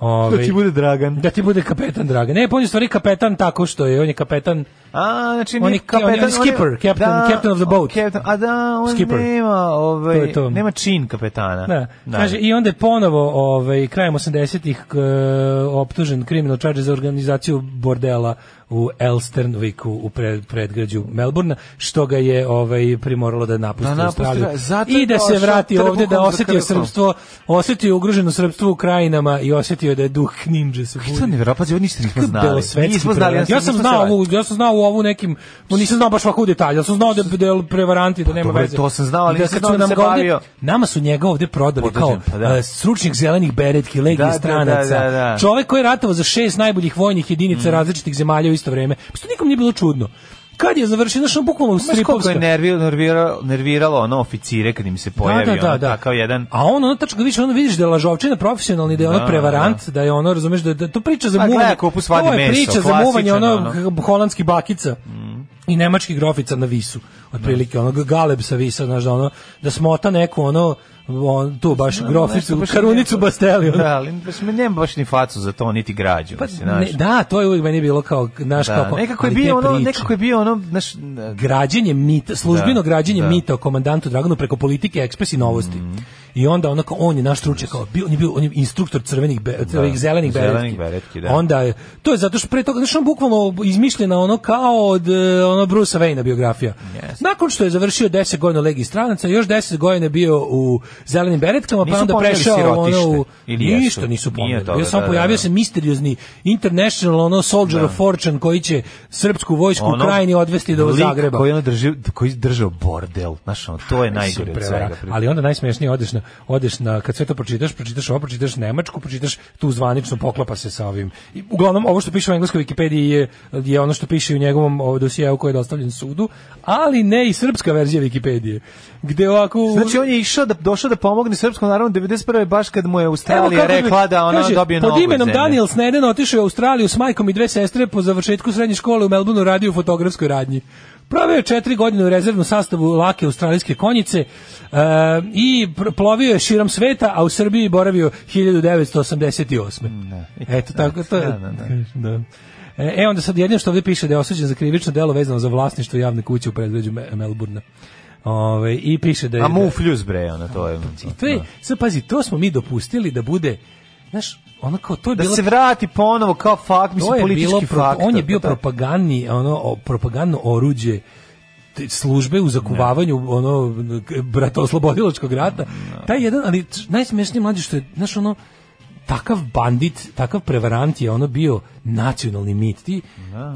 Speaker 7: Ovaj,
Speaker 6: Da ti bude Dragan.
Speaker 7: da ti bude kapetan Dragan. Ne, pa on je u stvari kapetan tako što je, on je kapetan
Speaker 6: A, znači
Speaker 7: On
Speaker 6: nije
Speaker 7: je- on je skipper, captain- captain of the boat.
Speaker 6: Captain, a da, on
Speaker 7: Skipper.
Speaker 6: nema, ovaj,
Speaker 7: To je to.
Speaker 6: nema čin kapetana.
Speaker 7: Da. Kaže, I onda je ponovo ovaj, krajem 80-ih k- optužen kriminal charge za organizaciju bordela u Elsternviku u pred, predgrađu Melburna, što ga je ovaj, primoralo da napusti,
Speaker 6: Da napusti,
Speaker 7: Australiju.
Speaker 6: zato je
Speaker 7: I da se
Speaker 6: došao
Speaker 7: vrati ovde, da
Speaker 6: trbuhom za
Speaker 7: osjetio
Speaker 6: kruhom.
Speaker 7: srpstvo, osjetio ugroženo srpstvo u krajinama i osjetio da je duh ninja se
Speaker 6: Šta
Speaker 7: budi.
Speaker 6: ne vjerovatno, pazi, Pa ovo ništa nismo znali.
Speaker 7: belosvetski
Speaker 6: Nismo znali,
Speaker 7: prevarant. ja sam
Speaker 6: nismo
Speaker 7: znao
Speaker 6: znali.
Speaker 7: ovu, ja sam znao u ovu nekim, no nisam znao baš ovako u detalj, ja sam znao da da je prevaranti da nema
Speaker 6: Pa dobro,
Speaker 7: veze.
Speaker 6: to sam znao, ali
Speaker 7: I da
Speaker 6: nisam
Speaker 7: kad
Speaker 6: znao
Speaker 7: su
Speaker 6: da
Speaker 7: nam
Speaker 6: se
Speaker 7: ga ovde-
Speaker 6: bavio.
Speaker 7: Nama su njega ovde prodali
Speaker 6: Podržim,
Speaker 7: kao
Speaker 6: pa da.
Speaker 7: e, stručnjak zelenih beretki, legije
Speaker 6: Da, da,
Speaker 7: stranaca.
Speaker 6: da, Mm. da, da.
Speaker 7: Čovek koji je ratovao za šest najboljih vojnih jedinica različitih zemalja u isto vreme. Pa što nikom nije bilo čudno. Kad je završio, znaš, on bukvalno
Speaker 6: Znaš koliko
Speaker 7: stripovska.
Speaker 6: je nerviralo, nerviralo, nerviralo ono oficire kad im se pojavi, ono, takav jedan...
Speaker 7: A on ono tačno ga više, ono vidiš da je lažovčina profesionalni, da je ono
Speaker 6: Da,
Speaker 7: prevarant, da, je ono, razumeš, da, da to priča za
Speaker 6: A
Speaker 7: muvanje.
Speaker 6: gleda kako svadi
Speaker 7: to je
Speaker 6: meso,
Speaker 7: priča za muvanje,
Speaker 6: klasičan,
Speaker 7: ono,
Speaker 6: ono.
Speaker 7: holandski bakica. I nemački grofica na visu, otprilike, ono, galeb sa visa, znaš, da ono, da smota neku, ono, on, tu baš
Speaker 6: Ono, nešto
Speaker 7: groficu,
Speaker 6: baš
Speaker 7: karunicu ono.
Speaker 6: nema.
Speaker 7: basteliju.
Speaker 6: Da, ali baš mi nema baš ni facu za to, niti građu. Pa, mislim, znaš.
Speaker 7: Ne, da, to je uvijek meni bilo kao, naš
Speaker 6: Da,
Speaker 7: kao...
Speaker 6: nekako je
Speaker 7: ali te
Speaker 6: bio ono,
Speaker 7: priče.
Speaker 6: nekako je bio ono, znaš, ne-
Speaker 7: građenje mita, službeno
Speaker 6: Da,
Speaker 7: građenje
Speaker 6: da. Mhm.
Speaker 7: mita o komandantu Draganu preko politike, ekspres i novosti. I onda onako on je naš stručnjak kao bio on je bio on je instruktor crvenih be, crvenih zelenih beretki.
Speaker 6: zelenih beretki, da.
Speaker 7: Onda je, to je zato što pre toga znači on bukvalno izmišljena ono kao od e, ono Bruce Wayne biografija. Nakon što je završio 10 godina u legiji stranaca, još 10 godina je bio u zelenim beretkama, pa
Speaker 6: Nisu
Speaker 7: onda
Speaker 6: pominjali
Speaker 7: prešao
Speaker 6: sirotište,
Speaker 7: ono u
Speaker 6: ili jesu?
Speaker 7: ništa nisu
Speaker 6: Nije
Speaker 7: pominjali.
Speaker 6: toga,
Speaker 7: Bio sam
Speaker 6: da, da,
Speaker 7: pojavio
Speaker 6: da.
Speaker 7: se misteriozni international ono soldier of fortune koji će srpsku vojsku u
Speaker 6: ono,
Speaker 7: krajini odvesti do
Speaker 6: lik
Speaker 7: Zagreba.
Speaker 6: Koji je ono drži, koji je držao bordel, znaš, ono, to je najgore od
Speaker 7: Prevara.
Speaker 6: svega.
Speaker 7: Ali onda najsmešnije odeš na odeš na kad sve to pročitaš, pročitaš ovo, pročitaš Nemačku, pročitaš tu zvanično poklapa se sa ovim. I, uglavnom ovo što piše u engleskoj Wikipediji je, je ono što piše u njegovom ovaj, dosijeu koji je dostavljen sudu, ali ne i srpska verzija Wikipedije. Gde ovako
Speaker 6: Znači on je išao da došao da pomogne srpskom narodu 91. baš kad mu je
Speaker 7: Evo
Speaker 6: Australija
Speaker 7: kako bi-
Speaker 6: rekla da ona
Speaker 7: kaže,
Speaker 6: dobije nogu.
Speaker 7: Pod
Speaker 6: od
Speaker 7: imenom
Speaker 6: zemlje.
Speaker 7: Daniel Sneden otišao je u Australiju s majkom i dve sestre po završetku srednje škole u Melbourneu radio u fotografskoj radnji. Proveo je četiri godine u rezervnu sastavu lake australijske konjice e, i pr- plovio je širom sveta, a u Srbiji boravio 1988. Eto, tako to je. Da. E, e, onda sad jedino što ovdje piše da je osuđen za krivično delo vezano za vlasništvo javne kuće u predgrađu Me- Melburna. Ove, I piše da je...
Speaker 6: A mufljus bre, ona to je. ono,
Speaker 7: I to je, sad pazi, to smo mi dopustili da bude, znaš, ono kao to je
Speaker 6: Da
Speaker 7: bilo...
Speaker 6: se vrati ponovo kao fakt,
Speaker 7: to
Speaker 6: mislim
Speaker 7: je bilo
Speaker 6: politički
Speaker 7: pro-
Speaker 6: faktor.
Speaker 7: on je bio
Speaker 6: Da.
Speaker 7: propagandni, ono, o- propagandno oruđe te službe u zakuvavanju ono bratoslobodilačkog rata. Taj jedan, ali najsmešniji mlađi što je, znaš, ono, takav bandit, takav prevarant je ono bio nacionalni mit. Ti,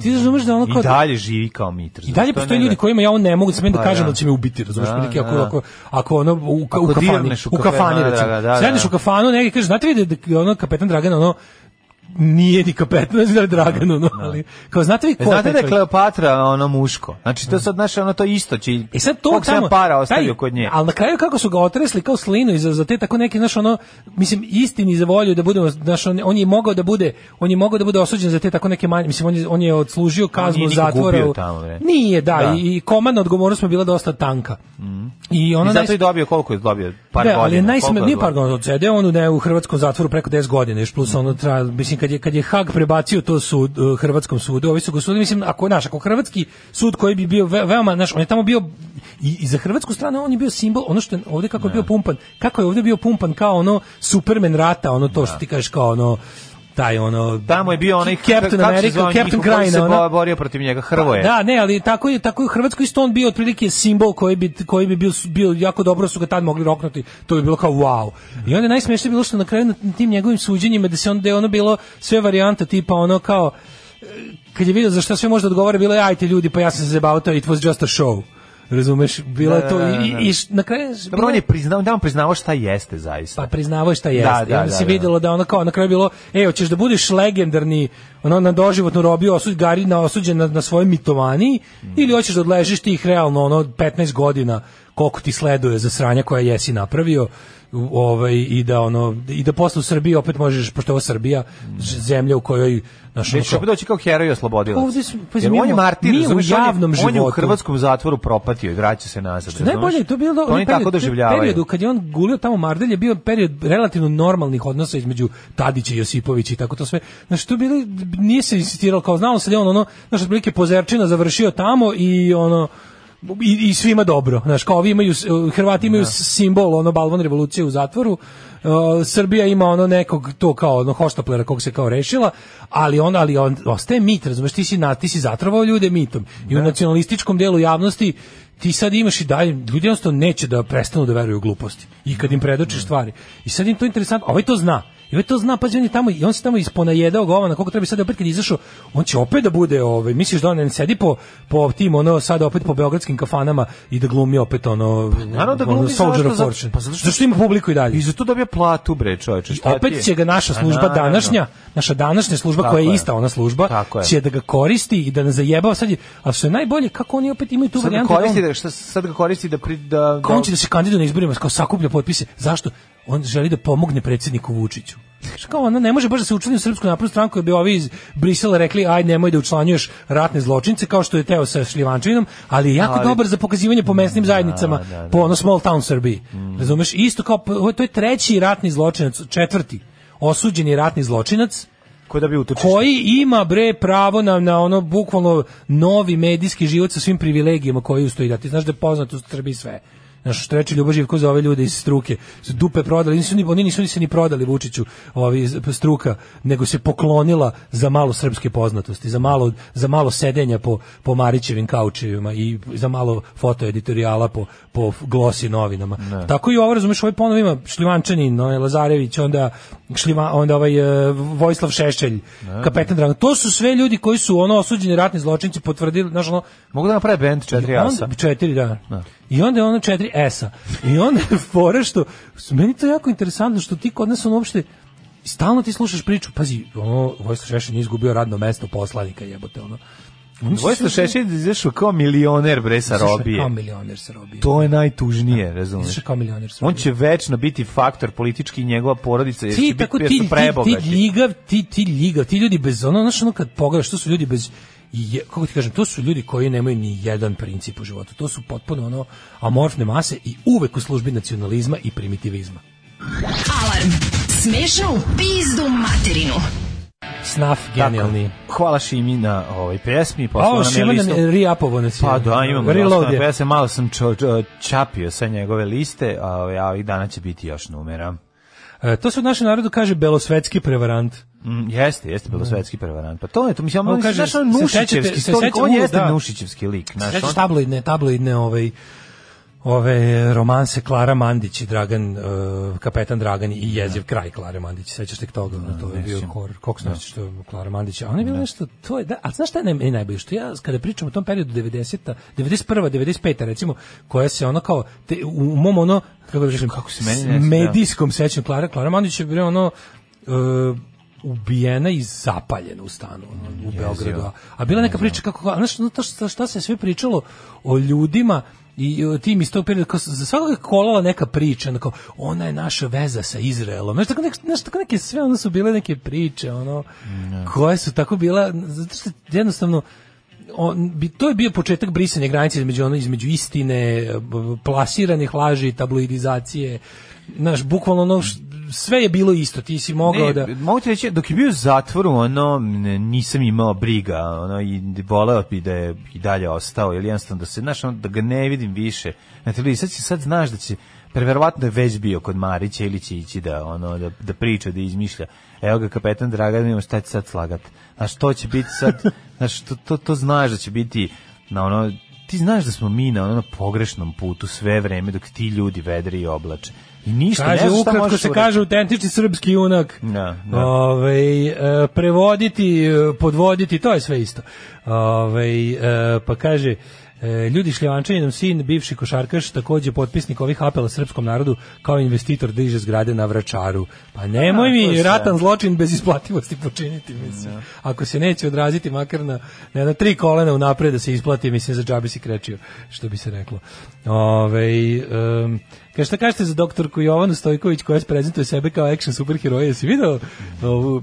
Speaker 7: ti razumeš da ono kao...
Speaker 6: I dalje živi kao mitar.
Speaker 7: I dalje postoje ljudi kojima ja on ne mogu da da
Speaker 6: Pa,
Speaker 7: kažem
Speaker 6: da.
Speaker 7: da će me ubiti, razumeš,
Speaker 6: Da,
Speaker 7: prilike, ako,
Speaker 6: da.
Speaker 7: ako, ako ono u, ka-
Speaker 6: Ako
Speaker 7: u kafani,
Speaker 6: dirneš u
Speaker 7: u kafani,
Speaker 6: kafanu, da,
Speaker 7: recimo.
Speaker 6: da, da, da.
Speaker 7: Sedneš u kafanu, neki kaže, znate vi da, da ono kapetan Dragan, ono, nije ni kapetan, ne znam da je Dragan, ono, ali, kao, znate vi ko
Speaker 6: E,
Speaker 7: je
Speaker 6: Znate
Speaker 7: taj
Speaker 6: da je
Speaker 7: čovjek?
Speaker 6: Kleopatra ono muško. Znači to sad naše ono to isto čiji.
Speaker 7: E sad to
Speaker 6: koliko sam
Speaker 7: tamo
Speaker 6: ja para
Speaker 7: taj-
Speaker 6: ostavio kod nje.
Speaker 7: Ali na kraju kako su ga otresli kao slinu i za, za te tako neki naš ono mislim istini za volju da budemo naš on, on je mogao da bude on je mogao da bude osuđen za te tako neke manje mislim on je, on je odslužio kaznu
Speaker 6: nije nikog
Speaker 7: zatvora.
Speaker 6: ubio
Speaker 7: u-
Speaker 6: tamo, bre.
Speaker 7: Nije, da,
Speaker 6: Da. Mhm.
Speaker 7: i, i komandna odgovornost smo bila dosta tanka. I ona
Speaker 6: I zato
Speaker 7: ono naj-
Speaker 6: je dobio koliko je dobio par
Speaker 7: da,
Speaker 6: godina.
Speaker 7: ali najsme
Speaker 6: koliko je
Speaker 7: nije par
Speaker 6: dobio?
Speaker 7: godina odsedeo on u ne u hrvatskom zatvoru preko 10 godina, još plus ono tra, mislim kad je kad je Hag prebacio to sud eh, hrvatskom sudu, ovi su ga sudili, mislim ako naš ako hrvatski sud koji bi bio ve- veoma naš, on je tamo bio i, i za hrvatsku stranu on je bio simbol, ono što je ovde kako je bio pumpan, kako je ovde bio pumpan kao ono Superman rata, ono to što ti kažeš kao ono taj ono
Speaker 6: Tamo je bio onaj kako
Speaker 7: Captain
Speaker 6: se
Speaker 7: America,
Speaker 6: zvao
Speaker 7: Captain
Speaker 6: njihov koji
Speaker 7: Krajina,
Speaker 6: se
Speaker 7: ono.
Speaker 6: bo- borio protiv njega Hrvoje.
Speaker 7: Pa, Da, ne, ali tako je tako je u Hrvatskoj isto on bio otprilike simbol koji bi koji bi bio bio jako dobro su ga tad mogli roknuti. To bi bilo kao wow. I onda je najsmešnije bilo što na kraju na tim njegovim suđenjima da se onda je ono bilo sve varijanta tipa ono kao eh, kad je vidio za šta sve može da odgovara bilo je ajte ljudi pa ja sam se zabavao to it was just a show. Razumeš, bilo je
Speaker 6: Da,
Speaker 7: to
Speaker 6: da, da,
Speaker 7: i,
Speaker 6: da.
Speaker 7: i, i š- na kraju
Speaker 6: Dobro, on je priznao, da on priznao šta jeste zaista.
Speaker 7: pa priznavao je šta jeste.
Speaker 6: da,
Speaker 7: I onda
Speaker 6: da,
Speaker 7: se
Speaker 6: da.
Speaker 7: videlo da ono kao na kraju je bilo, e, hoćeš da budeš legendarni, ono na doživotnu robiju osuđ Gari na osuđen na, na svojoj mitomani ili hoćeš da odležiš tih realno ono 15 godina koliko ti sleduje za sranja koja jesi napravio u- ovaj i da ono i da posle u Srbiji opet možeš pošto je ovo Srbija ž- zemlja u kojoj ono naš
Speaker 6: Već će opet doći kao heroj oslobodila.
Speaker 7: Pa, Ovdje smo- pa mi
Speaker 6: on je
Speaker 7: u-
Speaker 6: martir,
Speaker 7: mi u
Speaker 6: razumeš,
Speaker 7: javnom
Speaker 6: on je, On je u
Speaker 7: životu.
Speaker 6: hrvatskom zatvoru propatio i vraća se nazad.
Speaker 7: Što je najbolje je to bilo
Speaker 6: da,
Speaker 7: da
Speaker 6: oni tako doživljavaju.
Speaker 7: periodu kad je on gulio tamo Mardelj je bio period relativno normalnih odnosa između Tadića i Josipovića i tako to sve. Znači to bili nije se insistiralo kao znalo se da je on ono znači otprilike pozerčina završio tamo i ono i, i svima dobro. Znaš, kao ovi imaju, s- Hrvati imaju simbol, ono, balvan revolucije u zatvoru, e, Srbija ima ono nekog to kao ono hoštaplera kog se kao rešila, ali on ali on ostaje mit, razumeš, ti si na ti si zatrovao ljude mitom. I u nacionalističkom delu javnosti ti sad imaš i dalje, ljudi jednostavno neće da prestanu da veruju u gluposti. I kad im predočiš stvari. I sad im to je interesantno, ovaj to zna. I ovaj to zna, pazi, on je tamo, i on se tamo isponajedao govana, na koliko treba i sad opet kad je izašao, on će opet da bude, ovaj, misliš da on ne sedi po, po tim, ono, sad opet po beogradskim kafanama i da glumi opet, ono,
Speaker 6: Pa, naravno da
Speaker 7: ono,
Speaker 6: glumi,
Speaker 7: Soldier
Speaker 6: zašto?
Speaker 7: of
Speaker 6: Zato-
Speaker 7: Fortune.
Speaker 6: pa zato što-
Speaker 7: Zašto ima publiku i dalje?
Speaker 6: I za to dobija platu, bre, čoveče. šta ti je?
Speaker 7: opet će ga naša
Speaker 6: A,
Speaker 7: služba
Speaker 6: naravno.
Speaker 7: današnja, naša današnja služba
Speaker 6: Tako
Speaker 7: koja je
Speaker 6: je.
Speaker 7: ista ona služba,
Speaker 6: Tako je.
Speaker 7: će da ga koristi i da ne zajebava sad je, a što je najbolje kako oni opet imaju tu
Speaker 6: Sad ga
Speaker 7: varijantu da on-
Speaker 6: koristi da, šta, sad ga koristi da... Pri, da,
Speaker 7: Kao on će da se kandiduje na izborima, kao sakuplja potpise. Zašto? On želi da pomogne predsjedniku Vučiću. Znaš, Kao ona ne može baš da se učlani u Srpsku naprednu stranku, jer bi ovi iz Brisela rekli aj nemoj da učlanjuješ ratne zločince kao što je Teo sa Šljivančevinom, ali je jako
Speaker 6: Ali-
Speaker 7: dobar za pokazivanje po mesnim zajednicama,
Speaker 6: da, Mm. da.
Speaker 7: po ono small town Srbiji. Razumeš? Isto kao ovo- to je treći ratni zločinac, četvrti osuđeni ratni zločinac
Speaker 6: Ko da bi utočište.
Speaker 7: koji ima bre pravo na, na ono bukvalno novi medijski život sa svim privilegijama koji ustoji da ti znaš da je poznato u Srbiji sve Znaš, što reče Ljubo Živko za ove ljude iz struke. Su dupe prodali, nisu ni, oni nisu ni se ni prodali Vučiću ovi iz struka, nego se poklonila za malo srpske poznatosti, za malo, za malo sedenja po, po Marićevim kaučevima i za malo fotoeditorijala po, po glosi novinama. Tako i ovo, razumeš, ovaj ponovo ima Šljivančanin, onaj Lazarević, onda, Šljiva, onda ovaj e, Vojislav Šešelj, kapetan Dragan. To su sve ljudi koji su ono osuđeni ratni zločinci potvrdili, znaš, ono,
Speaker 6: Mogu da naprave band 4 asa.
Speaker 7: Onda, četiri, da. I onda je ono četiri S-a. I onda je fora što, meni to jako interesantno što ti kod nas ono uopšte, stalno ti slušaš priču, pazi, ono, Vojislav Šešelj nije izgubio radno mesto poslanika, jebote, ono. Oni su
Speaker 6: Vojsta
Speaker 7: svi-
Speaker 6: Šešelj izašao kao milioner, bre, sa
Speaker 7: Izašao je
Speaker 6: robije.
Speaker 7: Kao milioner se robije.
Speaker 6: To je najtužnije, razumiješ?
Speaker 7: Izašao je kao milioner sa
Speaker 6: On
Speaker 7: robije.
Speaker 6: će večno biti faktor politički i njegova porodica, jer će
Speaker 7: ti
Speaker 6: biti
Speaker 7: tako ti
Speaker 6: jer
Speaker 7: ti,
Speaker 6: su prebogati.
Speaker 7: ti ljigav ti ti ljigav ti ljudi bez ono znaš ono kad pogledaš to su ljudi bez je, kako ti kažem to su ljudi koji nemaju ni jedan princip u životu to su potpuno ono amorfne mase i uvek u službi nacionalizma i primitivizma
Speaker 5: Alarm. Smešnu pizdu materinu.
Speaker 7: snaf genijalni
Speaker 6: Hvala Šimi na ovoj pjesmi, poslao
Speaker 7: Ovo
Speaker 6: nam je
Speaker 7: Šima
Speaker 6: listu.
Speaker 7: nam reapovo nas je.
Speaker 6: Pa da, imamo
Speaker 7: Reload
Speaker 6: dosta.
Speaker 7: je.
Speaker 6: Pa ja se malo sam čo, čo- čapio sa njegove liste, a ovaj, a ovih dana će biti još numera.
Speaker 7: E, to se u našem narodu kaže belosvetski prevarant.
Speaker 6: Mm, jeste, jeste bilo svetski prevarant. Pa to je, to mislim,
Speaker 7: On
Speaker 6: on
Speaker 7: kaže,
Speaker 6: kaže, znaš, on
Speaker 7: se
Speaker 6: Nušićevski,
Speaker 7: sećate- se
Speaker 6: stolik,
Speaker 7: sećate
Speaker 6: on
Speaker 7: mu,
Speaker 6: jeste
Speaker 7: da.
Speaker 6: Nušićevski lik. Znaš,
Speaker 7: Sećaš
Speaker 6: on,
Speaker 7: tabloidne, tabloidne ovaj, ove romanse Klara Mandić i Dragan, eh, kapetan Dragan i jeziv kraj Klare Mandić, sećaš tek toga, ono, to je bio horor, kako se nosi što je Klara Mandić, a ona je bila nešto, to je, da, a znaš šta je naj- meni najbolje, što ja, kada pričam o tom periodu 90-a, 91 95 recimo, koja se ono kao, te, u mom ono, kako da kažem, kako
Speaker 6: se meni nešto, da.
Speaker 7: medijskom sećanju Klara, Klara Mandić je bila ono, eh, ubijena i zapaljena u stanu ono, u Beogradu. a- A bila neka priča kako a znaš no, to šta, šta se sve pričalo o ljudima i o tim iz tog perioda, kao, za svakog je kolala neka priča, ono kao, ona je naša veza sa Izraelom, znaš, tako, nek, znaš, tako neke sve, ono su bile neke priče, ono, koje su tako bila, zato što jednostavno, on bi to je bio početak brisanja granice između ono između istine, b- b- plasiranih laži, tabloidizacije. Naš bukvalno ono š- sve je bilo isto, ti si mogao
Speaker 6: Ne,
Speaker 7: da
Speaker 6: mogu ti reći, dok je bio u zatvoru, ono, ne, nisam imao briga, ono, i voleo bi da je i dalje ostao, ili jednostavno da se, znaš, ono, da ga ne vidim više. Znači, ljudi, sad, si- sad znaš da će, preverovatno je već bio kod Marića ili će ići da, ono, da, da priča, da izmišlja. Evo ga, kapetan Dragan, imamo šta će sad slagat. Znaš, to će biti sad, znaš, to, to, to znaš da će biti, na ono, ti znaš da smo mi na ono pogrešnom putu sve vreme dok ti ljudi vedre i oblače. I ništa, ne
Speaker 7: Kaže,
Speaker 6: znaš šta
Speaker 7: ukratko
Speaker 6: možeš
Speaker 7: se
Speaker 6: uraditi.
Speaker 7: kaže autentični srpski junak.
Speaker 6: Da, da.
Speaker 7: Ovaj, e, prevoditi, e, podvoditi, to je sve isto. Ovaj, e, pa kaže, e, ljudi Šljivančanin, sin, bivši košarkaš, takođe potpisnik ovih apela srpskom narodu, kao investitor diže zgrade na vračaru. Pa nemoj
Speaker 6: A, to je
Speaker 7: mi
Speaker 6: sve.
Speaker 7: ratan zločin bez isplativosti počiniti, mislim. Ako se neće odraziti makar na, na jedno tri kolena unapred da se isplati, mislim, za džabi si krećio, što bi se reklo. Ove, um, kaže, šta kažete za doktorku Jovanu Stojković koja se prezentuje sebe kao action superheroja? Jesi video ovu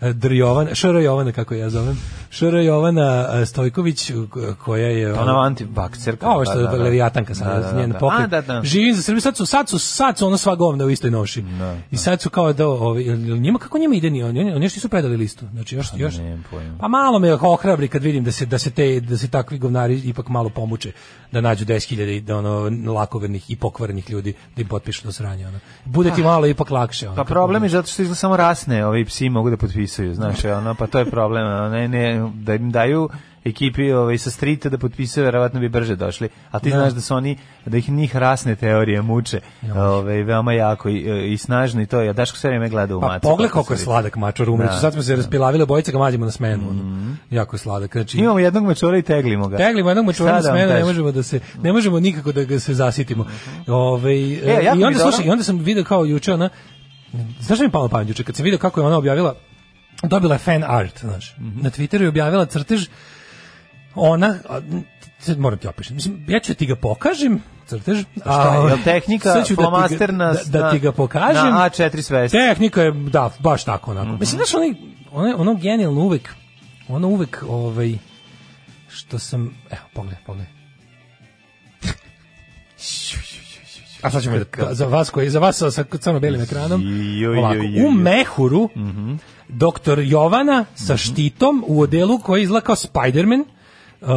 Speaker 7: e, Dr. Jovana, Šr. Jovana, kako je ja zovem, Šr. Jovana e, Stojković, k- koja je... ono-
Speaker 6: Ona vam antibakcerka.
Speaker 7: Ovo što je Leviatanka sad, njen pokret.
Speaker 6: A, da, da.
Speaker 7: Živim za Srbiju, sad su, sad su, sad su ono sva govna u istoj noši. I sad su kao da, ovi, jel- jel njima kako njima ide ni oni, oni, oni još nisu predali listu. Znači još, još.
Speaker 6: nemam pojma.
Speaker 7: Pa malo me ohrabri kad vidim da se, da se te, da se takvi govnari ipak malo pomuče da nađu 10.000 i da ono lakovernih i pokvarenih ljudi da im potpišu to sranje. Ono. Bude ti malo ipak lakše. Ono,
Speaker 6: Pa problem je zato što izgleda samo rasne, ovi psi mogu da potpisuju, znaš, ono, pa to je problem, ono, ne, ne, da im daju ekipi ovaj, sa strita da potpisuju, verovatno bi brže došli, a ti znaš da su oni, da ih njih rasne teorije muče, ovaj, veoma jako i, i snažno i to, ja Daško sve vreme gleda u
Speaker 7: Pa
Speaker 6: macu.
Speaker 7: pogled
Speaker 6: kako
Speaker 7: koliko je
Speaker 6: se vidi.
Speaker 7: sladak mačor umreću.
Speaker 6: Da, Mhm.
Speaker 7: Sad smo se raspilavili, obojica ga mađimo na smenu. ono. Jako je sladak. Znači,
Speaker 6: Imamo jednog mačora i teglimo ga.
Speaker 7: Teglimo jednog
Speaker 6: Šta
Speaker 7: mačovana
Speaker 6: da vam
Speaker 7: smena, ne
Speaker 6: kažem? Mhm.
Speaker 7: možemo da se ne možemo nikako da ga se zasitimo. Ovaj e,
Speaker 6: jako
Speaker 7: i
Speaker 6: mi
Speaker 7: onda
Speaker 6: dobro.
Speaker 7: slušaj, i onda sam video kao juče ona Znaš šta mi je palo na pamet juče kad sam video kako je ona objavila dobila je fan art, znaš.
Speaker 6: Mhm.
Speaker 7: Na Twitteru je objavila crtež ona a, sad moram ti opišem. Mislim, ja ću ti ga pokažem, crtež.
Speaker 6: Šta je,
Speaker 7: ovaj,
Speaker 6: jel tehnika
Speaker 7: sad ću da ti ga-
Speaker 6: flomaster na-
Speaker 7: da, da ti ga
Speaker 6: na-
Speaker 7: pokažem.
Speaker 6: na A4 svesti? Mhm.
Speaker 7: Tehnika je, da, baš tako onako. Mislim, znaš, onaj, onaj, ono genijalno uvek, ono uvek, ovaj, što sam, evo, pogledaj, pogledaj. A sad ćemo da, za vas koji za vas sa, sa crno-belim ekranom.
Speaker 6: Joj, joj,
Speaker 7: Ovako,
Speaker 6: joj,
Speaker 7: u
Speaker 6: joj.
Speaker 7: mehuru
Speaker 6: Mhm.
Speaker 7: doktor Jovana sa štitom u odelu koji izgleda kao Spiderman. Uh,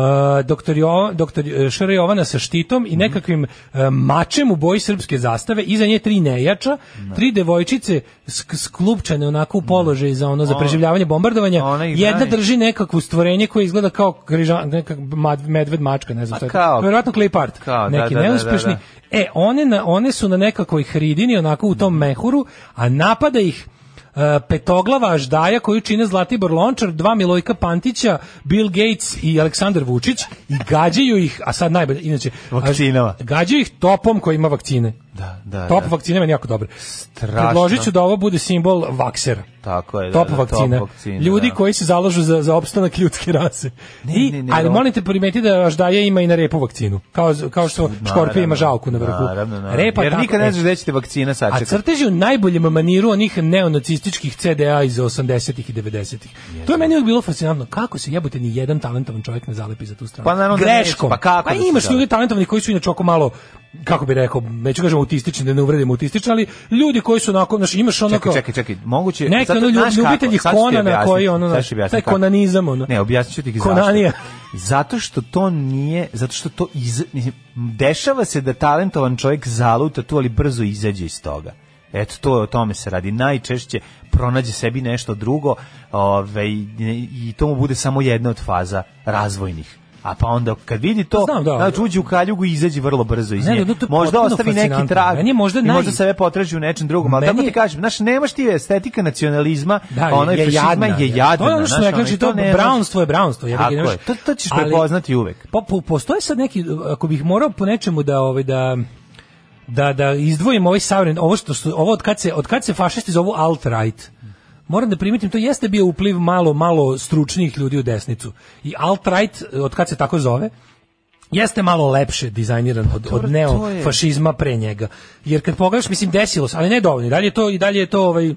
Speaker 7: doktor, jo, doktor eh, Šr. Jovana sa štitom
Speaker 6: Mhm.
Speaker 7: i nekakvim eh, mačem u boji srpske zastave, iza nje tri nejača, tri devojčice sk sklupčane onako u položaju za ono za preživljavanje bombardovanja.
Speaker 6: ona ih
Speaker 7: Jedna
Speaker 6: brani.
Speaker 7: drži nekakvo stvorenje koje izgleda kao križa, nekak mad- medved mačka, ne znam šta je. to.
Speaker 6: kao-
Speaker 7: Verovatno klip art.
Speaker 6: Kao, da,
Speaker 7: neki
Speaker 6: da, da, da,
Speaker 7: neuspešni.
Speaker 6: da.
Speaker 7: E, one, na, one su na nekakvoj hridini, onako u tom mehuru, a napada ih e, petoglava aždaja koju čine Zlatibor Lončar, dva Milojka Pantića, Bill Gates i Aleksandar Vučić i gađaju ih, a sad najbolje, inače...
Speaker 6: Vakcinama.
Speaker 7: až- Gađaju ih topom koji ima vakcine.
Speaker 6: Da, da,
Speaker 7: Top
Speaker 6: da.
Speaker 7: vakcine je meni jako dobro.
Speaker 6: Strašno.
Speaker 7: Predložit ću da ovo bude simbol vaksera.
Speaker 6: Tako je, da,
Speaker 7: top
Speaker 6: da, top
Speaker 7: vakcina.
Speaker 6: vakcina,
Speaker 7: Ljudi
Speaker 6: da.
Speaker 7: koji se zalažu za, za opstanak ljudske rase. I,
Speaker 6: ne, ne,
Speaker 7: ali
Speaker 6: ovo-
Speaker 7: molim te primeti da Aždaja ima i na repu vakcinu. Kao, kao što škorpija
Speaker 6: Naravno,
Speaker 7: ima žalku na vrhu.
Speaker 6: Naravno, naravno.
Speaker 7: Repa
Speaker 6: Jer
Speaker 7: tako-
Speaker 6: nikad ne znaš
Speaker 7: e,
Speaker 6: gde ćete vakcina
Speaker 7: A
Speaker 6: sačekati.
Speaker 7: crtež je u najboljem maniru onih neonacističkih CDA iz 80-ih i 90-ih. To je meni uvijek bilo fascinantno. Kako se jebote ni jedan talentovan čovjek ne zalepi za tu stranu?
Speaker 6: Pa naravno da
Speaker 7: Greškom.
Speaker 6: neće, pa kako da se
Speaker 7: imaš
Speaker 6: zalepi?
Speaker 7: ljudi talentovni koji su inače oko malo kako bi rekao, neću kažem autistični, da ne uvredim autistični, ali ljudi koji su onako, znaš, imaš ono
Speaker 6: Čekaj,
Speaker 7: kao-
Speaker 6: čekaj, čekaj, moguće...
Speaker 7: Neki
Speaker 6: zato,
Speaker 7: ono ljub-
Speaker 6: znaš kako,
Speaker 7: ljubitelji
Speaker 6: sad ću ti
Speaker 7: Konana
Speaker 6: objasniti,
Speaker 7: koji ono,
Speaker 6: sad
Speaker 7: znaš,
Speaker 6: ću ti objasniti
Speaker 7: taj
Speaker 6: kako.
Speaker 7: konanizam, ono.
Speaker 6: Ne, objasnit ću ti
Speaker 7: Konanija.
Speaker 6: zašto. Zato što to nije, zato što to iz, mislim, dešava se da talentovan čovjek zaluta tu, ali brzo izađe iz toga. Eto, to o tome se radi. Najčešće pronađe sebi nešto drugo ove, i, i to mu bude samo jedna od faza razvojnih. A pa onda kad vidi to,
Speaker 7: Znam, da,
Speaker 6: znači uđe u kaljugu i izađe vrlo brzo iz
Speaker 7: Ne,
Speaker 6: nje.
Speaker 7: no, to je
Speaker 6: možda
Speaker 7: potpuno
Speaker 6: ostavi neki
Speaker 7: fascinantno.
Speaker 6: trag.
Speaker 7: Meni je možda
Speaker 6: i
Speaker 7: naj-
Speaker 6: možda sebe potraži u nečem drugom, ali
Speaker 7: Meni
Speaker 6: tako ti
Speaker 7: je-
Speaker 6: kažem, znaš, nemaš ti estetiku nacionalizma,
Speaker 7: Da,
Speaker 6: a ono je fašizma je jadna.
Speaker 7: To je ono što
Speaker 6: znaš,
Speaker 7: rekli,
Speaker 6: ono, i
Speaker 7: znači to
Speaker 6: nemaš-
Speaker 7: brownstvo je brownstvo. jebi ga,
Speaker 6: Tako
Speaker 7: nemaš-
Speaker 6: je, to- to ćeš
Speaker 7: Ali-
Speaker 6: prepoznati uvek.
Speaker 7: Pa po, postoje sad neki ako bih morao po nečemu da ovaj da da da izdvojim ovaj savren, ovo što su ovo od kad se od kad se fašisti zovu alt right. Moram da primetim to jeste bio upliv malo malo stručnih ljudi u desnicu. I alt right od kad se tako zove jeste malo lepše dizajniran od,
Speaker 6: Pa dobro,
Speaker 7: od
Speaker 6: to je.
Speaker 7: neofašizma pre njega. Jer kad pogledaš, mislim, desilo se, ali ne dovoljno. I dalje je to, i dalje je to ovaj,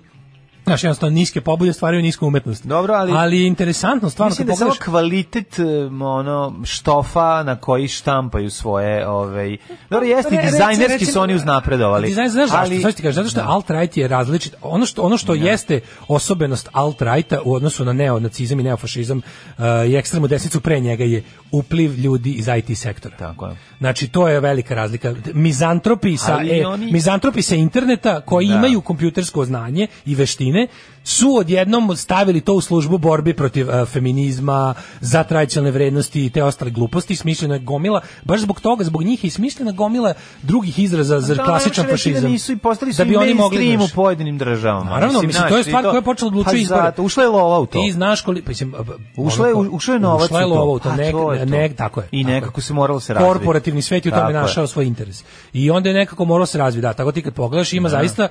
Speaker 7: znaš, jednostavno niske pobude stvaraju nisku umetnost.
Speaker 6: Dobro, ali-
Speaker 7: Ali je interesantno, stvarno,
Speaker 6: Mislim
Speaker 7: kad
Speaker 6: da je samo
Speaker 7: pogledaš...
Speaker 6: kvalitet em, ono štofa na koji štampaju svoje, ovaj. Dobro jeste i
Speaker 7: Re- reci-
Speaker 6: dizajnerski
Speaker 7: reci-
Speaker 6: su oni uznapredovali.
Speaker 7: Dizajn, znaš zašto?
Speaker 6: Ali-
Speaker 7: Sad ću ti kažem, zato što je alt-right je različit. Ono što, ono što jeste osobenost alt-righta u odnosu na neonacizam i neofašizam uh, i ekstremnu desnicu pre njega je upliv ljudi iz IT sektora.
Speaker 6: Tako je.
Speaker 7: Znači, to je velika razlika. Mizantropi sa,
Speaker 6: Ali
Speaker 7: e,
Speaker 6: oni-
Speaker 7: mizantropi sa interneta koji imaju kompjutersko znanje i veštine su odjednom stavili to u službu borbi protiv e, feminizma, za tradicionalne vrednosti i te ostale gluposti, smišljena je gomila, baš zbog toga, zbog njih je i smišljena gomila drugih izraza za
Speaker 6: Pa Da,
Speaker 7: klasičan
Speaker 6: ne možeš reći
Speaker 7: fašizam.
Speaker 6: Da nisu i postali su
Speaker 7: Da bi oni mogli,
Speaker 6: mainstream
Speaker 7: znaš.
Speaker 6: u pojedinim državama.
Speaker 7: Naravno, mislim,
Speaker 6: znaš,
Speaker 7: to je
Speaker 6: i
Speaker 7: stvar koja je počela da odlučuje
Speaker 6: pa
Speaker 7: izbore.
Speaker 6: zato, ušla je lova u to.
Speaker 7: Ti znaš koliko, mislim,
Speaker 6: Ušla je,
Speaker 7: ono,
Speaker 6: ušla je novac
Speaker 7: ušla je
Speaker 6: u to.
Speaker 7: lova u to,
Speaker 6: A,
Speaker 7: neg-
Speaker 6: to je to.
Speaker 7: neg- tako je.
Speaker 6: I
Speaker 7: tako je.
Speaker 6: nekako se moralo se razviti.
Speaker 7: Korporativni svet je u tome
Speaker 6: Tako je.
Speaker 7: našao svoj interes. I onda je nekako moralo se razviti, da, tako ti kad pogledaš, ima zaista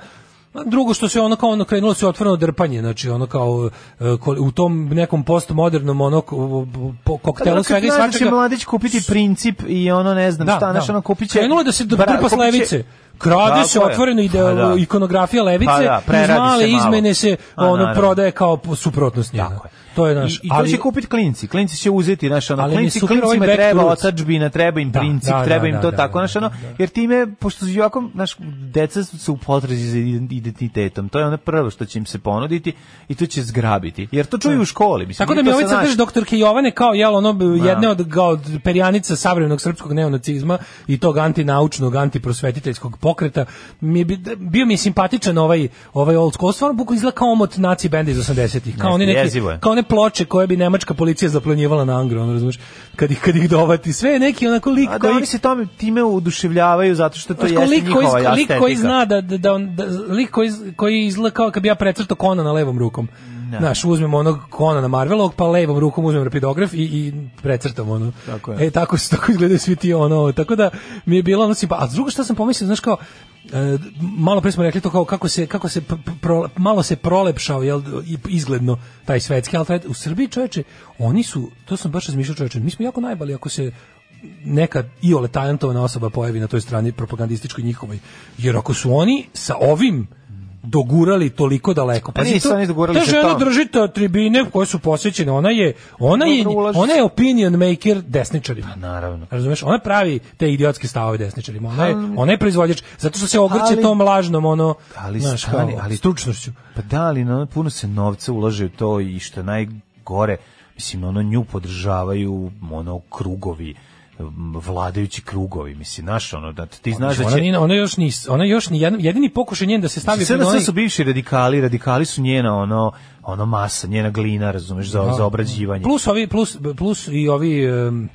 Speaker 7: a Drugo što se ono kao ono krenulo se otvoreno drpanje, znači ono kao e, ko- u tom nekom postmodernom ono ko- po-
Speaker 6: Pa dobro,
Speaker 7: koktelu
Speaker 6: kad
Speaker 7: svega i
Speaker 6: znaš da će
Speaker 7: svačega.
Speaker 6: mladić kupiti princip i ono ne znam šta, znaš, ono kupit će...
Speaker 7: Krenulo je da se
Speaker 6: Bra-
Speaker 7: drpa
Speaker 6: kupit
Speaker 7: s
Speaker 6: će-
Speaker 7: levice. Krade
Speaker 6: Tako
Speaker 7: se
Speaker 6: je.
Speaker 7: otvoreno ide
Speaker 6: Pa da.
Speaker 7: ikonografija levice,
Speaker 6: Pa da, preradi
Speaker 7: iz
Speaker 6: se
Speaker 7: male
Speaker 6: malo.
Speaker 7: izmene se
Speaker 6: A,
Speaker 7: ono
Speaker 6: naravno.
Speaker 7: prodaje kao po- suprotnost njega.
Speaker 6: Tako je.
Speaker 7: To je naš.
Speaker 6: I, i to će kupiti klinci. Klinci će uzeti, znaš, ono,
Speaker 7: Ali mi je
Speaker 6: klinci,
Speaker 7: super
Speaker 6: klincima
Speaker 7: ovaj back
Speaker 6: treba
Speaker 7: to roots.
Speaker 6: otačbina, treba im
Speaker 7: Da,
Speaker 6: princip,
Speaker 7: da,
Speaker 6: treba
Speaker 7: da,
Speaker 6: im
Speaker 7: da,
Speaker 6: to
Speaker 7: da,
Speaker 6: tako,
Speaker 7: da,
Speaker 6: znaš, ono, jer time, pošto su ovako, znaš, deca su u potrazi za identitetom, to je ono prvo što će im se ponuditi i to će zgrabiti. Jer to čuju u školi, mislim.
Speaker 7: Tako da
Speaker 6: nije
Speaker 7: mi
Speaker 6: to
Speaker 7: ovaj
Speaker 6: sad,
Speaker 7: sad
Speaker 6: znaš,
Speaker 7: drži doktorke Jovane kao jel ono b- jedne od ga- od perjanica savremenog srpskog neonacizma i tog antinaučnog antiprosvetiteljskog pokreta mi je bi- d- bio mi je simpatičan ovaj ovaj old school stvarno bukvalno izgleda kao omot naci benda iz 80-ih kao oni neki
Speaker 6: jezivo je.
Speaker 7: kao one ploče koje bi nemačka policija zaplanjivala na Angro ono razumeš kad ih kad ih dovati sve je neki onako lik
Speaker 6: A da
Speaker 7: koji
Speaker 6: oni se tome, time oduševljavaju zato što to
Speaker 7: Znaš,
Speaker 6: je
Speaker 7: kao
Speaker 6: njihova
Speaker 7: lik koji,
Speaker 6: estetika.
Speaker 7: lik koji zna da, da, da, on, da lik koji, z- koji izgleda kao kad bi ja precrtao Kona na levom rukom. Znaš, uzmem onog Kona na Marvelovog, pa levom rukom uzmem rapidograf i, i precrtam ono.
Speaker 6: Tako je.
Speaker 7: E, tako, su- tako izgledaju svi ti ono. Tako da mi je bilo ono simpa... A drugo što sam pomislio, znaš kao, e, malo pre smo rekli to kao kako se, kako se pr- pr- pro- malo se prolepšao jel, i- izgledno taj svetski ali taj- u Srbiji čoveče, oni su to sam baš razmišljao čoveče, mi smo jako najbali ako se neka iole talentovana osoba pojavi na toj strani propagandističkoj njihovoj. Jer ako su oni sa ovim dogurali toliko daleko.
Speaker 6: Pa nisu
Speaker 7: to-
Speaker 6: oni dogurali
Speaker 7: ta
Speaker 6: sa
Speaker 7: žena
Speaker 6: tom.
Speaker 7: držite tribine koje su posvećene, ona je, ona je,
Speaker 6: Dobro, ulaži
Speaker 7: ona
Speaker 6: se.
Speaker 7: je opinion maker desničarima.
Speaker 6: Pa naravno.
Speaker 7: Razumeš, ona pravi te idiotske stavove desničarima. Ona je, ona je proizvođač, zato što se ogrće
Speaker 6: Ali-
Speaker 7: tom lažnom, ono,
Speaker 6: Pa Ali
Speaker 7: znaš,
Speaker 6: stani,
Speaker 7: kao,
Speaker 6: ali
Speaker 7: stručnošću.
Speaker 6: Pa da, ali no, puno se novca ulaže u to i što je najgore, mislim, ono nju podržavaju ono krugovi m, vladajući krugovi, mislim, naš ono, da ti znaš da
Speaker 7: Pa, Znači,
Speaker 6: će...
Speaker 7: Ona, ni- ona još ni, ona još ni jedan, jedini pokušaj njen da se stavi
Speaker 6: Mislim,
Speaker 7: pred
Speaker 6: Znači, sve
Speaker 7: onaj-
Speaker 6: su bivši radikali, radikali su njena ono, ono masa, njena glina, razumeš, za, za obrađivanje.
Speaker 7: Plus ovi plus plus i ovi em,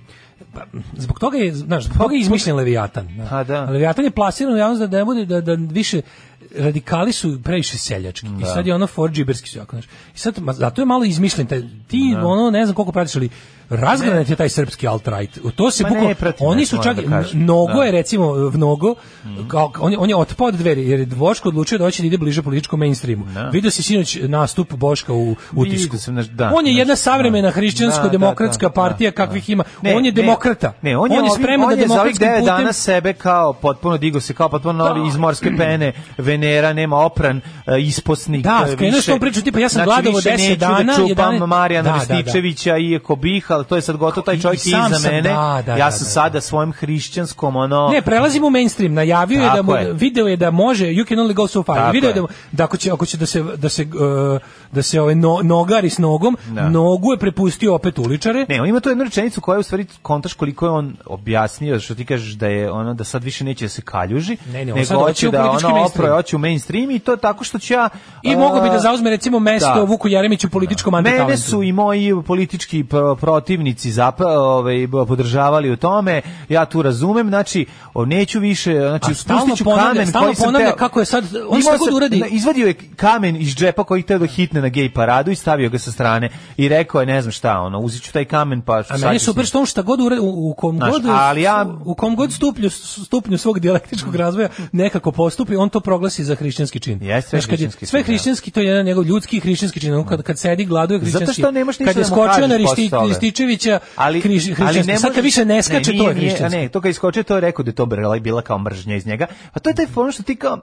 Speaker 7: pa, zbog toga je znaš zbog toga je izmišljen Leviatan.
Speaker 6: A, da.
Speaker 7: Leviatan je plasiran u javnost da ne bude da da više radikali su previše seljački. I sad je ono forđiberski sve, znaš. I sad ma, zato je malo izmišljen taj ti ono ne znam koliko pratiš ali razgranat je taj srpski alt right. To se
Speaker 6: Ma ne,
Speaker 7: bukvalno
Speaker 6: pratim,
Speaker 7: oni
Speaker 6: ne,
Speaker 7: su
Speaker 6: moram
Speaker 7: čak
Speaker 6: da kažem.
Speaker 7: mnogo
Speaker 6: Da. Mhm.
Speaker 7: je recimo mnogo kao, on, je- on je otpao od dveri jer je Dvoško odlučio da hoće da ide bliže političkom mainstreamu.
Speaker 6: Da.
Speaker 7: Vidio si sinoć nastup Boška u utisku.
Speaker 6: Vidio sam, znaš, da,
Speaker 7: on je
Speaker 6: znaš,
Speaker 7: jedna savremena
Speaker 6: da.
Speaker 7: hrišćansko-demokratska
Speaker 6: Da, da, da,
Speaker 7: partija
Speaker 6: da,
Speaker 7: kakvih
Speaker 6: da.
Speaker 7: ima.
Speaker 6: Ne,
Speaker 7: on je
Speaker 6: ne,
Speaker 7: demokrata.
Speaker 6: Ne, on, je, ovih-
Speaker 7: spreman
Speaker 6: on
Speaker 7: da
Speaker 6: je za ovih
Speaker 7: demokratskim
Speaker 6: devet
Speaker 7: putem...
Speaker 6: dana sebe kao potpuno digo se kao potpuno
Speaker 7: Da.
Speaker 6: iz morske pene, Venera nema opran, e, isposnik.
Speaker 7: Da,
Speaker 6: e,
Speaker 7: skrenuo
Speaker 6: više-
Speaker 7: što on priča, tipa, ja sam
Speaker 6: znači,
Speaker 7: gladovao
Speaker 6: više
Speaker 7: 10
Speaker 6: neću
Speaker 7: dana,
Speaker 6: da čupam
Speaker 7: 11
Speaker 6: Marijana
Speaker 7: Da, da, da.
Speaker 6: Rističevića, iako bih, ali to je sad gotovo, taj
Speaker 7: I-
Speaker 6: čovjek
Speaker 7: i
Speaker 6: je
Speaker 7: sam
Speaker 6: iza
Speaker 7: sam,
Speaker 6: mene.
Speaker 7: da, da,
Speaker 6: ja
Speaker 7: da,
Speaker 6: sam
Speaker 7: da,
Speaker 6: sada svojim hrišćanskom, ono...
Speaker 7: Ne, prelazimo u mainstream. Najavio je da
Speaker 6: Tako
Speaker 7: mu
Speaker 6: je.
Speaker 7: video je da može you can only go so far.
Speaker 6: Tako
Speaker 7: video je da,
Speaker 6: je.
Speaker 7: mu- da ako će ako će da se da se uh, da se ovaj no, nogari s nogom,
Speaker 6: Da.
Speaker 7: nogu je prepustio opet uličare.
Speaker 6: Ne, on ima tu jednu rečenicu koja je u stvari kontaš koliko je on objasnio, što ti kažeš da je ono da sad više neće da se kaljuži,
Speaker 7: Ne, ne, on
Speaker 6: nego
Speaker 7: sad hoće
Speaker 6: hoće
Speaker 7: u
Speaker 6: da
Speaker 7: politički
Speaker 6: ono
Speaker 7: mainstream.
Speaker 6: oproje, hoću u mainstream i to tako što ću ja...
Speaker 7: I mogu bi da zauzme recimo mesto
Speaker 6: da.
Speaker 7: Vuku Jeremiću u političkom antitalentu.
Speaker 6: Mene su i moji politički pro- protivnici zap, ovaj, b- podržavali u tome, ja tu razumem, znači, o, neću više, znači,
Speaker 7: A stalno
Speaker 6: spustit ću
Speaker 7: ponavlja-
Speaker 6: kamen
Speaker 7: stalno
Speaker 6: koji sam
Speaker 7: ponavlja
Speaker 6: teo-
Speaker 7: kako je sad- on šta
Speaker 6: Imao
Speaker 7: god
Speaker 6: sam-
Speaker 7: uradi-
Speaker 6: na- Izvadio je kamen iz džepa koji teo da hitne na gej paradu i stavio ga sa strane i rekao je, ne znam šta, ono, uzit ću taj kamen pa...
Speaker 7: A meni je super što on šta god uradi, u, u kom
Speaker 6: Znaš,
Speaker 7: god,
Speaker 6: ali ja- Mm.
Speaker 7: u kom god stupnju, stupnju svog dijalektičkog razvoja nekako postupi, on to proglasi za hrišćanski čin.
Speaker 6: Jeste
Speaker 7: Znaš, kad je,
Speaker 6: hrišćanski
Speaker 7: sve
Speaker 6: čin, da.
Speaker 7: hrišćanski, to je jedan njegov ljudski i hrišćanski čin. On kad, kad sedi, gladuje hrišćanski.
Speaker 6: Zato što nemaš ništa
Speaker 7: Kad je
Speaker 6: da mu kažeš
Speaker 7: skočio na
Speaker 6: posle
Speaker 7: Risti-
Speaker 6: toga.
Speaker 7: Rističevića, ali, hrišćanski. Sad kad
Speaker 6: može-
Speaker 7: više ne skače,
Speaker 6: nije,
Speaker 7: to je
Speaker 6: nije,
Speaker 7: hrišćanski.
Speaker 6: a Ne, to kad iskoče, to je rekao da je to brela bila kao mržnja iz njega. A to je taj fon što ti kao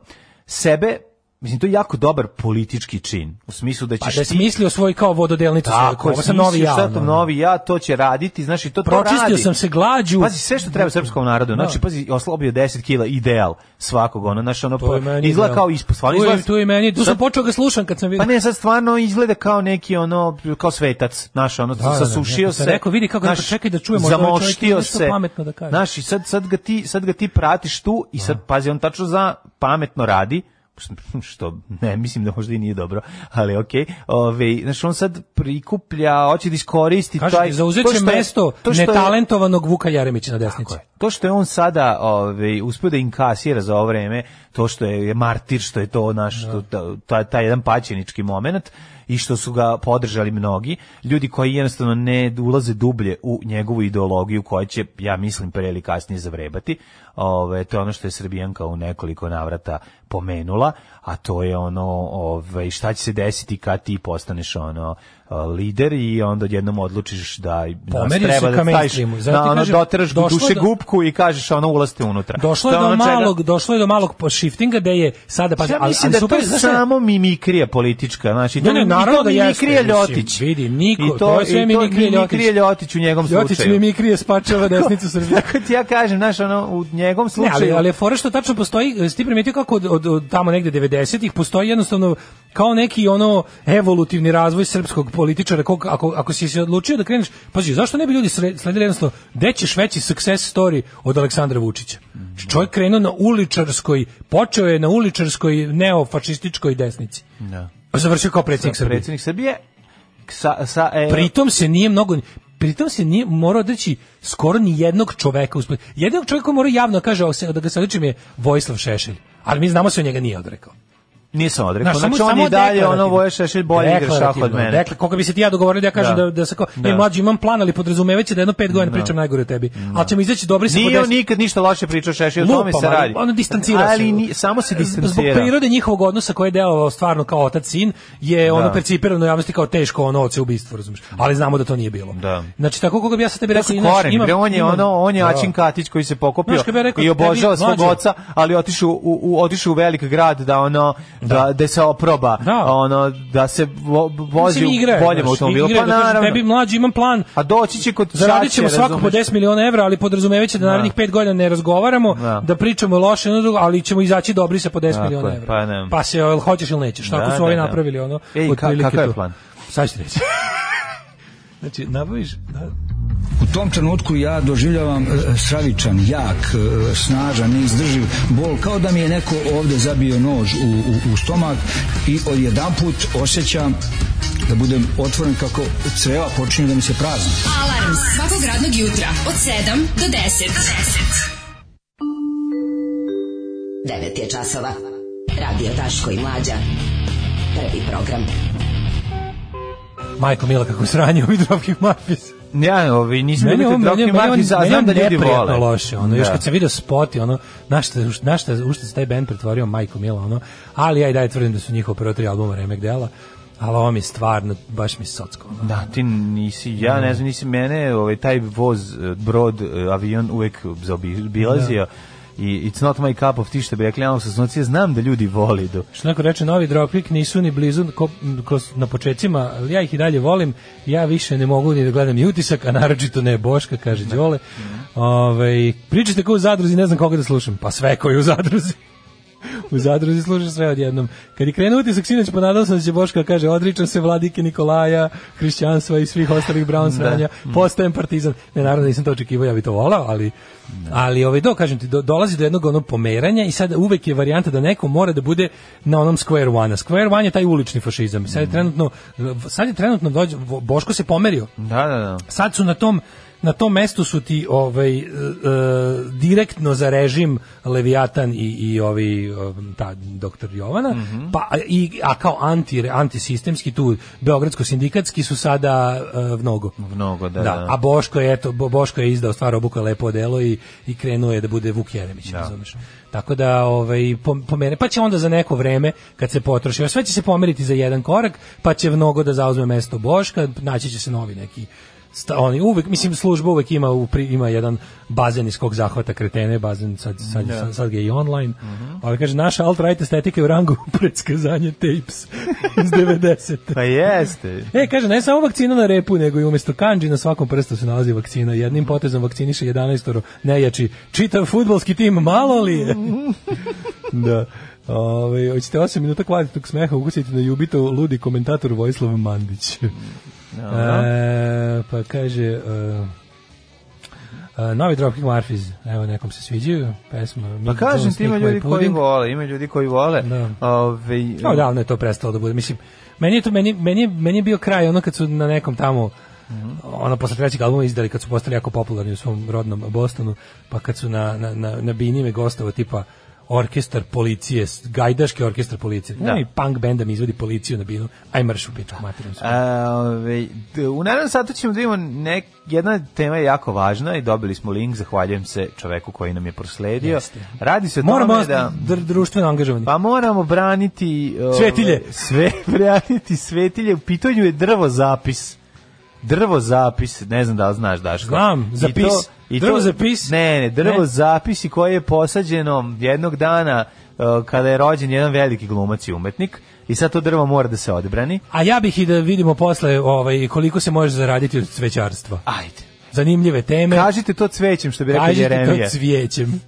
Speaker 6: sebe, mislim, to je jako dobar politički čin. U smislu da ćeš
Speaker 7: Pa da je
Speaker 6: ti...
Speaker 7: smislio svoj kao vododelnicu svoju,
Speaker 6: Tako,
Speaker 7: kao, ovo sam novi ja.
Speaker 6: Sad
Speaker 7: ono.
Speaker 6: novi ja, to će raditi, znaš, i to, to radi.
Speaker 7: Pročistio sam se glađu.
Speaker 6: Pazi, sve što treba srpskom narodu, znači,
Speaker 7: Da.
Speaker 6: pazi, oslobio 10 kila, ideal svakog, ono, znaš, ono,
Speaker 7: To je
Speaker 6: pa,
Speaker 7: meni
Speaker 6: izgleda
Speaker 7: ideal.
Speaker 6: kao ispod, stvarno
Speaker 7: Tu je-
Speaker 6: izgleda...
Speaker 7: Tu je meni, tu sam
Speaker 6: Sad-
Speaker 7: počeo ga slušam kad sam
Speaker 6: Pa
Speaker 7: vidio.
Speaker 6: ne, sad stvarno izgleda kao neki ono kao svetac, znaš, ono
Speaker 7: da, da,
Speaker 6: sasušio
Speaker 7: neko
Speaker 6: se.
Speaker 7: se rekao, vidi kako-
Speaker 6: znaš,
Speaker 7: čekaj da čujemo, možda ovaj čovjek ima
Speaker 6: Zamoštio
Speaker 7: nešto
Speaker 6: se.
Speaker 7: pametno da kaže.
Speaker 6: Znaš, i sad sad ga ti sad ga ti pratiš tu i sad pazi on tačno za pametno radi što ne mislim da možda i nije dobro, ali okej. Ovaj znaš on sad prikuplja, hoće da iskoristi
Speaker 7: Kaže,
Speaker 6: taj
Speaker 7: zauzet
Speaker 6: to
Speaker 7: će
Speaker 6: što je-
Speaker 7: mesto
Speaker 6: to što je-
Speaker 7: netalentovanog Vuka Jeremića na desnici.
Speaker 6: Tako je. To što je on sada ovaj uspeo da inkasira za ovo vreme, to što je, je martir, što je to naš to, ta- taj taj jedan paćenički momenat i što su ga podržali mnogi, ljudi koji jednostavno ne ulaze dublje u njegovu ideologiju koja će ja mislim pre ili kasnije zavrebati. Ovaj to je ono što je Srbijanka u nekoliko navrata pomenula, a to je ono ovaj šta će se desiti kad ti postaneš ono lider i onda odjednom odlučiš da nas
Speaker 7: Pomerio se
Speaker 6: treba
Speaker 7: ka
Speaker 6: da staviš
Speaker 7: mainstreamu. Zato
Speaker 6: na
Speaker 7: ti
Speaker 6: ono
Speaker 7: kažem,
Speaker 6: doteraš
Speaker 7: došlo je
Speaker 6: duše
Speaker 7: do-
Speaker 6: gupku i kažeš ono ulaste unutra.
Speaker 7: Došlo
Speaker 6: To
Speaker 7: je do
Speaker 6: ono čega-
Speaker 7: malog, došlo je do malog po- shiftinga da je sada pa
Speaker 6: Ja mislim da to je samo mimikrija politička, znači to
Speaker 7: Ne, ne,
Speaker 6: i to
Speaker 7: naravno da jeste,
Speaker 6: mimikrija
Speaker 7: mislim,
Speaker 6: Ljotić.
Speaker 7: vidi, niko,
Speaker 6: I
Speaker 7: to je sve
Speaker 6: i
Speaker 7: mimikrija Ljotić.
Speaker 6: Ljotić u njegovom
Speaker 7: Ljotić mi
Speaker 6: slučaju.
Speaker 7: mi krije spačava desnicu Srbije.
Speaker 6: Tako ti ja kažem, znaš, ono, u njegovom
Speaker 7: Ne,
Speaker 6: slučaju...
Speaker 7: ali, ali je fora što tačno postoji, jesi ti primetio kako od, od, od tamo negde 90-ih postoji jednostavno kao neki ono evolutivni razvoj srpskog političara, kog, ako, ako si se odlučio da kreneš, pazi, zašto ne bi ljudi sre- sledili jednostavno, gde ćeš veći success story od Aleksandra Vučića? Čovjek krenuo na uličarskoj, počeo je na uličarskoj neofašističkoj desnici.
Speaker 6: Da.
Speaker 7: Završio kao predsjednik Srbije.
Speaker 6: Predsjednik Srbije sa, sa, e,
Speaker 7: Pritom se nije mnogo pritom se nije morao odreći skoro ni jednog čoveka usput. Jednog čoveka mora javno kaže "O, se- da ga se odričem je Vojislav Šešelj. Ali mi znamo se on njega nije odrekao.
Speaker 6: nisam odrekao,
Speaker 7: Znaš,
Speaker 6: znači,
Speaker 7: samo-
Speaker 6: on
Speaker 7: samo
Speaker 6: je i dalje ono
Speaker 7: deklarativno.
Speaker 6: Voja Šešelj bolje igra šah od
Speaker 7: Deklarativno.
Speaker 6: mene.
Speaker 7: Dekla- koga bi se ti ja dogovorio da ja kažem
Speaker 6: Da.
Speaker 7: da, da, se kao,
Speaker 6: Da.
Speaker 7: "E, mlađi imam plan, ali podrazumevaće da jedno pet godina pričam najgore o tebi. Ali ćemo izaći dobri sa po
Speaker 6: Nije on
Speaker 7: deset-
Speaker 6: nikad ništa loše pričao Šešelj, o
Speaker 7: Lupam,
Speaker 6: tome se
Speaker 7: ali
Speaker 6: radi.
Speaker 7: Ono distancira se. E,
Speaker 6: Ali ni- samo se distancira.
Speaker 7: Zbog prirode njihovog odnosa koji je delovao stvarno kao otac sin je ono percipirano u javnosti kao teško ono oce ubistvo, razumiješ. Ali znamo da to nije bilo.
Speaker 6: Da.
Speaker 7: Znači tako koga bi ja sad tebi
Speaker 6: To
Speaker 7: rekao
Speaker 6: su
Speaker 7: inače,
Speaker 6: koreni,
Speaker 7: imam-
Speaker 6: bre, on je
Speaker 7: imam-
Speaker 6: ono, on je
Speaker 7: Da.
Speaker 6: Ačin Katić koji se pokopio
Speaker 7: Znaš, kad bi ja rekao
Speaker 6: i obožava
Speaker 7: tebi,
Speaker 6: svog
Speaker 7: mlađo.
Speaker 6: oca, ali otišao u, u, otišao u velik grad da ono da, da, se oproba,
Speaker 7: Da.
Speaker 6: ono da se vo, vozi
Speaker 7: Mislim, igra je,
Speaker 6: u boljem
Speaker 7: znaš,
Speaker 6: automobilu,
Speaker 7: igra
Speaker 6: pa
Speaker 7: je, da kažem
Speaker 6: naravno.
Speaker 7: Tebi mlađi imam plan.
Speaker 6: A doći će kod
Speaker 7: Zaradit ćemo
Speaker 6: Šaće,
Speaker 7: svako po
Speaker 6: razumeš?
Speaker 7: 10 miliona evra, ali podrazumevaće da narednih 5 godina ne razgovaramo,
Speaker 6: Da.
Speaker 7: da, pričamo loše, jedno drugo, ali ćemo izaći dobri sa po 10
Speaker 6: Tako
Speaker 7: miliona
Speaker 6: je,
Speaker 7: evra.
Speaker 6: pa ne.
Speaker 7: pa se jel hoćeš ili nećeš, tako
Speaker 6: Da,
Speaker 7: su ovi
Speaker 6: da, da.
Speaker 7: napravili ono.
Speaker 6: Ej, ka-
Speaker 7: otprilike
Speaker 6: kakav je
Speaker 7: to.
Speaker 6: plan?
Speaker 7: Sad ću ti reći. znači, nabaviš, da,
Speaker 11: U tom trenutku ja doživljavam e, stravičan, jak, e, snažan, neizdrživ bol, kao da mi je neko ovde zabio nož u, u, u stomak i odjedanput osjećam da budem otvoren kako creva počinju da mi se prazni.
Speaker 5: Alarm svakog radnog jutra od 7 do 10. Do 10.
Speaker 9: 9 je časova. Radio Daško i Mlađa. Prvi program.
Speaker 7: Majko Mila kako sranje ovi Dropkick Murphys.
Speaker 6: Ja, ovi, nisam
Speaker 7: Meni je
Speaker 6: ljubitelj
Speaker 7: ovo- meni
Speaker 6: Dropkick
Speaker 7: je- meni je ovo-
Speaker 6: Murphys, a
Speaker 7: meni je
Speaker 6: znam da
Speaker 7: ovo
Speaker 6: ljudi
Speaker 7: neprijatno
Speaker 6: vole.
Speaker 7: loše, ono, još
Speaker 6: Da.
Speaker 7: kad sam video spot i ono, na šta, na šta, u šta se taj band pretvorio, majko mila, ono, ali ja i dalje tvrdim da su njihova prva tri albuma remek dela, ali ovo mi je stvarno, baš mi je socko. ono.
Speaker 6: Da, ti nisi, ja ne znam, nisi mene, ovaj, taj voz, eh, brod, eh, avion uvek zaobilazio. I it's not my cup of tea, što bi rekli, ja sa suncije, znam da ljudi voli do...
Speaker 7: Što neko reče, novi Dropkick nisu ni blizu ko, m, ko s- na početcima, ali ja ih i dalje volim, ja više ne mogu ni da gledam i utisak, a naročito ne Boška, kaže Đole. Ovaj, pričate kao u zadruzi, ne znam koga da slušam, pa sve koji u zadruzi. u zadruzi služiš sve odjednom. Kad je krenuo utisak sinoć, ponadao sam da će Boška kaže, odričam se vladike Nikolaja, hrišćanstva i svih ostalih brown sranja,
Speaker 6: Da. Mm.
Speaker 7: postajem partizan. Ne, naravno nisam to očekivao, ja bi to volao, ali ali ovaj do kažem ti do- dolazi do jednog onog pomeranja i sad uvek je varijanta da neko mora da bude na onom square one. -a. Square one je taj ulični fašizam.
Speaker 6: Mm.
Speaker 7: Sad je trenutno sad je trenutno dođe Boško se pomerio.
Speaker 6: Da, da, da.
Speaker 7: Sad su na tom na tom mestu su ti ovaj e, e, direktno za režim Leviatan i i ovi e, ta doktor Jovana
Speaker 6: Mhm.
Speaker 7: pa a- i a kao anti antisistemski tu beogradsko sindikatski su sada e, mnogo
Speaker 6: Mnogo, da,
Speaker 7: da,
Speaker 6: da.
Speaker 7: a Boško je eto Bo- Boško je izdao stvar obuka lepo delo i i krenuo je da bude Vuk Jeremić, razumeš. Tako da ovaj pom- pomere pa će onda za neko vreme kad se potroši, a sve će se pomeriti za jedan korak, pa će mnogo da zauzme mesto Boška, naći će se novi neki sta- oni uvek mislim služba uvek ima u pri- ima jedan bazen iz kog zahvata kretene bazen sad sad,
Speaker 6: Da.
Speaker 7: sad, sad ga je i online ali kaže naša alt right estetika je u rangu predskazanje tapes iz 90
Speaker 6: Pa jeste.
Speaker 7: E, kaže, ne samo vakcina na repu, nego i umjesto kanđi na svakom prstu se nalazi vakcina. Jednim potezom vakciniše 11 nejači. Čitav futbolski tim, malo li je? da. Ove, hoćete 8 minuta kvalitetnog smeha ukusiti na jubito ludi komentator Vojislav Mandić. E, pa kaže... e, e, novi Dropkick Murphys, evo nekom se sviđaju, pesma.
Speaker 6: Pa kažem ti ima ljudi koji vole, ima ljudi koji vole. Ovaj, Ove,
Speaker 7: No, davno je to prestalo da bude. Mislim, meni je to meni meni je- meni je bio kraj ono kad su na nekom tamo
Speaker 6: Mhm.
Speaker 7: ono posle trećeg albuma izdali kad su postali jako popularni u svom rodnom Bostonu, pa kad su na na na, na Binime gostavo tipa orkestar policije, s- gajdaški orkestar policije.
Speaker 6: Da.
Speaker 7: Da. I punk benda mi izvodi policiju na binu. Aj marš u piču, materinu se.
Speaker 6: A, ovaj, d- u narednom satu ćemo da imamo nek, jedna tema je jako važna i dobili smo link, zahvaljujem se čoveku koji nam je prosledio.
Speaker 7: Jeste.
Speaker 6: Radi se o
Speaker 7: Moramo
Speaker 6: tome da...
Speaker 7: dr- društveno angažovani.
Speaker 6: Pa moramo braniti... ove,
Speaker 7: Svetilje.
Speaker 6: Sve, braniti svetilje. U pitanju je drvo zapis. Drvo zapis, ne znam da li znaš Daško.
Speaker 7: Znam,
Speaker 6: I
Speaker 7: zapis.
Speaker 6: to- i to-
Speaker 7: Drvo zapis?
Speaker 6: Ne, ne, drvo
Speaker 7: Ne.
Speaker 6: zapisi koje je posađeno jednog dana e, kada je rođen jedan veliki glumac i umetnik i sad to drvo mora da se odbrani.
Speaker 7: A ja bih i da vidimo posle ovaj, koliko se može zaraditi od cvećarstva.
Speaker 6: Ajde.
Speaker 7: Zanimljive teme.
Speaker 6: Kažite to cvećem, što bi rekao
Speaker 7: Kažite to
Speaker 6: Jeremija.
Speaker 7: cvijećem.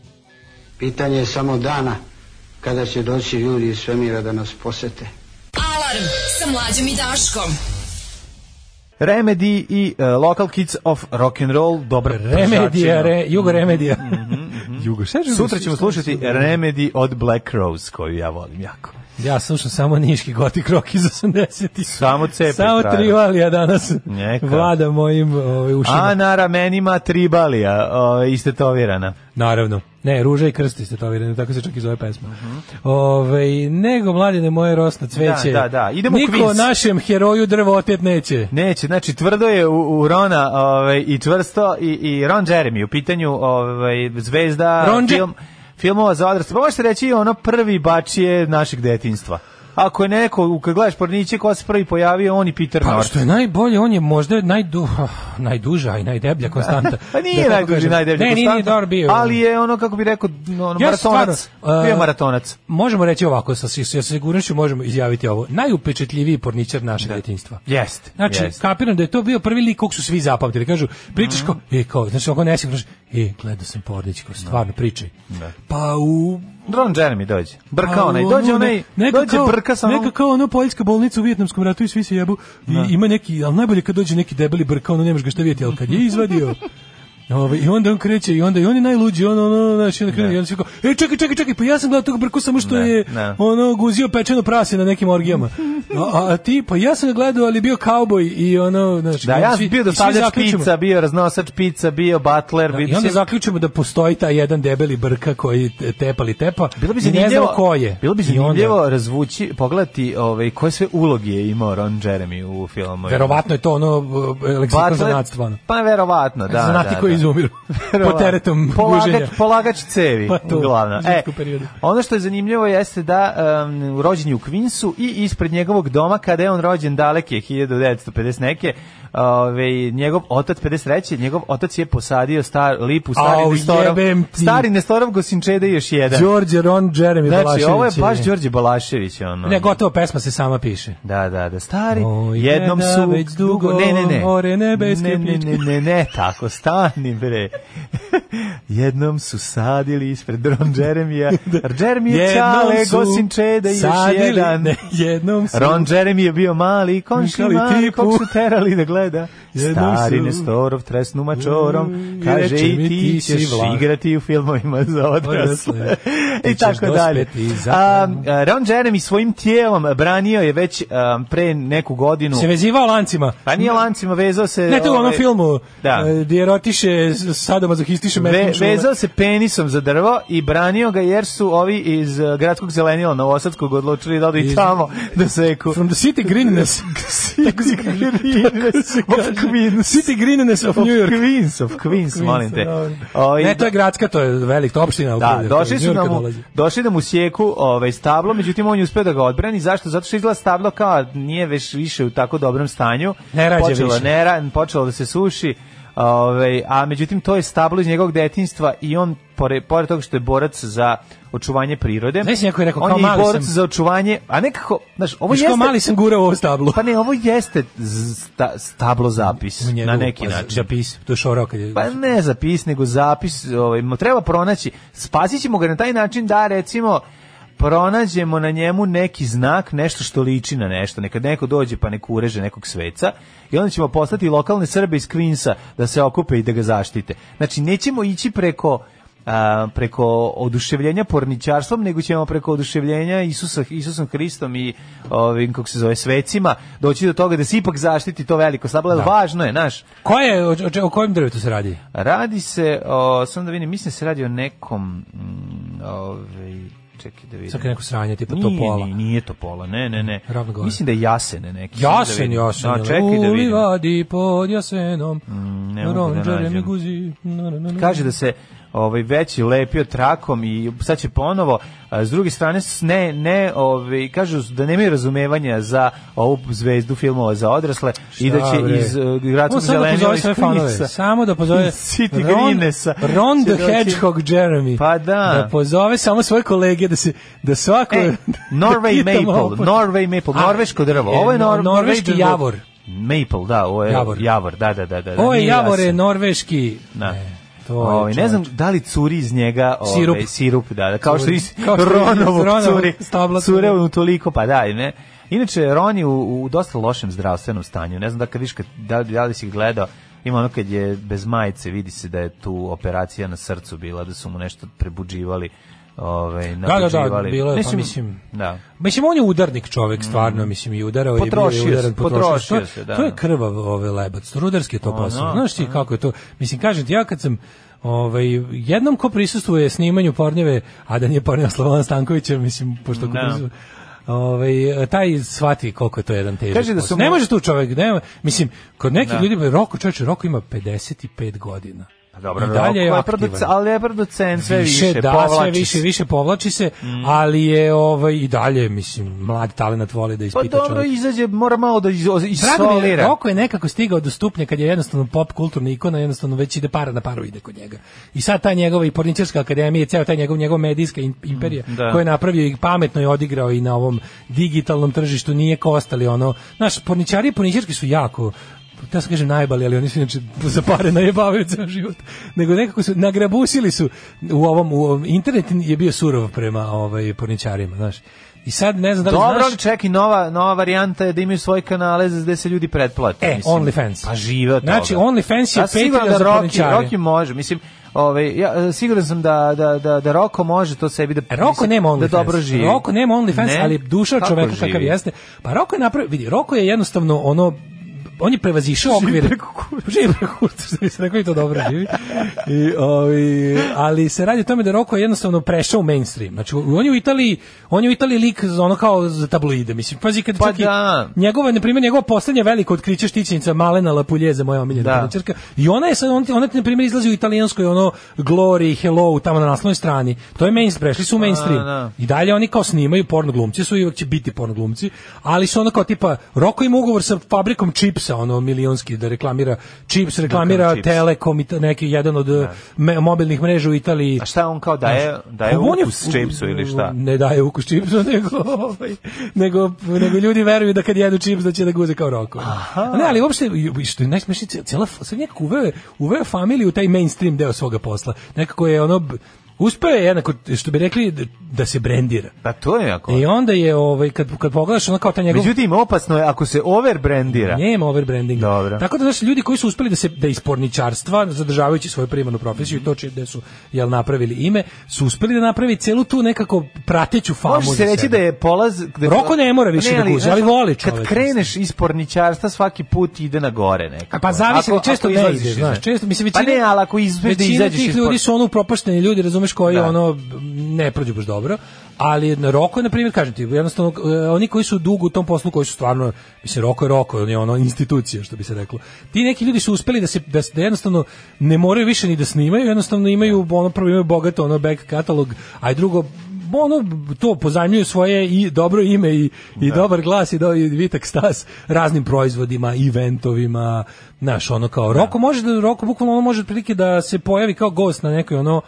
Speaker 12: Pitanje je samo dana kada će doći ljudi iz svemira da nas posete.
Speaker 9: Alarm sa mlađom i Daškom.
Speaker 6: Remedy i e, Local Kids of Rock and Roll, dobra
Speaker 7: Remedija,
Speaker 6: pržačina.
Speaker 7: re, Jugo Remedija. Jugo, šta je-
Speaker 6: Mm-hmm, Sutra ćemo
Speaker 7: šta je-
Speaker 6: slušati Remedy od Black Rose, koju ja volim jako.
Speaker 7: Ja slušam samo niški gotik rock iz 80-ih.
Speaker 6: Samo cepe.
Speaker 7: Samo
Speaker 6: frajer.
Speaker 7: trivalija danas
Speaker 6: Neka.
Speaker 7: vlada mojim ovaj, ušima.
Speaker 6: A na ramenima tribalija, o, istetovirana.
Speaker 7: Naravno. Ne, ruža i krsti ste to vidjeli, tako se čak i zove pesma.
Speaker 6: Mhm.
Speaker 7: Ovaj, nego mladine moje rosno cveće.
Speaker 6: Da, da, da. Idemo u
Speaker 7: Niko
Speaker 6: kviz.
Speaker 7: našem heroju drvo otet neće.
Speaker 6: Neće, znači tvrdo je u, u Rona ovaj, i čvrsto i, i Ron Jeremy u pitanju ovaj, zvezda
Speaker 7: Ron Je-
Speaker 6: film, filmova za odrasle. Pa možete reći i ono prvi bačije našeg detinjstva. Ako je neko, kad gledaš porniće, ko se prvi pojavio, on i Peter
Speaker 7: Pa
Speaker 6: North.
Speaker 7: što je najbolje, on je možda najdu, ah, najduža i najdeblja konstanta.
Speaker 6: Pa nije
Speaker 7: Da tako
Speaker 6: najduži,
Speaker 7: kažem.
Speaker 6: najdeblji
Speaker 7: Ne, nije, nije
Speaker 6: konstanta,
Speaker 7: dobar bio.
Speaker 6: Ali je ono, kako bi rekao, ono,
Speaker 7: Ja
Speaker 6: maratonac.
Speaker 7: stvarno,
Speaker 6: bio je
Speaker 7: e,
Speaker 6: maratonac.
Speaker 7: Možemo reći ovako, sa, si- sa sigurnošću možemo izjaviti ovo. Najupečetljiviji porničar našeg djetinjstva.
Speaker 6: Jest.
Speaker 7: Znači,
Speaker 6: jest.
Speaker 7: kapiram da je to bio prvi lik kog su svi zapamtili. Kažu, pričaš kao, e, kao, znači, ako ne si, kažeš, e, gledao sam pornić, kao, stvarno, pričaj. Pa u...
Speaker 6: Ron Jeremy dođe.
Speaker 7: pa
Speaker 6: Brka
Speaker 7: u
Speaker 6: onaj,
Speaker 7: onu
Speaker 6: dođe
Speaker 7: ne-
Speaker 6: onaj,
Speaker 7: neka
Speaker 6: dođe
Speaker 7: kao-
Speaker 6: brka sa onom-
Speaker 7: Neka kao ono poljska bolnica u vjetnamskom ratu i svi se jebu. I, ima neki, ali najbolje kad dođe neki debeli brka, ono nemaš ga šta vidjeti, ali kad je izvadio... Ove, I onda on kreće i onda i on je najluđi, on ono, znači, on krene i onda svi kao, e, čekaj, čekaj, čekaj, pa ja sam gledao tog brku samo što
Speaker 6: Ne,
Speaker 7: je
Speaker 6: ne.
Speaker 7: ono guzio pečeno prase na nekim orgijama. A, a ti, pa ja sam ga gledao, ali je bio kauboj i ono, znači,
Speaker 6: Da,
Speaker 7: i onda
Speaker 6: ja
Speaker 7: svi-
Speaker 6: sam bio
Speaker 7: i svi
Speaker 6: dostavljač
Speaker 7: zaključimo-
Speaker 6: pizza, bio raznosač pizza, bio butler,
Speaker 7: I
Speaker 6: bio
Speaker 7: onda
Speaker 6: svi-
Speaker 7: zaključimo da postoji taj jedan debeli brka koji te- tepali tepa.
Speaker 6: Bilo bi
Speaker 7: i ne znam
Speaker 6: zanimljivo,
Speaker 7: ko je.
Speaker 6: Bilo bi
Speaker 7: I onda-
Speaker 6: zanimljivo razvući, pogledati ovaj, koje sve ulogi je imao Ron Jeremy u filmu.
Speaker 7: Verovatno je to ono b- leksikon zanatstva. ono.
Speaker 6: Pa verovatno, da.
Speaker 7: Zanati
Speaker 6: da,
Speaker 7: koji
Speaker 6: da.
Speaker 7: izumiru po
Speaker 6: Verovatno.
Speaker 7: teretom
Speaker 6: Polagač-
Speaker 7: guženja.
Speaker 6: Polagač cevi,
Speaker 7: Pa to,
Speaker 6: uglavnom. E,
Speaker 7: zimskom periodu.
Speaker 6: ono što je zanimljivo jeste da um, rođen je u Queensu i ispred njegovog doma, kada je on rođen daleke, 1950 neke, Ove, njegov otac 53. Njegov otac je posadio star, lipu stari
Speaker 7: Au,
Speaker 6: Nestorov.
Speaker 7: jebem ti.
Speaker 6: Stari Nestorov Gosinčede i još jedan.
Speaker 7: Đorđe Ron Jeremy
Speaker 6: Znači,
Speaker 7: Balašević
Speaker 6: ovo je baš
Speaker 7: je.
Speaker 6: Đorđe Balašević. Ono.
Speaker 7: Ne, gotovo pesma se sama piše.
Speaker 6: Da, da, da, stari,
Speaker 7: Oj,
Speaker 6: jednom
Speaker 7: deda
Speaker 6: su...
Speaker 7: već dugo
Speaker 6: ne, ne, ne.
Speaker 7: ore nebeske
Speaker 6: ne, ne, ne,
Speaker 7: plitke.
Speaker 6: ne, ne, tako, stani, bre. Jednom su sadili ispred Ron Jeremija. Jeremy je
Speaker 7: Jednom
Speaker 6: čale,
Speaker 7: su
Speaker 6: gosin čede, još
Speaker 7: sadili-
Speaker 6: jedan.
Speaker 7: ne, jednom su-
Speaker 6: Ron Jeremy je bio mali, konši
Speaker 7: Mišali
Speaker 6: mali,
Speaker 7: tipu.
Speaker 6: kog su terali da gleda.
Speaker 7: Jednom
Speaker 6: Stari
Speaker 7: su-
Speaker 6: Nestorov tresnu mačorom,
Speaker 7: Mm, i
Speaker 6: kaže
Speaker 7: reče
Speaker 6: i
Speaker 7: mi,
Speaker 6: ti
Speaker 7: ti si
Speaker 6: ćeš
Speaker 7: Vlah."
Speaker 6: igrati u filmovima za odrasle.
Speaker 7: Odrasle.
Speaker 6: I
Speaker 7: Ti ćeš
Speaker 6: tako dalje.
Speaker 7: dospeti za-
Speaker 6: A, a, Ron Jeremy svojim tijelom branio je već a, pre neku godinu
Speaker 7: Se vezivao lancima.
Speaker 6: pa nije lancima, vezao se...
Speaker 7: Ne, to je ono u onom
Speaker 6: ovaj,
Speaker 7: filmu
Speaker 6: Da.
Speaker 7: e, gdje erotiše sadomazohistiše
Speaker 6: Ve,
Speaker 7: metnom šule.
Speaker 6: vezao se penisom za drvo i branio ga jer su ovi iz eh, gradskog zelenila Novosadskog odlučili da odu i
Speaker 7: Iz-
Speaker 6: tamo da seku.
Speaker 7: From the city greenness. Tako se kaže. Tako se kaže. City greenness of
Speaker 6: Of
Speaker 7: New York.
Speaker 6: Queens, of Queens,
Speaker 7: Queens,
Speaker 6: molim te.
Speaker 7: dobro.
Speaker 6: O, i-
Speaker 7: Ne, to je gradska, to je velik, to je opština. ali
Speaker 6: Da,
Speaker 7: to je-
Speaker 6: došli
Speaker 7: iz
Speaker 6: su Pa
Speaker 7: Njujorka
Speaker 6: da mu,
Speaker 7: dolazi.
Speaker 6: došli da mu sjeku ovaj, stablo, međutim on je uspeo da ga odbrani. Zašto? Zato što izgleda stablo kao nije već više u tako dobrom stanju.
Speaker 7: Ne rađe
Speaker 6: počelo,
Speaker 7: više.
Speaker 6: Ne ra, počelo da se suši. Ovaj, a međutim to je stablo iz njegovog detinjstva i on pored, pored toga što je borac za očuvanje prirode.
Speaker 7: Znaš, neko je rekao,
Speaker 6: on
Speaker 7: kao
Speaker 6: je i
Speaker 7: mali
Speaker 6: borac
Speaker 7: sam.
Speaker 6: za očuvanje, a nekako, znaš, ovo
Speaker 7: Znaš,
Speaker 6: jeste
Speaker 7: kao mali sam gurao u ovo stablo.
Speaker 6: Pa ne, ovo jeste z- sta, stablo zapis
Speaker 7: U njegu,
Speaker 6: na neki
Speaker 7: pa,
Speaker 6: način.
Speaker 7: Zapis, to je šorao kad je...
Speaker 6: Pa ne zapis, nego zapis, ovaj, mo- treba pronaći, spasit ćemo ga na taj način da recimo pronađemo na njemu neki znak, nešto što liči na nešto, nekad neko dođe pa nek ureže nekog sveca i onda ćemo poslati lokalne Srbe iz Kvinsa da se okupe i da ga zaštite. Znači, nećemo ići preko a, preko oduševljenja porničarstvom, nego ćemo preko oduševljenja Isusa, Isusom Hristom i ovim, kako se zove, svecima doći do toga da se ipak zaštiti to veliko slabo,
Speaker 7: Da.
Speaker 6: važno je, znaš,
Speaker 7: Ko je, o, o, o kojem drvetu se radi?
Speaker 6: Radi se o, sam da vidim, mislim se radi o nekom, mm, ovaj, čekaj da vidim.
Speaker 7: Sad kad neko sranje, tipa
Speaker 6: Nije,
Speaker 7: Topola.
Speaker 6: Nije, nije Topola, ne, ne, ne.
Speaker 7: Ravno gore.
Speaker 6: Mislim da je Jasene neki. sam da
Speaker 7: Jasen,
Speaker 6: vidim.
Speaker 7: jasen.
Speaker 6: Da, čekaj da vidim.
Speaker 7: Ulivadi pod jasenom. Mm,
Speaker 6: ne mogu da nađem.
Speaker 7: guzi. na, na, na, na.
Speaker 6: Kaže da se ovaj veći lepio trakom i sad će ponovo a, s druge strane s- ne ne ovaj kažu da nemaju razumevanja za ovu zvezdu filmova za odrasle i da će
Speaker 7: bre?
Speaker 6: iz uh, gradskog
Speaker 7: On samo da
Speaker 6: zelenila
Speaker 7: pozove
Speaker 6: iz
Speaker 7: svoje fanove.
Speaker 6: Queensa-
Speaker 7: Samo da pozove
Speaker 6: City
Speaker 7: Ron,
Speaker 6: Greenesa.
Speaker 7: Ron
Speaker 6: će
Speaker 7: the
Speaker 6: doći-
Speaker 7: Hedgehog Jeremy.
Speaker 6: Pa da.
Speaker 7: Da pozove samo svoje kolege da se da svako
Speaker 6: E, Norway
Speaker 7: da pitamo
Speaker 6: Maple,
Speaker 7: opet.
Speaker 6: Norway Maple,
Speaker 7: A,
Speaker 6: norveško drvo. Ovo je
Speaker 7: e,
Speaker 6: nor,
Speaker 7: norveški
Speaker 6: Norwegian-
Speaker 7: javor.
Speaker 6: Maple, da, ovo je javor,
Speaker 7: Javor.
Speaker 6: da, da, da. da
Speaker 7: Ovo je
Speaker 6: nije
Speaker 7: javor je
Speaker 6: jasen.
Speaker 7: norveški. E,
Speaker 6: Da.
Speaker 7: to je
Speaker 6: Ovaj, ne
Speaker 7: čovječ.
Speaker 6: znam da li curi iz njega ovaj, sirup.
Speaker 7: Sirup.
Speaker 6: da, da, kao što
Speaker 7: Curi.
Speaker 6: iz
Speaker 7: Kao što iz
Speaker 6: Ronovog
Speaker 7: Ronovog
Speaker 6: curi,
Speaker 7: stabla
Speaker 6: cure
Speaker 7: curi.
Speaker 6: u toliko, pa da, i ne. Inače, Ron je u, u dosta lošem zdravstvenom stanju, ne znam da kad viš, kad, da, da li si ih gledao, ima ono kad je bez majice, vidi se da je tu operacija na srcu bila, da su mu nešto prebuđivali, ovaj,
Speaker 7: da,
Speaker 6: nabuđivali.
Speaker 7: bilo je, pa mislim-
Speaker 6: Da.
Speaker 7: Mislim, on je udarnik čovek, stvarno, mislim, i udarao je, bio
Speaker 6: Potrošio se,
Speaker 7: je udaran,
Speaker 6: potrošio
Speaker 7: To je-
Speaker 6: se, da. Ono,
Speaker 7: To je krvav ovaj lebac, to rudarski je to posao. Znaš ti kako je to? Mislim, kažem ti, ja kad sam Ovaj, jednom ko prisustvuje snimanju pornjeve, a da nije pornjeva Slobodan Stankovića, mislim, pošto ko
Speaker 6: Da.
Speaker 7: prisustvuje, ovaj, taj shvati koliko je to jedan težak
Speaker 6: Kaže da su
Speaker 7: posao.
Speaker 6: mu-
Speaker 7: Ne može tu čovek, ne, mislim, kod nekih
Speaker 6: Da.
Speaker 7: ljudi, Roko, čovječe, Roko ima 55 godina.
Speaker 6: Pa dobro,
Speaker 7: I dalje je
Speaker 6: Rocko
Speaker 7: aktivan.
Speaker 6: produc- ali je producent sve više,
Speaker 7: da, sve
Speaker 6: povlači
Speaker 7: više,
Speaker 6: se. Mm.
Speaker 7: više povlači se, ali je ovaj i dalje mislim mlad talenat voli da
Speaker 6: Pa
Speaker 7: ispita
Speaker 6: dobro,
Speaker 7: čovjek.
Speaker 6: izađe, mora malo da iz-
Speaker 7: Drago mi je,
Speaker 6: isolira.
Speaker 7: Roko je nekako stigao do stupnja kad je jednostavno pop kulturna ikona, jednostavno već ide para na paru ide kod njega. I sad ta njegova i porničarska akademija, ceo taj njegov, njegov medijska im- imperija
Speaker 6: Mm, da.
Speaker 7: koju je napravio i pametno je odigrao i na ovom digitalnom tržištu nije kao ostali ono. Naš porničari i porničarski su jako da se kažem najbali, ali oni su inače za pare najebavaju ceo život. Nego nekako su nagrabusili su u ovom, u ovom internet je bio surov prema ovaj porničarima, znaš. I sad ne znam da li
Speaker 6: Dobro,
Speaker 7: znaš...
Speaker 6: ali čekaj, nova, nova varijanta je da imaju svoje kanale za gde se ljudi pretplate.
Speaker 7: E,
Speaker 6: mislim.
Speaker 7: OnlyFans.
Speaker 6: Pa žive od
Speaker 7: Znači,
Speaker 6: toga.
Speaker 7: OnlyFans je
Speaker 6: Ja sam siguran
Speaker 7: Patreon za
Speaker 6: Rocky-
Speaker 7: porničare.
Speaker 6: Rocky može, mislim, ovaj, ja, e, siguran sam da, da, da, da Roko može to sebi da,
Speaker 7: Roko
Speaker 6: mislim,
Speaker 7: E, nema OnlyFans.
Speaker 6: da dobro živi.
Speaker 7: Roko nema OnlyFans,
Speaker 6: Ne?
Speaker 7: ali duša
Speaker 6: Kako
Speaker 7: čoveka
Speaker 6: živi?
Speaker 7: kakav jeste. Pa Roko je napravio, vidi, Roko je jednostavno ono on je prevazišao okvire. Živi preko kurca, što bi se rekao i to dobro živi. I, ovi, ali se radi o tome da Roko je jednostavno prešao u mainstream. Znači, on je u Italiji, on je u Italiji lik za ono kao za tabloide. Mislim, pazi kad
Speaker 6: Pa
Speaker 7: čak i
Speaker 6: da.
Speaker 7: njegova, na primjer, njegova poslednja veliko otkriće štićenica Malena Lapuljeze, moja omiljena
Speaker 6: Da.
Speaker 7: da. I ona je sad, on- ona, na primjer, izlazi u italijanskoj ono Glory, Hello, tamo na naslovnoj strani. To je mainstream, prešli su u mainstream.
Speaker 6: da.
Speaker 7: I dalje oni kao snimaju porno glumci, su i uvek će biti porno glumci, ali su ono kao tipa, Roko ima ugovor sa fabrikom čipsa čipsa, ono milionski da reklamira čips, reklamira
Speaker 6: Chips.
Speaker 7: Telekom i t- neki jedan od eh, me- mobilnih mreža u Italiji. A
Speaker 6: šta on kao daje- daje
Speaker 7: Znači, pa on je-
Speaker 6: ukus čipsu ili šta?
Speaker 7: Ne daje ukus čipsu, nego, ovaj, nego, nego ljudi veruju da kad jedu čips da će da guze kao roko. Ne, ali uopšte, i- i što je najsmešnije, cijela, f- sad nekako uveo, je- uveo je familiju u taj mainstream deo svoga posla. Nekako je ono, b- uspeo je jednako, što bi rekli, da, da se brendira.
Speaker 6: Pa to je jako.
Speaker 7: I onda je, ovaj, kad, kad pogledaš, ono kao ta njegov...
Speaker 6: Međutim, opasno je ako se overbrandira.
Speaker 7: Nema overbrandinga.
Speaker 6: Dobro.
Speaker 7: Tako da znaš, ljudi koji su uspeli da se da iz porničarstva, zadržavajući svoju primarnu profesiju i to čije gde su jel napravili ime, su uspeli da napravi celu tu nekako prateću famu.
Speaker 6: Može
Speaker 7: za
Speaker 6: se reći
Speaker 7: Pa, sebe.
Speaker 6: da je polaz... Da
Speaker 7: Roko ne mora više da guzi,
Speaker 6: znaš, ono,
Speaker 7: ali voli
Speaker 6: Kad
Speaker 7: čovek,
Speaker 6: kreneš iz porničarstva, svaki put ide na gore nekako.
Speaker 7: A pa zavisi,
Speaker 6: Ako-
Speaker 7: ali često
Speaker 6: ako
Speaker 7: ne
Speaker 6: izlaziš
Speaker 7: ide,
Speaker 6: iz-
Speaker 7: znaš. Često, mislim, većina,
Speaker 6: Pa ne, ali ako izbeš da
Speaker 7: većina
Speaker 6: izađeš
Speaker 7: tih
Speaker 6: iz
Speaker 7: ljudi
Speaker 6: por-
Speaker 7: su ono upropašteni ljudi, razumeš, koji
Speaker 6: Da.
Speaker 7: ono ne prođu baš dobro, ali na Roko, na primjer, kažem ti, jednostavno, e, oni koji su dugo u tom poslu, koji su stvarno, mislim, Roko je Roko, on je ono institucija, što bi se reklo. Ti neki ljudi su uspeli da se, da, s- da jednostavno ne moraju više ni da snimaju, jednostavno imaju, ono, prvo imaju bogato, ono, back katalog, a i drugo, ono to pozajmljuju svoje i dobro ime i, i dobar glas i, do, i vitak stas raznim proizvodima, eventovima, naš ono kao Roko može da Roko bukvalno ono može prilike da se pojavi kao gost na nekoj ono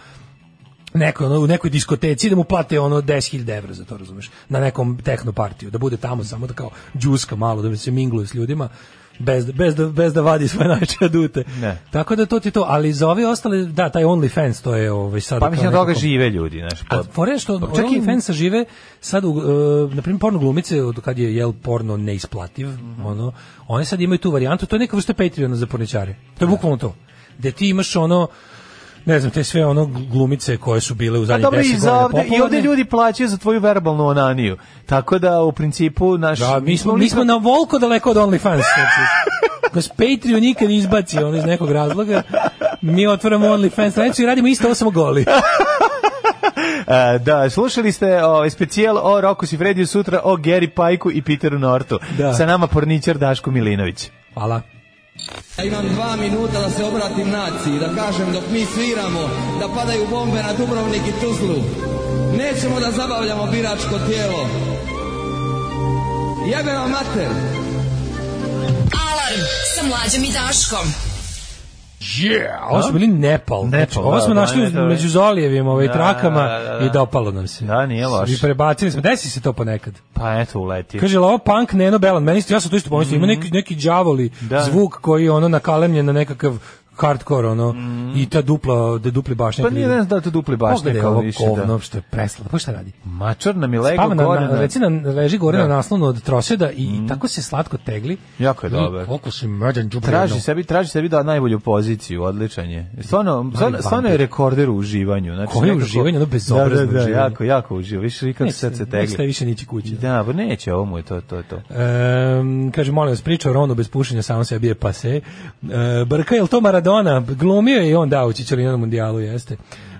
Speaker 7: nekoj, ono, u nekoj diskoteci da mu plate ono 10.000 evra za to, razumeš, na nekom tehno partiju, da bude tamo samo da kao džuska malo, da se mingluje s ljudima, bez, da- bez, da, bez da vadi svoje najče adute.
Speaker 6: Ne.
Speaker 7: Tako da to ti to, ali za ove ostale, da, taj OnlyFans, to je ovaj, sad...
Speaker 6: Pa mislim
Speaker 7: kao
Speaker 6: od toga
Speaker 7: nekako-
Speaker 6: žive ljudi, znaš.
Speaker 7: a fore je što
Speaker 6: Pa
Speaker 7: čak
Speaker 6: čak i-
Speaker 7: i fansa žive sad u, e, na primjer porno glumice od kad je jel porno neisplativ,
Speaker 6: Mhm.
Speaker 7: ono, one sad imaju tu varijantu, to je neka vrsta Patreona za porničare. To je bukvalno to. Gde ti imaš ono ne znam, te sve ono glumice koje su bile u
Speaker 6: Pa
Speaker 7: zadnjih 10
Speaker 6: dobro, i,
Speaker 7: godina
Speaker 6: za ovde, i ovde
Speaker 7: popularne.
Speaker 6: ljudi plaćaju za tvoju verbalnu onaniju. Tako da, u principu, naš...
Speaker 7: Da, mi smo, mi smo na volko daleko od OnlyFans. Kroz Patreon nikad izbaci ono iz nekog razloga. Mi otvaramo OnlyFans stranicu i radimo isto, ovo samo goli.
Speaker 6: E, da, slušali ste ovaj specijal o Roku Sifrediju sutra o Geri Pajku i Peteru Nortu.
Speaker 7: Da.
Speaker 6: Sa nama porničar Daško Milinović.
Speaker 7: Hvala.
Speaker 13: Ja imam dva minuta da se obratim naciji, da kažem dok mi sviramo, da padaju bombe na Dubrovnik i Tuzlu. Nećemo da zabavljamo biračko tijelo. Jebe vam mater!
Speaker 9: Alarm sa mlađom i Daškom.
Speaker 7: Yeah, ovo su bili Nepal. znači, ovo smo
Speaker 6: da,
Speaker 7: našli
Speaker 6: da,
Speaker 7: uz-
Speaker 6: da, da.
Speaker 7: među Zolijevim ovaj,
Speaker 6: Da,
Speaker 7: trakama
Speaker 6: da, da, da.
Speaker 7: i dopalo nam se.
Speaker 6: Da, nije loše.
Speaker 7: I prebacili smo. Desi se to ponekad.
Speaker 6: Pa eto, uletio.
Speaker 7: Kaže, jel ovo punk Neno Belan. Meni isto, ja sam to isto pomislio. Ima neki, neki đavoli
Speaker 6: Mhm. Da.
Speaker 7: zvuk koji je ono nakalemljen na nekakav hardcore, ono, i ta dupla, da dupli bašnjak.
Speaker 6: Mhm. Pa nije, ne znam da li to dupli baš
Speaker 7: Pogledaj
Speaker 6: nekao
Speaker 7: ovo
Speaker 6: više.
Speaker 7: govno,
Speaker 6: da.
Speaker 7: što je presla. Pa šta radi?
Speaker 6: Mačar nam je legao
Speaker 7: Spava na,
Speaker 6: gore
Speaker 7: na,
Speaker 6: na...
Speaker 7: reci na, leži gore
Speaker 6: Da. Mhm.
Speaker 7: na naslonu od troseda i tako se slatko tegli.
Speaker 6: Jako je
Speaker 7: I
Speaker 6: dobar.
Speaker 7: Koliko si mrđan đubre,
Speaker 6: Traži
Speaker 7: ono.
Speaker 6: sebi, traži sebi da najbolju poziciju, odličan je. Stvarno, stvarno, stvarno je
Speaker 7: vampir.
Speaker 6: rekorder u uživanju. Znači,
Speaker 7: Koje uživanje, ono bezobrazno
Speaker 6: da, da, da,
Speaker 7: uživanje.
Speaker 6: jako, jako uživa. Više i kako
Speaker 7: Ne,
Speaker 6: sad se
Speaker 7: ne staje
Speaker 6: tegle.
Speaker 7: više nići kući.
Speaker 6: Da, pa neće, ovo mu je to, to, je to.
Speaker 7: Ehm, kaže, molim vas, priča o Ronu bez pušenja, samo sebi je pase. E, Brka, je li to Maradona? Glumio je i on, da, u Čičarinu na mundijalu, jeste.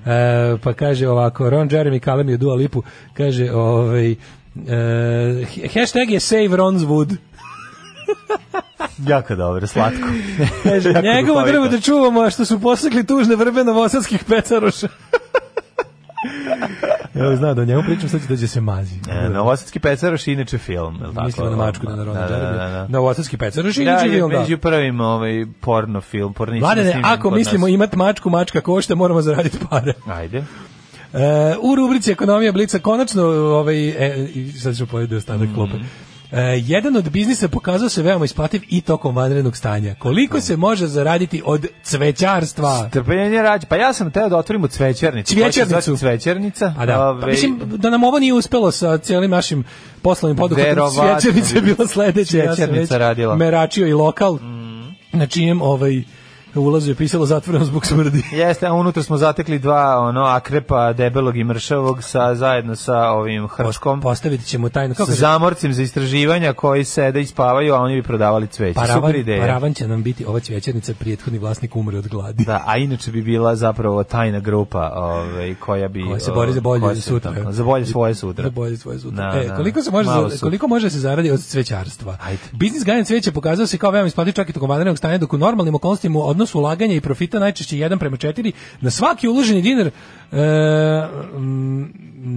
Speaker 7: E, pa kaže ovako, Ron Jeremy Kalem je Dua Lipu, kaže, ovaj, e, hashtag je Save Ron's Wood.
Speaker 6: Jako dobro, slatko.
Speaker 7: Kaže,
Speaker 6: Jako
Speaker 7: njegovo
Speaker 6: duhovito.
Speaker 7: drvo da čuvamo, a što su posakli tužne vrbe novosadskih pecaroša. Evo, zna da o njemu pričam, sad će da će se mazi.
Speaker 6: E, Novosadski pecaroš je inače film, je li tako?
Speaker 7: Mislim na mačku, da na Rona Jeremy. Novosadski pecaroš je
Speaker 6: Da,
Speaker 7: inače
Speaker 6: je
Speaker 7: film, da.
Speaker 6: među prvim ovaj, porno film, pornički
Speaker 7: Mladene,
Speaker 6: snimljen
Speaker 7: ako
Speaker 6: kod
Speaker 7: mislimo
Speaker 6: nas.
Speaker 7: imat mačku, mačka košta, moramo zaraditi pare.
Speaker 6: Ajde.
Speaker 7: E, u rubrici Ekonomija Blica konačno ovaj, e, i sad ću pojedi ostatak
Speaker 6: Mm.
Speaker 7: klope. E, jedan od biznisa pokazao se veoma isplativ i tokom vanrednog stanja. Koliko se može zaraditi od cvećarstva?
Speaker 6: Trpljenje rađe. Pa ja sam teo da otvorimo cvećernicu. koja se zove
Speaker 7: Cvećernicu.
Speaker 6: Cvećernica.
Speaker 7: A da, pa
Speaker 6: Ovaj,
Speaker 7: mislim da nam ovo nije uspelo sa cijelim našim poslovnim poduhvatom.
Speaker 6: Verovatno.
Speaker 7: Svjećernica je bila sledeća. Ja sam već
Speaker 6: Cvećernica radila. Mm.
Speaker 7: meračio i lokal. Na čijem ovaj ulazu je pisalo zatvoreno zbog smrdi.
Speaker 6: Jeste, a unutra smo zatekli dva ono akrepa debelog i mršavog sa zajedno sa ovim hrškom.
Speaker 7: Postaviti ćemo tajno. Kako
Speaker 6: sa
Speaker 7: kaže?
Speaker 6: zamorcim za istraživanja koji sede i spavaju, a oni bi prodavali cveće. Super
Speaker 7: Paravan,
Speaker 6: ideja.
Speaker 7: paravan će nam biti ova cvećernica, prijethodni vlasnik umre od gladi.
Speaker 6: Da, a inače bi bila zapravo tajna grupa ovaj, koja bi...
Speaker 7: Koja se bori za bolje
Speaker 6: koja se-
Speaker 7: sutra.
Speaker 6: tako, Za bolje svoje sutra.
Speaker 7: Za bolje svoje sutra.
Speaker 6: Da,
Speaker 7: e,
Speaker 6: da.
Speaker 7: koliko se može
Speaker 6: Malo
Speaker 7: za,
Speaker 6: su-
Speaker 7: koliko može se zaradi od cvećarstva? Biznis gajan cveće pokazao se kao veoma isplativ čak i tokom vanrednog stanja, dok u normalnim okolnostima odnos ulaganja i profita najčešće 1 prema 4, na svaki uloženi dinar e, mm,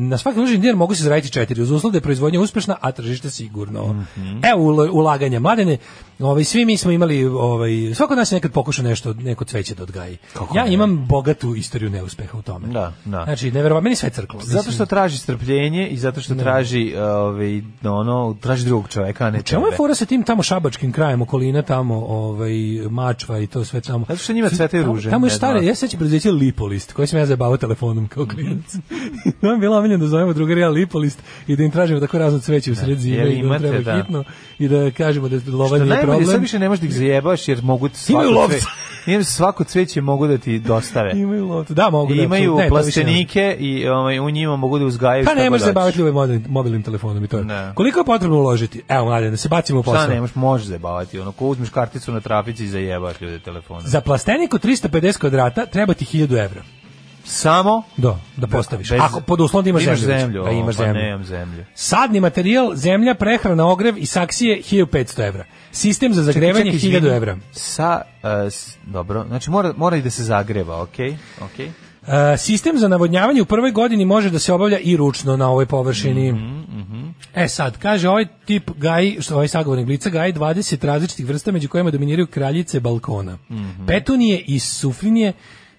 Speaker 7: na svaki uloženi dinar mogu se zaraditi 4, uz uslov da je proizvodnja uspešna, a tržište sigurno.
Speaker 6: Mhm.
Speaker 7: Evo ulo- ulaganja mladene. Ovaj svi mi smo imali ovaj svako od nas je nekad pokušao nešto neko cveće da odgaji. ja imam bogatu istoriju neuspeha u tome.
Speaker 6: Da, da.
Speaker 7: Znači, neverovatno, meni sve crklo.
Speaker 6: Zato što traži strpljenje i zato što traži ovaj ono traži drugog čoveka, a ne
Speaker 7: Čemu je
Speaker 6: tebe.
Speaker 7: fora sa tim tamo šabačkim krajem okolina tamo ovaj mačva i to sve tamo.
Speaker 6: Zato što njima cvetaju
Speaker 7: Tamo-
Speaker 6: ruže,
Speaker 7: Tamo je
Speaker 6: ne
Speaker 7: stare,
Speaker 6: znam.
Speaker 7: ja se sećam preduzeće Lipolist, koji sam ja zabavao telefonom kao klinac. Nam bilo omiljeno da zovemo drugarija Lipolist i da im tražimo tako razno cveće u sred
Speaker 6: jer
Speaker 7: zime i da
Speaker 6: imate,
Speaker 7: treba
Speaker 6: da.
Speaker 7: hitno i da kažemo da
Speaker 6: Što
Speaker 7: lova nije
Speaker 6: najbolje, sad
Speaker 7: problem.
Speaker 6: više ne možeš da ih zajebaš jer mogu svako
Speaker 7: Imaju lovca.
Speaker 6: cve, jer svako cveće mogu da ti dostave.
Speaker 7: Imaju lovca, da mogu.
Speaker 6: I
Speaker 7: da,
Speaker 6: imaju
Speaker 7: apsolutno. Ne, to više ne može.
Speaker 6: plastenike i ovaj, u njima mogu da uzgajaju
Speaker 7: Pa
Speaker 6: šta
Speaker 7: ne
Speaker 6: god
Speaker 7: možeš se
Speaker 6: hoćeš.
Speaker 7: baviti ovaj mobilnim, mobilnim telefonom i to je. Koliko je potrebno uložiti? Evo, mladen, da se bacimo u posao.
Speaker 6: Šta ne možeš, možeš zajebavati. Ono, ko uzmeš karticu na trafici i zajebaš ljude telefonom.
Speaker 7: Za plastenik od 350 kvadrata treba ti 1000 evra.
Speaker 6: Samo?
Speaker 7: Da, da postaviš. Ako pod uslovom da imaš, zemlju.
Speaker 6: zemlju.
Speaker 7: Da imaš
Speaker 6: o, pa
Speaker 7: zemlju.
Speaker 6: nemam zemlju.
Speaker 7: Sadni materijal, zemlja, prehrana, ogrev i saksije 1500 evra. Sistem za zagrevanje
Speaker 6: Čekaj, čekaj,
Speaker 7: 1000
Speaker 6: izvini.
Speaker 7: evra.
Speaker 6: Sa, e, s- dobro, znači mora, mora i da se zagreva, okej? okej.
Speaker 7: E, sistem za navodnjavanje u prvoj godini može da se obavlja i ručno na ovoj površini.
Speaker 6: Mhm,
Speaker 7: E sad, kaže ovaj tip gaji, što ovaj sagovornik lica gaji 20 različitih vrsta među kojima dominiraju kraljice balkona.
Speaker 6: Mhm.
Speaker 7: Petunije i suflinije,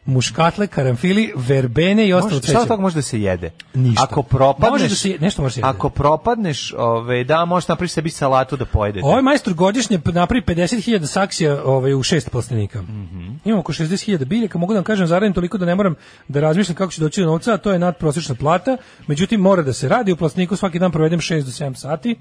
Speaker 7: muškatle, karamfili, verbene i ostalo
Speaker 6: Može, šta od toga može da se jede? Ništa. Ako propadneš...
Speaker 7: Može da se- nešto može da se jede.
Speaker 6: Ako propadneš, ove, da, možeš napriš sebi salatu da pojedete.
Speaker 7: Ovaj majstor godišnje p- napravi 50.000 saksija ovaj, u šest plastenika.
Speaker 6: Mhm.
Speaker 7: Imam oko 60.000 biljaka, mogu da vam kažem zaradim toliko da ne moram da razmišljam kako ću doći do novca, a to je nadprosečna plata. Međutim, mora da se radi u plasteniku, svaki dan provedem 6 do 7 sati.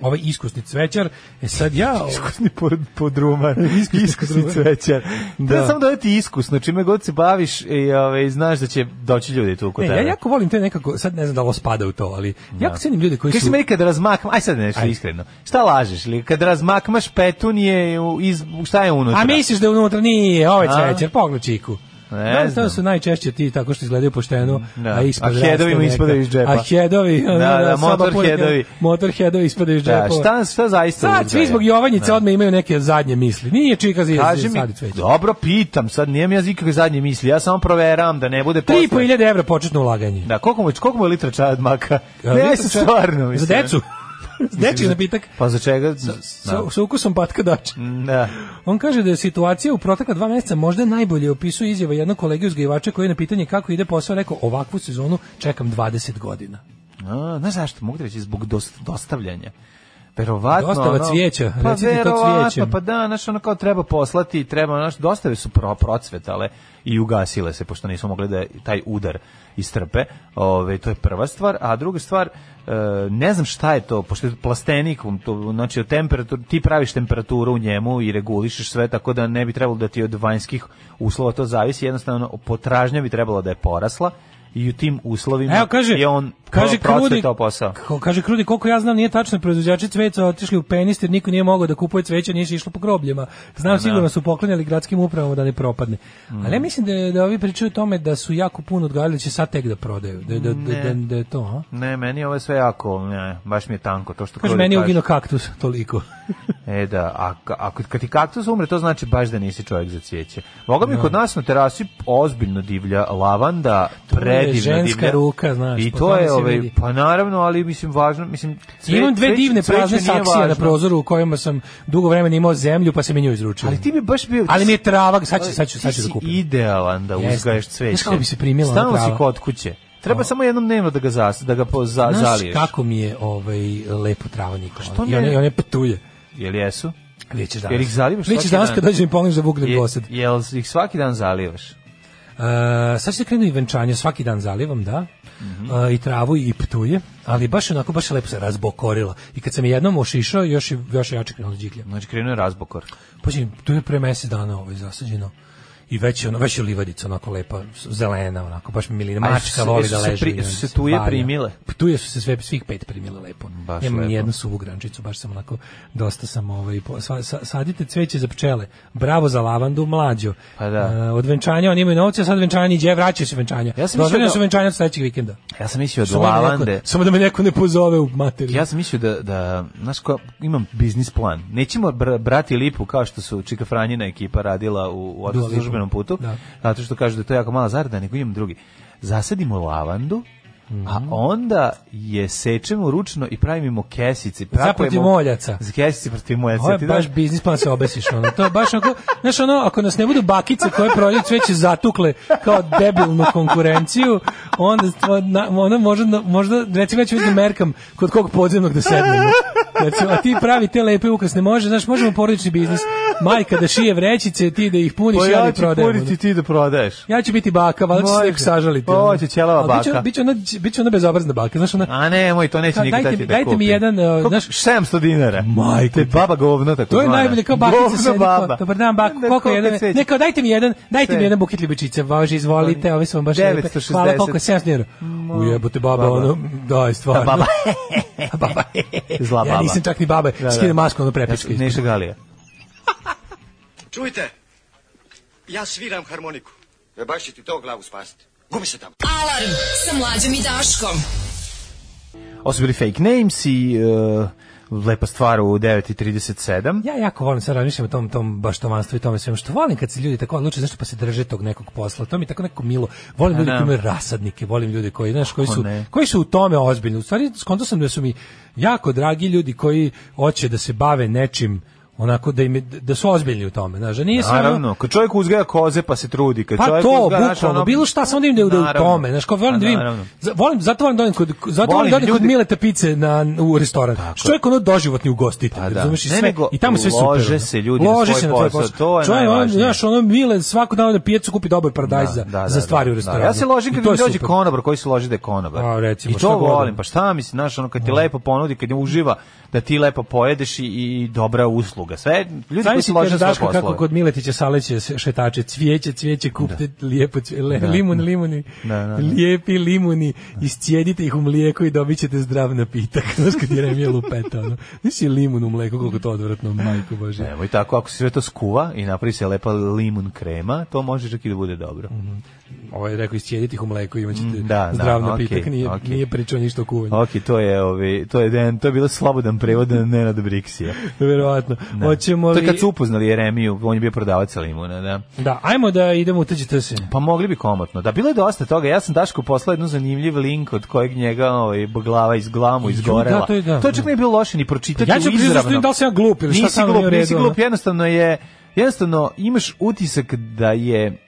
Speaker 7: Ovaj iskusni cvećar, e sad ja...
Speaker 6: Mhm. iskusni podrumar, iskusni cvećar. Da. Treba samo da ti iskusno, čime god se baviš i ove, znaš da će doći ljudi tu kod
Speaker 7: Ne,
Speaker 6: tebe.
Speaker 7: ja jako volim te nekako, sad ne znam da li ovo spada u to, ali jako cenim ljude koji
Speaker 6: Kaj si
Speaker 7: su...
Speaker 6: meni kad razmakam, aj sad nešto
Speaker 7: Aj.
Speaker 6: iskreno, šta lažeš li? Kad razmakmaš petunije, u- iz, šta je unutra?
Speaker 7: A misliš da je unutra nije, ovaj
Speaker 6: A?
Speaker 7: cvećar, pogled čiku.
Speaker 6: Ne
Speaker 7: Da, to
Speaker 6: znam.
Speaker 7: su najčešće ti tako što izgledaju pošteno,
Speaker 6: Da.
Speaker 7: a ispod
Speaker 6: A headovi
Speaker 7: raste
Speaker 6: mu
Speaker 7: neka-
Speaker 6: ispadaju iz džepa.
Speaker 7: A headovi,
Speaker 6: Da,
Speaker 7: ono,
Speaker 6: da,
Speaker 7: soba
Speaker 6: motor
Speaker 7: puna-
Speaker 6: headovi.
Speaker 7: Motor headovi ispadaju iz
Speaker 6: Da,
Speaker 7: džepa.
Speaker 6: šta, šta zaista
Speaker 7: Sad, svi
Speaker 6: uzgaja?
Speaker 7: zbog Jovanjice
Speaker 6: Da.
Speaker 7: odme imaju neke zadnje misli. Nije čika za
Speaker 6: Kaži mi,
Speaker 7: sadi cveće.
Speaker 6: dobro pitam, sad nijem ja nikakve zadnje misli, ja samo proveram da ne bude posle.
Speaker 7: 3.500 evra početno ulaganje.
Speaker 6: Da, koliko mu, koliko mu je litra čaja od maka?
Speaker 7: A,
Speaker 6: Ne, aj
Speaker 7: litra
Speaker 6: se
Speaker 7: čaja-
Speaker 6: stvarno.
Speaker 7: za
Speaker 6: mislim.
Speaker 7: decu? S dečiji
Speaker 6: Mislim,
Speaker 7: napitak.
Speaker 6: Pa za čega?
Speaker 7: Sa, sa ukusom patka dača.
Speaker 6: Da.
Speaker 7: On kaže da je situacija u protekla dva meseca možda najbolje opisuje izjava jednog kolege uzgajivača koji je na pitanje kako ide posao rekao ovakvu sezonu čekam 20 godina.
Speaker 6: A, znaš zašto? Mogu ti reći zbog dos- dostavljanja. Verovatno,
Speaker 7: Dostava
Speaker 6: ono-
Speaker 7: cvijeća,
Speaker 6: pa
Speaker 7: recite to
Speaker 6: verovatno,
Speaker 7: cvijećem.
Speaker 6: Pa da, znaš, ono kao treba poslati, treba, znaš, dostave su pro, procvetale i ugasile se, pošto nisu mogli da taj udar istrpe. Ove, to je prva stvar, a druga stvar, e, ne znam šta je to, pošto je plastenik, to, znači od temperatur, ti praviš temperaturu u njemu i regulišeš sve, tako da ne bi trebalo da ti od vanjskih uslova to zavisi, jednostavno potražnja bi trebala da je porasla i u tim uslovima
Speaker 7: Evo kaže,
Speaker 6: je on
Speaker 7: kaže
Speaker 6: pro-
Speaker 7: Krudi,
Speaker 6: procvetao posao.
Speaker 7: ko- kaže Krudi, koliko ja znam nije tačno proizvođači cveća otišli u penist jer niko nije mogao da kupuje cveće, nije se išlo po grobljima. Znam sigurno su poklanjali gradskim upravama da ne propadne.
Speaker 6: Mm.
Speaker 7: Ali ja mislim da, da ovi pričaju o tome da su jako puno odgajali da će sad tek da prodaju. Da, da, da,
Speaker 6: Ne.
Speaker 7: da- da je to, a?
Speaker 6: Ne, meni je ovo sve jako, ne, baš mi je tanko to što
Speaker 7: Kaže,
Speaker 6: Krudi
Speaker 7: meni je ugino kaktus, toliko.
Speaker 6: E da, a ka- ako kad ti kaktus umre, to znači baš da nisi čovjek za cvijeće. Mogla bi kod nas na terasi ozbiljno divlja lavanda,
Speaker 7: je
Speaker 6: predivna
Speaker 7: ženska
Speaker 6: divlja.
Speaker 7: ruka, znaš,
Speaker 6: I
Speaker 7: po
Speaker 6: to
Speaker 7: tome
Speaker 6: je
Speaker 7: se
Speaker 6: ovaj
Speaker 7: vidi.
Speaker 6: pa naravno, ali mislim važno, mislim cve-
Speaker 7: Imam dve
Speaker 6: cveće-
Speaker 7: divne
Speaker 6: cveće
Speaker 7: prazne
Speaker 6: nije
Speaker 7: saksije na
Speaker 6: važno.
Speaker 7: prozoru u kojima sam dugo vremena imao zemlju pa se mi nju izručio.
Speaker 6: Ali ti bi baš bio
Speaker 7: Ali mi je trava, sad ću, sad ću,
Speaker 6: Ti
Speaker 7: sad ću
Speaker 6: si
Speaker 7: da kupim.
Speaker 6: idealan da
Speaker 7: Jeste.
Speaker 6: uzgaješ cveće.
Speaker 7: Znaš kako bi se primila ona
Speaker 6: Stalno si
Speaker 7: trava?
Speaker 6: kod kuće. Treba samo jednom dnevno da ga zas, da ga po, za,
Speaker 7: Znaš
Speaker 6: zaliješ.
Speaker 7: kako mi je ovaj lepo trava Nikola.
Speaker 6: što
Speaker 7: I
Speaker 6: ne?
Speaker 7: one, i one ptulje.
Speaker 6: Jel jesu?
Speaker 7: Vidjet ćeš danas.
Speaker 6: Jel ih zalivaš
Speaker 7: Vidjet ćeš
Speaker 6: svaki
Speaker 7: danas
Speaker 6: dan?
Speaker 7: kad dođem i pogledam da bugnem posed.
Speaker 6: Je, jel ih svaki dan zalivaš?
Speaker 7: Uh, sad ću da krenu i venčanje, svaki dan zalivam, da.
Speaker 6: Mhm.
Speaker 7: E, I travu i ptuje, ali baš je onako, baš je lepo se razbokorila. I kad sam je jednom ošišao, još je, još je jače krenulo điklja.
Speaker 6: Znači krenuo je razbokor.
Speaker 7: Pazi, to je pre mesec dana ovaj zasađeno. i već je ono već je livadica onako lepa zelena onako baš mi milina mačka voli da leži
Speaker 6: Su se tuje primile.
Speaker 7: Tuje su Pa se sve svih pet primile lepo.
Speaker 6: Baš
Speaker 7: Nemam
Speaker 6: lepo.
Speaker 7: ni jednu suvu grančicu, baš sam onako dosta sam ovaj po- sa- sa- sadite cveće za pčele. Bravo za lavandu mlađo.
Speaker 6: Pa da.
Speaker 7: E, od venčanja oni imaju novce, a sad venčanje iđe, vraćaju se venčanja.
Speaker 6: Ja sam mislio
Speaker 7: Dozvoljeno
Speaker 6: da-
Speaker 7: su venčanja od sledećeg vikenda.
Speaker 6: Ja sam mislio od
Speaker 7: Samo da me
Speaker 6: lavande.
Speaker 7: neko- samo da me neko ne pozove u materiju.
Speaker 6: Ja sam mislio da, da znaš ko, imam biznis plan. Nećemo br- brati lipu kao što su Čika Franjina ekipa radila u, u
Speaker 7: Dua Lipa.
Speaker 6: službenom putu,
Speaker 7: Da.
Speaker 6: zato što kažu da je to jako mala zarada, nego imam drugi. Zasadimo lavandu, a
Speaker 7: Mhm.
Speaker 6: onda je sečemo ručno i pravimo kesice. Prakujemo-
Speaker 7: protivmoljaca.
Speaker 6: Za kesice protiv moljaca.
Speaker 7: Pa Ovo je
Speaker 6: Ti
Speaker 7: baš
Speaker 6: znaš-
Speaker 7: biznis plan se obesiš. Ono. To je baš onako, znaš ono, ako nas ne budu bakice koje prolju cveće zatukle kao debilnu konkurenciju, onda, stvo- na- onda možda, možda recimo ja ću već da merkam kod kog podzemnog da sednemo. Recimo, a ti pravi te lepe ukrasne može, znaš, možemo porodični biznis. Majka da šije vrećice, ti da ih puniš,
Speaker 6: Pa
Speaker 7: ja,
Speaker 6: ja
Speaker 7: da
Speaker 6: ću
Speaker 7: prodajem. ono.
Speaker 6: puniti ti da prodaješ.
Speaker 7: Ja ću biti baka, valjda će se
Speaker 6: Može.
Speaker 7: nek sažaliti.
Speaker 6: Pa, hoće ćelava
Speaker 7: Ali biće-
Speaker 6: baka.
Speaker 7: Biće ona, biće ona bezobrazna baka, znaš ona...
Speaker 6: A ne, moj, to neće
Speaker 7: Kao,
Speaker 6: nikad
Speaker 7: dajte
Speaker 6: dati
Speaker 7: mi-
Speaker 6: da
Speaker 7: dajte mi
Speaker 6: kupim.
Speaker 7: jedan, e,
Speaker 6: Koliko?
Speaker 7: znaš-
Speaker 6: 700 dinara.
Speaker 7: Majko
Speaker 6: To je baba govno, tako
Speaker 7: To je najbolje kao bakica sedi kao, dobar dan bak, koliko je jedan, ne kao dajte mi jedan, dajte mi
Speaker 6: Sve.
Speaker 7: jedan buket ljubičica, važi,
Speaker 6: Pa
Speaker 7: izvolite, ove su vam baš lepe,
Speaker 6: 960.
Speaker 7: hvala koliko je 700 dinara. Ujebote baba,
Speaker 6: Baba.
Speaker 7: ono, daj stvarno.
Speaker 6: Da, baba.
Speaker 7: baba.
Speaker 6: Zla
Speaker 7: Ja
Speaker 6: baba.
Speaker 7: nisam čak ni baba,
Speaker 6: Da, da.
Speaker 7: skine masku, ono prepička.
Speaker 6: Neša Galija.
Speaker 14: Čujte, ja sviram harmoniku. E baš će ti to glavu spasiti. Gubi se tamo.
Speaker 9: Alarm sa mlađom i Daškom.
Speaker 6: Ovo su bili fake names i uh, lepa stvar u 9.37.
Speaker 7: Ja jako volim sad razmišljam o tom tom baštomanstvu i tome svemu što volim kad se ljudi tako odluče zašto pa se drže tog nekog posla. To mi je tako neko milo. Volim
Speaker 6: A
Speaker 7: ljude
Speaker 6: da.
Speaker 7: koji imaju rasadnike, volim ljude koji znaš koji
Speaker 6: Kako
Speaker 7: su
Speaker 6: ne?
Speaker 7: koji su u tome ozbiljni. U stvari skonto sam da su mi jako dragi ljudi koji hoće da se bave nečim onako da im je- da su ozbiljni u tome. Znaš, da nije sve ono-
Speaker 6: Naravno, kad čovjek uzgaja koze pa se trudi, kad
Speaker 7: pa
Speaker 6: čovjek
Speaker 7: to,
Speaker 6: uzgaja, znaš,
Speaker 7: bukvalno,
Speaker 6: ono-
Speaker 7: bilo šta sam onda im da je da je u
Speaker 6: Naravno.
Speaker 7: tome. Znaš, kao volim
Speaker 6: Pa
Speaker 7: da vidim,
Speaker 6: naravno.
Speaker 7: za- volim, zato volim da odem kod, zato volim
Speaker 6: Volim
Speaker 7: da odem kod
Speaker 6: ljude-
Speaker 7: Mileta pice na, u restoran. Što je ono doživotni ugostitelj,
Speaker 6: Pa da.
Speaker 7: razumeš, i
Speaker 6: Ne,
Speaker 7: sve,
Speaker 6: nego
Speaker 7: i tamo je sve super.
Speaker 6: lože
Speaker 7: ono.
Speaker 6: se ljudi na svoj posao, to je
Speaker 7: Čovjek, on,
Speaker 6: najvažnije.
Speaker 7: znaš, ono Mile svako dan na pijecu kupi dobar paradajz za, za stvari u restoranu.
Speaker 6: Da, ja se ložim
Speaker 7: I
Speaker 6: kad
Speaker 7: to
Speaker 6: mi
Speaker 7: je
Speaker 6: dođe
Speaker 7: super.
Speaker 6: konobar koji se loži da je konobar.
Speaker 7: A, recimo,
Speaker 6: I
Speaker 7: šta
Speaker 6: to
Speaker 7: god.
Speaker 6: volim, pa šta misliš, znaš, ono kad ti lepo ponudi, kad je uživa, da ti lepo pojedeš i, i dobra usluga. Sve, ljudi koji se
Speaker 7: Zamisli
Speaker 6: lože
Speaker 7: kaže
Speaker 6: svoje
Speaker 7: Daško
Speaker 6: poslove.
Speaker 7: kako kod Miletića saleće se šetače, cvijeće, cvijeće, kupte lijepo cvije, le-
Speaker 6: Da.
Speaker 7: limun, limuni,
Speaker 6: Da, da, da.
Speaker 7: lijepi limuni, iscijedite ih u mlijeko i dobit ćete zdrav napitak. Znaš kad je remija lupeta, ono. Nisi limun u mlijeko, koliko to odvratno, majko bože.
Speaker 6: Nemoj tako, ako se sve to skuva i napravi se lepa limun krema, to može čak i da bude dobro.
Speaker 7: Mhm. Ovo je rekao iscijedite ih u mlijeko, imat ćete
Speaker 6: Mm, da, da,
Speaker 7: zdrav
Speaker 6: okej,
Speaker 7: napitak, nije,
Speaker 6: okej.
Speaker 7: nije pričao ništa o kuvanju.
Speaker 6: Ok, to je, ovi, to je, Dejan- to je bilo slobodan prevod na Nenad Briksija.
Speaker 7: Verovatno.
Speaker 6: Da.
Speaker 7: Hoćemo li...
Speaker 6: To je kad su upoznali Jeremiju, on je bio prodavac limuna, da.
Speaker 7: Da, ajmo da idemo u tuđi se.
Speaker 6: Pa mogli bi komotno. Da, bilo je dosta toga. Ja sam Dašku poslao jednu zanimljiv link od kojeg njega ovaj, glava iz glamu izgorela.
Speaker 7: da, to je da.
Speaker 6: čak nije bilo loše ni pročitati
Speaker 7: Ja ću
Speaker 6: u
Speaker 7: priznati
Speaker 6: izravnom.
Speaker 7: da li sam ja glup ili šta
Speaker 6: nisi
Speaker 7: sam
Speaker 6: glup,
Speaker 7: nije u redu,
Speaker 6: nisi
Speaker 7: ono.
Speaker 6: glup, jednostavno je jednostavno imaš utisak da je e,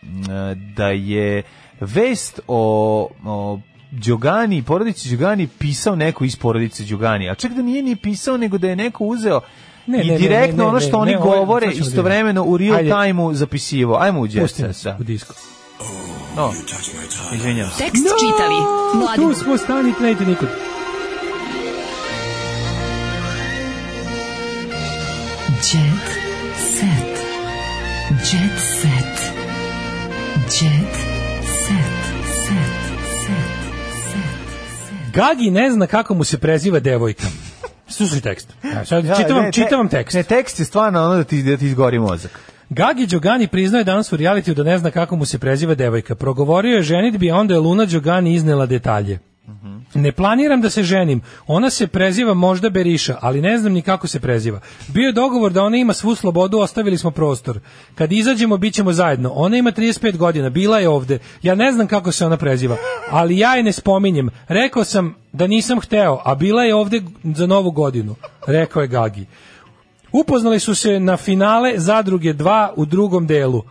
Speaker 6: da je vest o, o Đogani, porodici Đogani pisao neko iz porodice Đogani, a čak da nije ni pisao, nego da je neko uzeo
Speaker 7: Ne,
Speaker 6: i
Speaker 7: ne, ne,
Speaker 6: direktno
Speaker 7: ne, ne,
Speaker 6: ono što
Speaker 7: ne,
Speaker 6: oni
Speaker 7: ne, ovo je-
Speaker 6: govore
Speaker 7: sad ćemo
Speaker 6: istovremeno u
Speaker 7: vidjeti.
Speaker 6: real
Speaker 7: Ajde.
Speaker 6: time-u zapisivo. Ajmo u
Speaker 7: Pusti
Speaker 6: djeca.
Speaker 7: nas u disko.
Speaker 6: No, izvinjam se.
Speaker 9: Tekst čitali Mladen
Speaker 7: Tu smo, stanite, ne idite nikud.
Speaker 5: Jet set. Jet set. Jet set. Set. Set.
Speaker 7: Gagi ne zna kako mu se preziva devojka. Slušaj tekst. Evo, Sad
Speaker 6: Ja,
Speaker 7: čitam,
Speaker 6: ne,
Speaker 7: vam,
Speaker 6: te-
Speaker 7: čitam vam tekst.
Speaker 6: Ne, tekst je stvarno ono da ti, da ti izgori mozak.
Speaker 7: Gagi Đogani priznaje danas u realitiju da ne zna kako mu se preziva devojka. Progovorio je ženitbi, a onda je Luna Đogani iznela detalje. Ne planiram da se ženim. Ona se preziva možda Beriša, ali ne znam ni kako se preziva. Bio je dogovor da ona ima svu slobodu, ostavili smo prostor. Kad izađemo, bit ćemo zajedno. Ona ima 35 godina, bila je ovde. Ja ne znam kako se ona preziva, ali ja je ne spominjem. Rekao sam da nisam hteo, a bila je ovde za novu godinu, rekao je Gagi. Upoznali su se na finale Zadruge 2 u drugom delu.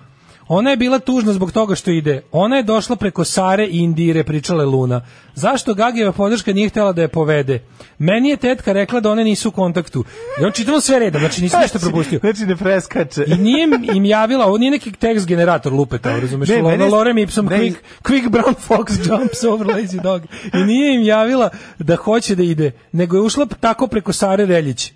Speaker 7: Ona je bila tužna zbog toga što ide. Ona je došla preko Sare i Indire, pričala je Luna. Zašto Gagijeva podrška nije htjela da je povede? Meni je tetka rekla da one nisu u kontaktu. Ja čitam sve redom, znači nisam ništa propustio.
Speaker 6: Znači ne preskače.
Speaker 7: I nije im javila, ovo nije neki tekst generator lupeta, razumeš?
Speaker 6: Ne,
Speaker 7: Ne,
Speaker 6: mene-
Speaker 7: Lorem Ipsum,
Speaker 6: ne,
Speaker 7: quick, quick brown fox jumps over lazy dog. I nije im javila da hoće da ide, nego je ušla tako preko Sare Reljić.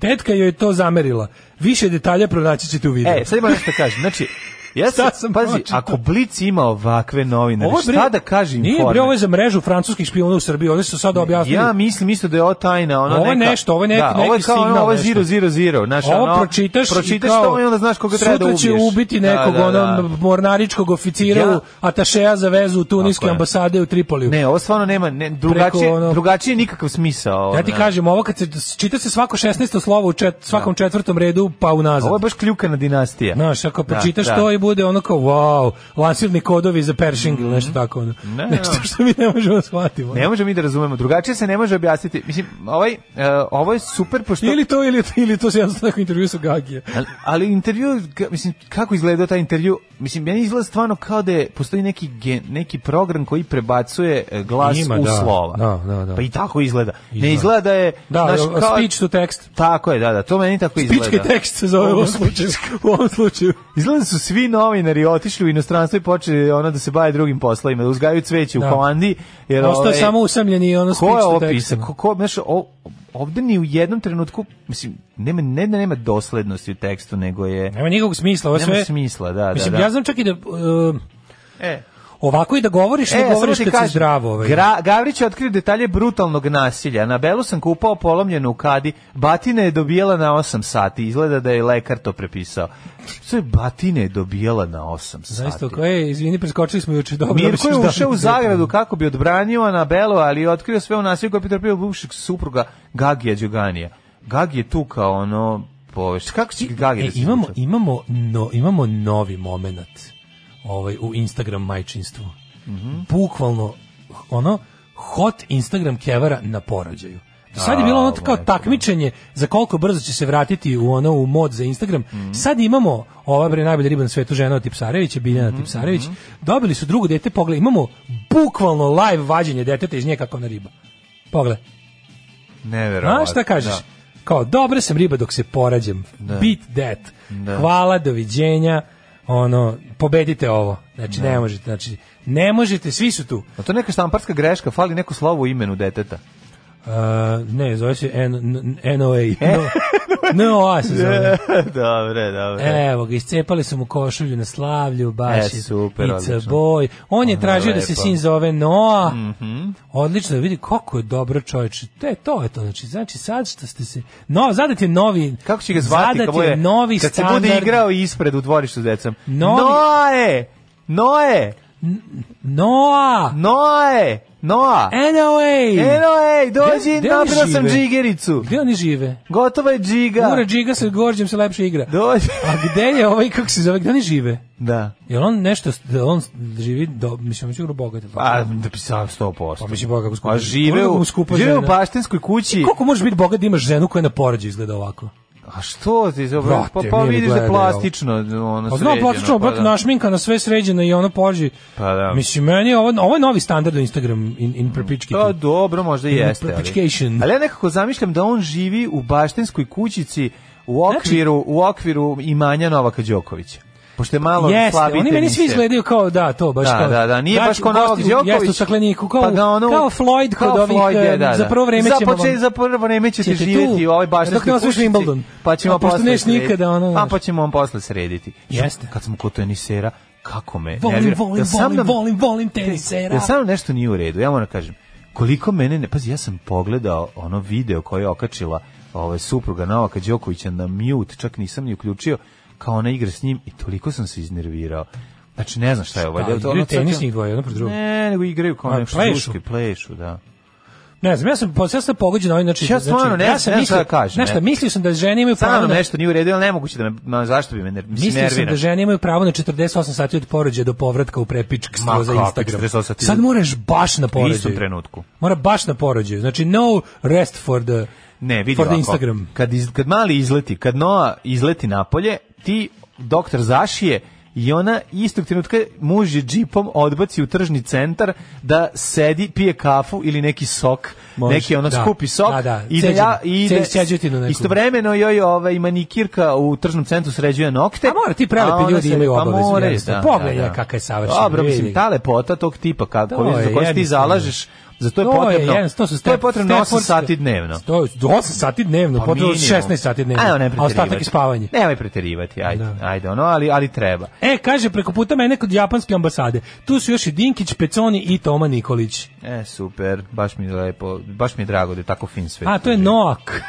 Speaker 7: Tetka joj je to zamerila. Više detalja pronaći ćete u videu.
Speaker 6: E, sad ima nešto da kažem. Znači, Ja sam, pazi, ako Blic ima ovakve novinare,
Speaker 7: Ovo je, bre,
Speaker 6: šta da kaže
Speaker 7: Nije
Speaker 6: informer?
Speaker 7: bre ovo je za mrežu francuskih špijuna u Srbiji. Ovde su sada objasnili.
Speaker 6: Ja mislim isto da je ovo tajna, ono
Speaker 7: Ovo je
Speaker 6: neka.
Speaker 7: nešto, ovo je neki-
Speaker 6: da, ovo je
Speaker 7: neki
Speaker 6: kao ono,
Speaker 7: signal,
Speaker 6: ovo je
Speaker 7: nešto.
Speaker 6: zero, zero, zero, znaš,
Speaker 7: Ovo
Speaker 6: ono,
Speaker 7: pročitaš,
Speaker 6: pročitaš
Speaker 7: i kao,
Speaker 6: to i onda znaš koga treba da ubiješ.
Speaker 7: Sutra će ubiti nekog ono,
Speaker 6: da, da,
Speaker 7: onog mornaričkog oficira,
Speaker 6: Ja-
Speaker 7: u atašeja za vezu u tuniske
Speaker 6: Tako je.
Speaker 7: ambasade u Tripoliju.
Speaker 6: Ne, ovo stvarno nema, ne, drugačije,
Speaker 7: Preko ono-
Speaker 6: drugačije nikakav smisao. ono, ovo,
Speaker 7: Ja ti
Speaker 6: da.
Speaker 7: kažem, ovo kad se čita se svako 16. slovo u čet, svakom četvrtom redu, pa unazad.
Speaker 6: Ovo je baš kljukana dinastija.
Speaker 7: Znaš, ako
Speaker 6: Da,
Speaker 7: pročitaš
Speaker 6: da.
Speaker 7: to i bude ono kao, wow, lansirni kodovi za Pershing ili nešto tako. Ono.
Speaker 6: Mm-hmm. Ne,
Speaker 7: nešto
Speaker 6: ne.
Speaker 7: što mi ne možemo ono. da shvatimo.
Speaker 6: Ne možemo mi da razumemo, drugačije se ne može objasniti. Mislim, ovaj, e, ovo je super, pošto...
Speaker 7: Ili to, ili, ili to se jednostavno tako intervju sa Gagije.
Speaker 6: Ali, ali intervju, ka- mislim, kako izgledao taj intervju? Mislim, meni izgleda stvarno kao da je, postoji neki, gen, neki program koji prebacuje e, glas
Speaker 7: Ima,
Speaker 6: u
Speaker 7: da,
Speaker 6: slova.
Speaker 7: da, da, da.
Speaker 6: Pa i tako izgleda. Ne
Speaker 7: Izgleda.
Speaker 6: izgleda da je...
Speaker 7: Da,
Speaker 6: znaš, kao-
Speaker 7: speech to text.
Speaker 6: Tako je, da, da, to meni tako izgleda.
Speaker 7: Pički tekst se zove u ovom slučaju. U ovom slučaju.
Speaker 6: Izgleda da su svi novinari otišli u inostranstvo i počeli ono da se bave drugim poslovima, da uzgajaju cveće u
Speaker 7: Da.
Speaker 6: Holandiji. Jer,
Speaker 7: Ostao je
Speaker 6: ovaj,
Speaker 7: samo usamljeni i ono
Speaker 6: Ko
Speaker 7: speech
Speaker 6: je
Speaker 7: to
Speaker 6: ovo
Speaker 7: text.
Speaker 6: pisao? Ko, ko, znaš, o- ovde ni u jednom trenutku, mislim, nema, ne da nema doslednosti u tekstu, nego je...
Speaker 7: Nema nikakvog smisla. Ovo
Speaker 6: Nema
Speaker 7: sve,
Speaker 6: smisla, da, da,
Speaker 7: mislim,
Speaker 6: da.
Speaker 7: ja znam čak i da... um,
Speaker 6: E.
Speaker 7: Ovako i da govoriš, ne
Speaker 6: samo
Speaker 7: govoriš
Speaker 6: ti
Speaker 7: kad si
Speaker 6: kažem,
Speaker 7: zdravo. Ovaj.
Speaker 6: Gra, Gavrić je otkrio detalje brutalnog nasilja. Na belu sam kupao polomljenu u kadi. Batina je dobijela na 8 sati. Izgleda da je lekar to prepisao. Što je batine je dobijela na 8
Speaker 7: Znaš
Speaker 6: sati?
Speaker 7: to, kao, ej, izvini, preskočili smo juče. Pa Dobro,
Speaker 6: Mirko
Speaker 7: mislim
Speaker 6: je
Speaker 7: da-
Speaker 6: ušao u zagradu kako bi odbranio Anabelu, ali je otkrio sve u nasilju koje je pretrpio bivšeg supruga Gagija Đoganija. Gagi je tu kao ono... Poveš. Kako će Gagi
Speaker 7: E,
Speaker 6: da se
Speaker 7: imamo,
Speaker 6: sluša?
Speaker 7: imamo, no, imamo novi moment ovaj, u Instagram majčinstvu.
Speaker 6: Mhm.
Speaker 7: Bukvalno, ono, hot Instagram kevara na porođaju. Do Sad je bilo ono
Speaker 6: A,
Speaker 7: kao takmičenje za koliko brzo će se vratiti u ono u mod za Instagram.
Speaker 6: Mhm.
Speaker 7: Sad imamo ova bre najbolja riba na svetu žena od Tipsarevića,
Speaker 6: Mhm,
Speaker 7: Biljana Tipsarević. Dobili su drugo dete, pogledaj, imamo bukvalno live vađenje deteta iz nje kako ona riba. Pogledaj.
Speaker 6: Neverovatno.
Speaker 7: Znaš šta kažeš?
Speaker 6: Da.
Speaker 7: Kao, dobra sam riba dok se porađam. Beat that. Hvala, doviđenja. Ono, pobedite ovo. Znači, ne možete. Znači, ne možete, svi su tu.
Speaker 6: A Pa to je neka štamparska greška, fali neko slovo u imenu deteta.
Speaker 7: Uh, ne, zove se N- N- NOA. No, NOA se zove.
Speaker 6: dobre, dobre.
Speaker 7: Evo ga, iscepali su mu košulju na slavlju, baš
Speaker 6: Pa E,
Speaker 7: je
Speaker 6: super,
Speaker 7: it's a
Speaker 6: odlično. Ono
Speaker 7: boy. On je tražio da se
Speaker 6: lepo.
Speaker 7: sin zove Noa.
Speaker 6: Mhm.
Speaker 7: Odlično, vidi kako je dobro čovječe. Te, to je to, znači, znači sad što ste se... No, zadat je novi...
Speaker 6: Kako će ga zvati
Speaker 7: zadat
Speaker 6: kad bude,
Speaker 7: je novi
Speaker 6: kad se
Speaker 7: standard.
Speaker 6: bude igrao ispred u dvorištu s decom?
Speaker 7: Novi-
Speaker 6: Noe! Noe!
Speaker 7: Noa!
Speaker 6: Noe! Noa!
Speaker 7: NOA!
Speaker 6: Eno, ej, dođi,
Speaker 7: Gde- gde oni
Speaker 6: napravila sam
Speaker 7: žive?
Speaker 6: džigericu.
Speaker 7: Gde oni žive?
Speaker 6: Gotova je džiga.
Speaker 7: Ura džiga se gorđem se lepše igra.
Speaker 6: Dođi.
Speaker 7: A gde je ovaj, kako se zove, gde oni žive?
Speaker 6: Da.
Speaker 7: Jel on nešto, jel on živi, do, mislim, on će gro bogat.
Speaker 6: Pa, da bi sam 100%.
Speaker 7: Pa mislim, Boga, kako skupo-
Speaker 6: A žive
Speaker 7: Koliko
Speaker 6: u,
Speaker 7: mu skupo
Speaker 6: žive u
Speaker 7: žena? E,
Speaker 6: baštinskoj kući.
Speaker 7: Koliko možeš biti bogat da imaš ženu koja na porađu izgleda ovako?
Speaker 6: A što ti se
Speaker 7: Brate,
Speaker 6: pa, pa
Speaker 7: mili,
Speaker 6: vidiš da je
Speaker 7: gledaj ovo.
Speaker 6: plastično ono
Speaker 7: Pa znam,
Speaker 6: sređeno,
Speaker 7: plastično,
Speaker 6: pa
Speaker 7: brate,
Speaker 6: da.
Speaker 7: našminka na sve sređeno i ono pođi.
Speaker 6: Pa da.
Speaker 7: Mislim, meni je ovo, ovo je novi standard u Instagram in, in prepički.
Speaker 6: To Pa dobro, možda i
Speaker 7: In
Speaker 6: jeste. Ali,
Speaker 7: propitiation.
Speaker 6: ali ja nekako zamišljam da on živi u baštinskoj kućici u
Speaker 7: Znači-
Speaker 6: okviru, u okviru imanja Novaka Đokovića. Pošto je malo
Speaker 7: Jeste,
Speaker 6: slabiji
Speaker 7: oni meni svi
Speaker 6: teniser.
Speaker 7: izgledaju kao da, to baš
Speaker 6: Da,
Speaker 7: kao. Znači,
Speaker 6: da, da, nije baš kao
Speaker 7: gosti
Speaker 6: Novak
Speaker 7: u-
Speaker 6: Đoković.
Speaker 7: Jeste u stakleniku kao,
Speaker 6: Pa ga ono-
Speaker 7: kao Floyd kod
Speaker 6: kao
Speaker 7: ovih
Speaker 6: Floyd je,
Speaker 7: e,
Speaker 6: da, da.
Speaker 7: za prvo vreme
Speaker 6: Za
Speaker 7: ćemo
Speaker 6: početak- za prvo vreme ćete
Speaker 7: ćete tu,
Speaker 6: živjeti u ovoj baštinskoj
Speaker 7: dok ne osvojiš
Speaker 6: kućici,
Speaker 7: Wimbledon.
Speaker 6: Pa ćemo
Speaker 7: A pošto
Speaker 6: posle
Speaker 7: neš
Speaker 6: srediti.
Speaker 7: nikada, ono,
Speaker 6: A
Speaker 7: znaš.
Speaker 6: pa ćemo on posle srediti. Ju,
Speaker 7: Jeste.
Speaker 6: Kad smo kod tenisera, kako me
Speaker 7: Volim,
Speaker 6: nervira.
Speaker 7: volim,
Speaker 6: Ja sam
Speaker 7: volim,
Speaker 6: nam-
Speaker 7: volim, volim tenisera.
Speaker 6: Jer samo nešto nije u redu, ja moram kažem. Koliko mene ne... Pazi, ja sam pogledao ono video koje je okačila ovaj, supruga Novaka Đokovića na mute, čak nisam ni uključio, kao ona igra s njim i toliko sam se iznervirao. Znači, ne znam šta je ovo.
Speaker 7: Da,
Speaker 6: je to
Speaker 7: igraju
Speaker 6: ono
Speaker 7: tenis
Speaker 6: crkno-
Speaker 7: njih dvoje, jedno pred drugo.
Speaker 6: Ne, nego igraju kao
Speaker 7: A,
Speaker 6: nešto
Speaker 7: plešu.
Speaker 6: druške, plešu, da.
Speaker 7: Ne znam, ja sam posle ja sam pogođen ovim znači.
Speaker 6: Ja stvarno ne znam šta da kažem,
Speaker 7: Znaš šta,
Speaker 6: ne.
Speaker 7: mislio sam da žene imaju pravo
Speaker 6: Stvarno
Speaker 7: na
Speaker 6: nešto nije u redu, ali nemoguće da me, ma, zašto bi me ner, mislim,
Speaker 7: Mislio sam
Speaker 6: nervira.
Speaker 7: da žene imaju pravo na 48 sati od porođaja do povratka u prepičkstvo
Speaker 6: Ma
Speaker 7: za
Speaker 6: kako,
Speaker 7: Instagram.
Speaker 6: 48 sati?
Speaker 7: Sad moraš baš na
Speaker 6: U
Speaker 7: porođaju.
Speaker 6: istom trenutku.
Speaker 7: Mora baš na porođaju. Znači no rest for the
Speaker 6: Ne, vidi
Speaker 7: for the
Speaker 6: ovako.
Speaker 7: Instagram.
Speaker 6: Kad, iz, kad mali izleti, kad Noa izleti napolje, ti doktor zašije i ona istog trenutka muž je džipom odbaci u tržni centar da sedi, pije kafu ili neki sok,
Speaker 7: Može,
Speaker 6: neki ono
Speaker 7: da.
Speaker 6: skupi sok
Speaker 7: Da, da,
Speaker 6: i da ja
Speaker 7: ceđenu,
Speaker 6: i
Speaker 7: ce- ceđutinu neku.
Speaker 6: istovremeno joj ovaj manikirka u tržnom centru sređuje nokte.
Speaker 7: A mora ti
Speaker 6: a
Speaker 7: prelepi
Speaker 6: ona
Speaker 7: ljudi
Speaker 6: se-
Speaker 7: imaju
Speaker 6: pa
Speaker 7: obavezu.
Speaker 6: moraju,
Speaker 7: jednostavno.
Speaker 6: da,
Speaker 7: Pogledaj
Speaker 6: da, da.
Speaker 7: kakav je savršen.
Speaker 6: Dobro,
Speaker 7: vidi
Speaker 6: mislim
Speaker 7: ga.
Speaker 6: ta lepota tog tipa kako
Speaker 7: To
Speaker 6: za
Speaker 7: je
Speaker 6: koju se ti
Speaker 7: jednostavno.
Speaker 6: zalažeš Za to je
Speaker 7: To je
Speaker 6: potrebno.
Speaker 7: jedan- to su
Speaker 6: to je
Speaker 7: step-
Speaker 6: potrebno 8
Speaker 7: stepfordske-
Speaker 6: sati dnevno.
Speaker 7: To je 8 sati dnevno, potrebno je
Speaker 6: Pa minimum.
Speaker 7: 16 sati dnevno.
Speaker 6: Ajde, ne
Speaker 7: A
Speaker 6: preterivati.
Speaker 7: ostatak je spavanje.
Speaker 6: Nemoj preterivati, ajde. Ajde, ono, ali, ali treba.
Speaker 7: E, kaže, preko puta mene kod japanske ambasade. Tu su još i Dinkić, Peconi i Toma Nikolić.
Speaker 6: E, super, baš mi je lepo, baš mi je drago da je tako fin svet.
Speaker 7: A, to je Noak.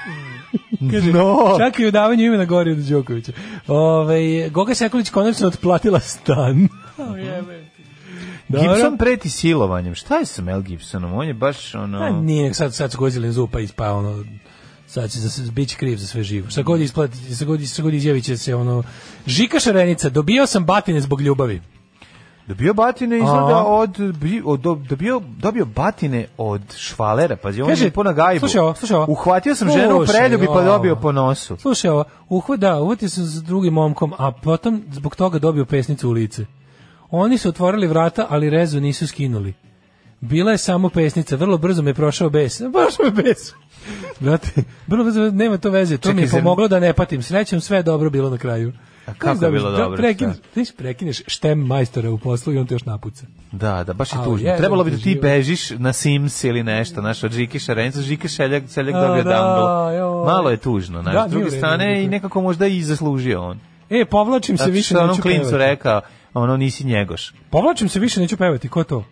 Speaker 7: Kaže,
Speaker 6: No.
Speaker 7: Čak i u davanju imena gori od Đokovića. Ove, Goga Sekulić konačno otplatila stan. Dobro.
Speaker 6: Gibson preti silovanjem. Šta je sa Mel Gibsonom? On je baš ono...
Speaker 7: A nije, sad, sad su gozili zupa ispa, ono, sad će za, se- bit će kriv za sve živo. Sad god, isplati, sad god, sad god izjavit će se, ono, Žika Šarenica, dobio sam batine zbog ljubavi.
Speaker 6: Dobio batine
Speaker 7: A.
Speaker 6: izgleda od, bri- od do- dobio, dobio batine od švalera, pazi, on
Speaker 7: Kaže,
Speaker 6: je po na gajbu.
Speaker 7: slušaj ovo, slušaj ovo.
Speaker 6: Uhvatio sam ženu u
Speaker 7: Slušaj
Speaker 6: preljubi pa
Speaker 7: ovo.
Speaker 6: dobio po nosu.
Speaker 7: Slušaj ovo, uhvada, uhvatio sam s drugim momkom, a potom zbog toga dobio pesnicu u lice. Oni su otvorili vrata, ali rezu nisu skinuli. Bila je samo pesnica, vrlo brzo me je prošao bes. Baš me bes. Brate, vrlo brzo, nema to veze, to mi je
Speaker 6: Čekaj, zar-
Speaker 7: pomoglo da ne patim. Srećom, sve je dobro bilo na kraju. A
Speaker 6: kako je bilo dobro,
Speaker 7: Prekineš,
Speaker 6: šta?
Speaker 7: ti prekineš štem majstora u poslu i on te još napuca.
Speaker 6: Da, da, baš je
Speaker 7: Au,
Speaker 6: tužno.
Speaker 7: jebe
Speaker 6: Trebalo bi da
Speaker 7: ti
Speaker 6: ti
Speaker 7: život.
Speaker 6: bežiš na Sims ili nešto, znaš, od Žike Šarenca, Žike Šeljak, Šeljak
Speaker 7: A,
Speaker 6: dobio
Speaker 7: da,
Speaker 6: danglo.
Speaker 7: joj.
Speaker 6: Malo je tužno, znaš,
Speaker 7: Da,
Speaker 6: s
Speaker 7: nije u
Speaker 6: druge
Speaker 7: redu,
Speaker 6: strane
Speaker 7: nije
Speaker 6: i
Speaker 7: u
Speaker 6: nekako možda i zaslužio on.
Speaker 7: E, povlačim se
Speaker 6: Zato
Speaker 7: više
Speaker 6: što je onom
Speaker 7: neću
Speaker 6: klincu
Speaker 7: pevati.
Speaker 6: rekao, ono nisi njegoš.
Speaker 7: Povlačim se više neću pevati, ko to?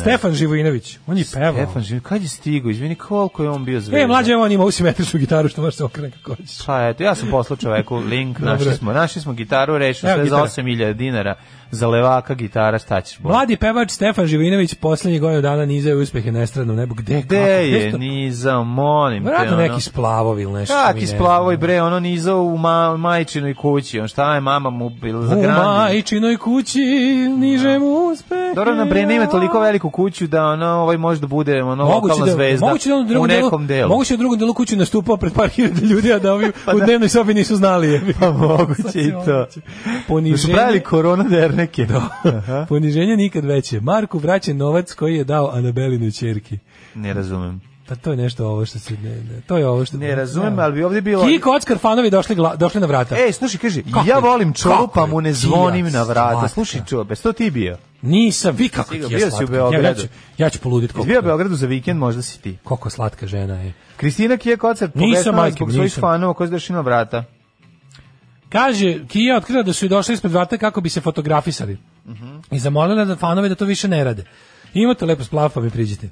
Speaker 7: Stefan Živojinović, on je pevao.
Speaker 6: Stefan Živinović, kad je stigao, izvini, koliko je on bio zvezda?
Speaker 7: E, mlađe, evo on ima usimetričnu gitaru što može se okrene kako hoćeš.
Speaker 6: Pa eto, ja sam poslao čoveku link,
Speaker 7: Dobro.
Speaker 6: našli smo, našli smo gitaru, rešio
Speaker 7: Evo
Speaker 6: sve
Speaker 7: gitara.
Speaker 6: za 8.000 dinara, za levaka gitara, šta ćeš bolje?
Speaker 7: Mladi pevač Stefan Živinović poslednjih godinu dana nizaju uspehe na estradnom nebu. Gde, kako?
Speaker 6: Gde je,
Speaker 7: Nešto-
Speaker 6: nizao, molim te,
Speaker 7: Vjerojatno
Speaker 6: ono.
Speaker 7: neki splavovi ili nešto. mi
Speaker 6: Kaki
Speaker 7: ne
Speaker 6: splavoj bre, ono nizao u ma, majčinoj kući, on šta je mama mu bila za
Speaker 7: znam. U
Speaker 6: grani.
Speaker 7: majčinoj kući nižem uspehe.
Speaker 6: Dorana Brena ima toliko veliku kuću da ono, ovaj može da bude ono,
Speaker 7: Moguće
Speaker 6: lokalna
Speaker 7: da,
Speaker 6: zvezda
Speaker 7: moguće da on u
Speaker 6: u
Speaker 7: drugom
Speaker 6: nekom
Speaker 7: delu,
Speaker 6: delu.
Speaker 7: moguće da u drugom delu kući nastupao pred par hiljada ljudi, a da ovi u dnevnoj sobi nisu znali. jebi ga.
Speaker 6: Pa moguće i to. Da su
Speaker 7: Poniženje.
Speaker 6: pravili korona derneke. Aha.
Speaker 7: Poniženje nikad veće. Marku vraća novac koji je dao Anabelinoj ćerki.
Speaker 6: Ne razumem.
Speaker 7: Pa to je nešto ovo što se ne, ne to je ovo što
Speaker 6: Ne razumem, ali bi ovdje bilo... E,
Speaker 7: Ki kockar fanovi došli gla, došli na vrata.
Speaker 6: Ej, slušaj, kaže,
Speaker 7: Kako
Speaker 6: ja
Speaker 7: je-
Speaker 6: volim čoru,
Speaker 7: kako
Speaker 6: pa
Speaker 7: je
Speaker 6: mu ne
Speaker 7: ti
Speaker 6: zvonim na vrata.
Speaker 7: slatka.
Speaker 6: Slušaj, čobe, sto ti bio?
Speaker 7: Nisam, vi kako ti
Speaker 6: Stigao,
Speaker 7: je
Speaker 6: bio si u
Speaker 7: slatka.
Speaker 6: Beogradu.
Speaker 7: Ja, ja, ću, ja ću poludit
Speaker 6: Jesi
Speaker 7: koliko.
Speaker 6: bio u Beogradu za vikend, možda si ti.
Speaker 7: Koliko slatka žena e. je.
Speaker 6: Kristina Kije koncert
Speaker 7: Nisam,
Speaker 6: pogrešno je
Speaker 7: majke,
Speaker 6: zbog svojih
Speaker 7: nisam.
Speaker 6: fanova koji su došli na vrata.
Speaker 7: Kaže, Kija otkrila da su joj došli ispred vrata kako bi se fotografisali. I zamolila da fanove da to više ne rade. Imate lepo splav, pa mi priđite.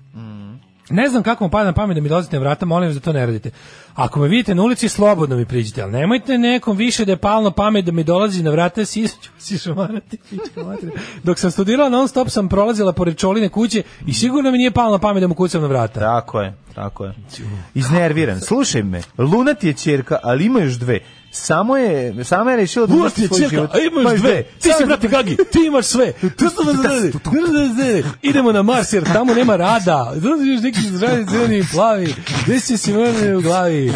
Speaker 7: Ne znam kako vam pada na pamet da mi dolazite na vrata, molim vas da to ne radite. Ako me vidite na ulici, slobodno mi priđite, ali nemojte nekom više da je palno pamet da mi dolazi na vrata, si ću si šamarati. pička materina. Dok sam studirala non stop sam prolazila pored čoline kuće i sigurno mi nije palno na pamet da mu kucam na vrata.
Speaker 6: Tako je, tako je. Iznerviran. Slušaj me, Luna ti je čerka, ali ima još dve. Samo je, sama je rešila Pa da
Speaker 7: Luna
Speaker 6: uništi
Speaker 7: ti je
Speaker 6: svoj
Speaker 7: čerka,
Speaker 6: život.
Speaker 7: a imaš
Speaker 6: Pa još
Speaker 7: dve. Ti si, brate, Gagi, ti imaš sve. Idemo na Mars, jer tamo nema rada. Znaš, još neki zdravi, zeleni i plavi. Gde si si mene u glavi?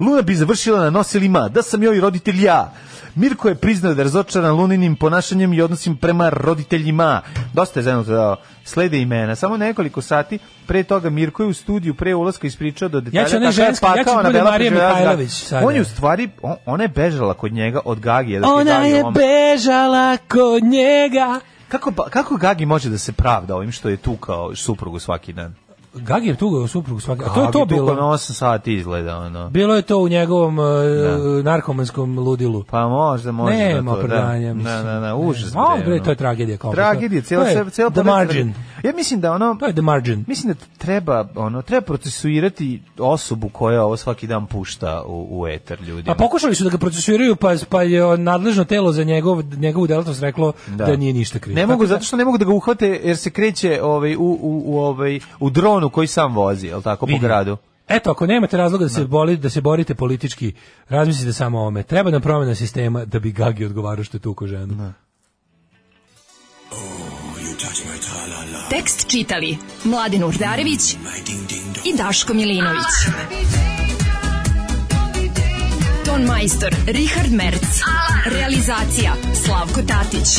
Speaker 6: Luna bi završila na nosilima, da sam joj roditelj ja. Mirko je priznao da je razočaran Luninim ponašanjem i odnosim prema roditeljima. Dosta je zajedno dao. Slede imena. Samo nekoliko sati pre toga Mirko je u studiju pre ulaska ispričao do detalja.
Speaker 7: Ja ću onaj
Speaker 6: kako je
Speaker 7: ženski, ja ću
Speaker 6: pakao
Speaker 7: da budem
Speaker 6: Anabela
Speaker 7: Marija
Speaker 6: Preživela zgradu.
Speaker 7: Mihajlović sada.
Speaker 6: On je u stvari, on- ona je bežala kod njega od Gagija. dok
Speaker 7: Ona
Speaker 6: Gagi
Speaker 7: je
Speaker 6: lomio.
Speaker 7: bežala kod njega.
Speaker 6: Kako, ba- kako Gagi može da se pravda ovim što je tukao suprugu svaki dan? Pa
Speaker 7: Gagi je tugao suprugu svaki. A to je to
Speaker 6: Gagi tukao na
Speaker 7: bilo.
Speaker 6: 8 sati izgleda, ono.
Speaker 7: Bilo je to u njegovom e, narkomanskom ludilu.
Speaker 6: Pa možda, možda. da
Speaker 7: Nema
Speaker 6: to, da.
Speaker 7: prodanja,
Speaker 6: Da,
Speaker 7: mislim.
Speaker 6: da, da, užas.
Speaker 7: Ne, a, bre,
Speaker 6: ono.
Speaker 7: to je tragedija kompletna.
Speaker 6: Tragedija, cijela,
Speaker 7: To je
Speaker 6: se- cijela
Speaker 7: the
Speaker 6: planeta-
Speaker 7: margin.
Speaker 6: Ja mislim da ono...
Speaker 7: To je the margin.
Speaker 6: Mislim da treba, ono, treba procesuirati osobu koja ovo svaki dan pušta u, u eter ljudima.
Speaker 7: Pa pokušali su da ga procesuiraju, pa, pa je nadležno telo za njegov, njegovu delatnost reklo da. nije ništa krivo.
Speaker 6: Ne
Speaker 7: Tako
Speaker 6: mogu,
Speaker 7: da-
Speaker 6: zato što ne mogu da ga uhvate jer se kreće ovaj, u, u, u, ovaj, u dronu koji sam vozi, jel tako, po
Speaker 7: Vidim.
Speaker 6: gradu.
Speaker 7: Eto, ako nemate razloga da se, boli, da se borite politički, razmislite samo o ome. Treba nam promjena sistema da bi Gagi odgovarao što je tuko ženu.
Speaker 5: Tekst čitali Mladin Urdarević i Daško Milinović. Ton majstor Richard Merc. Realizacija Slavko Tatić.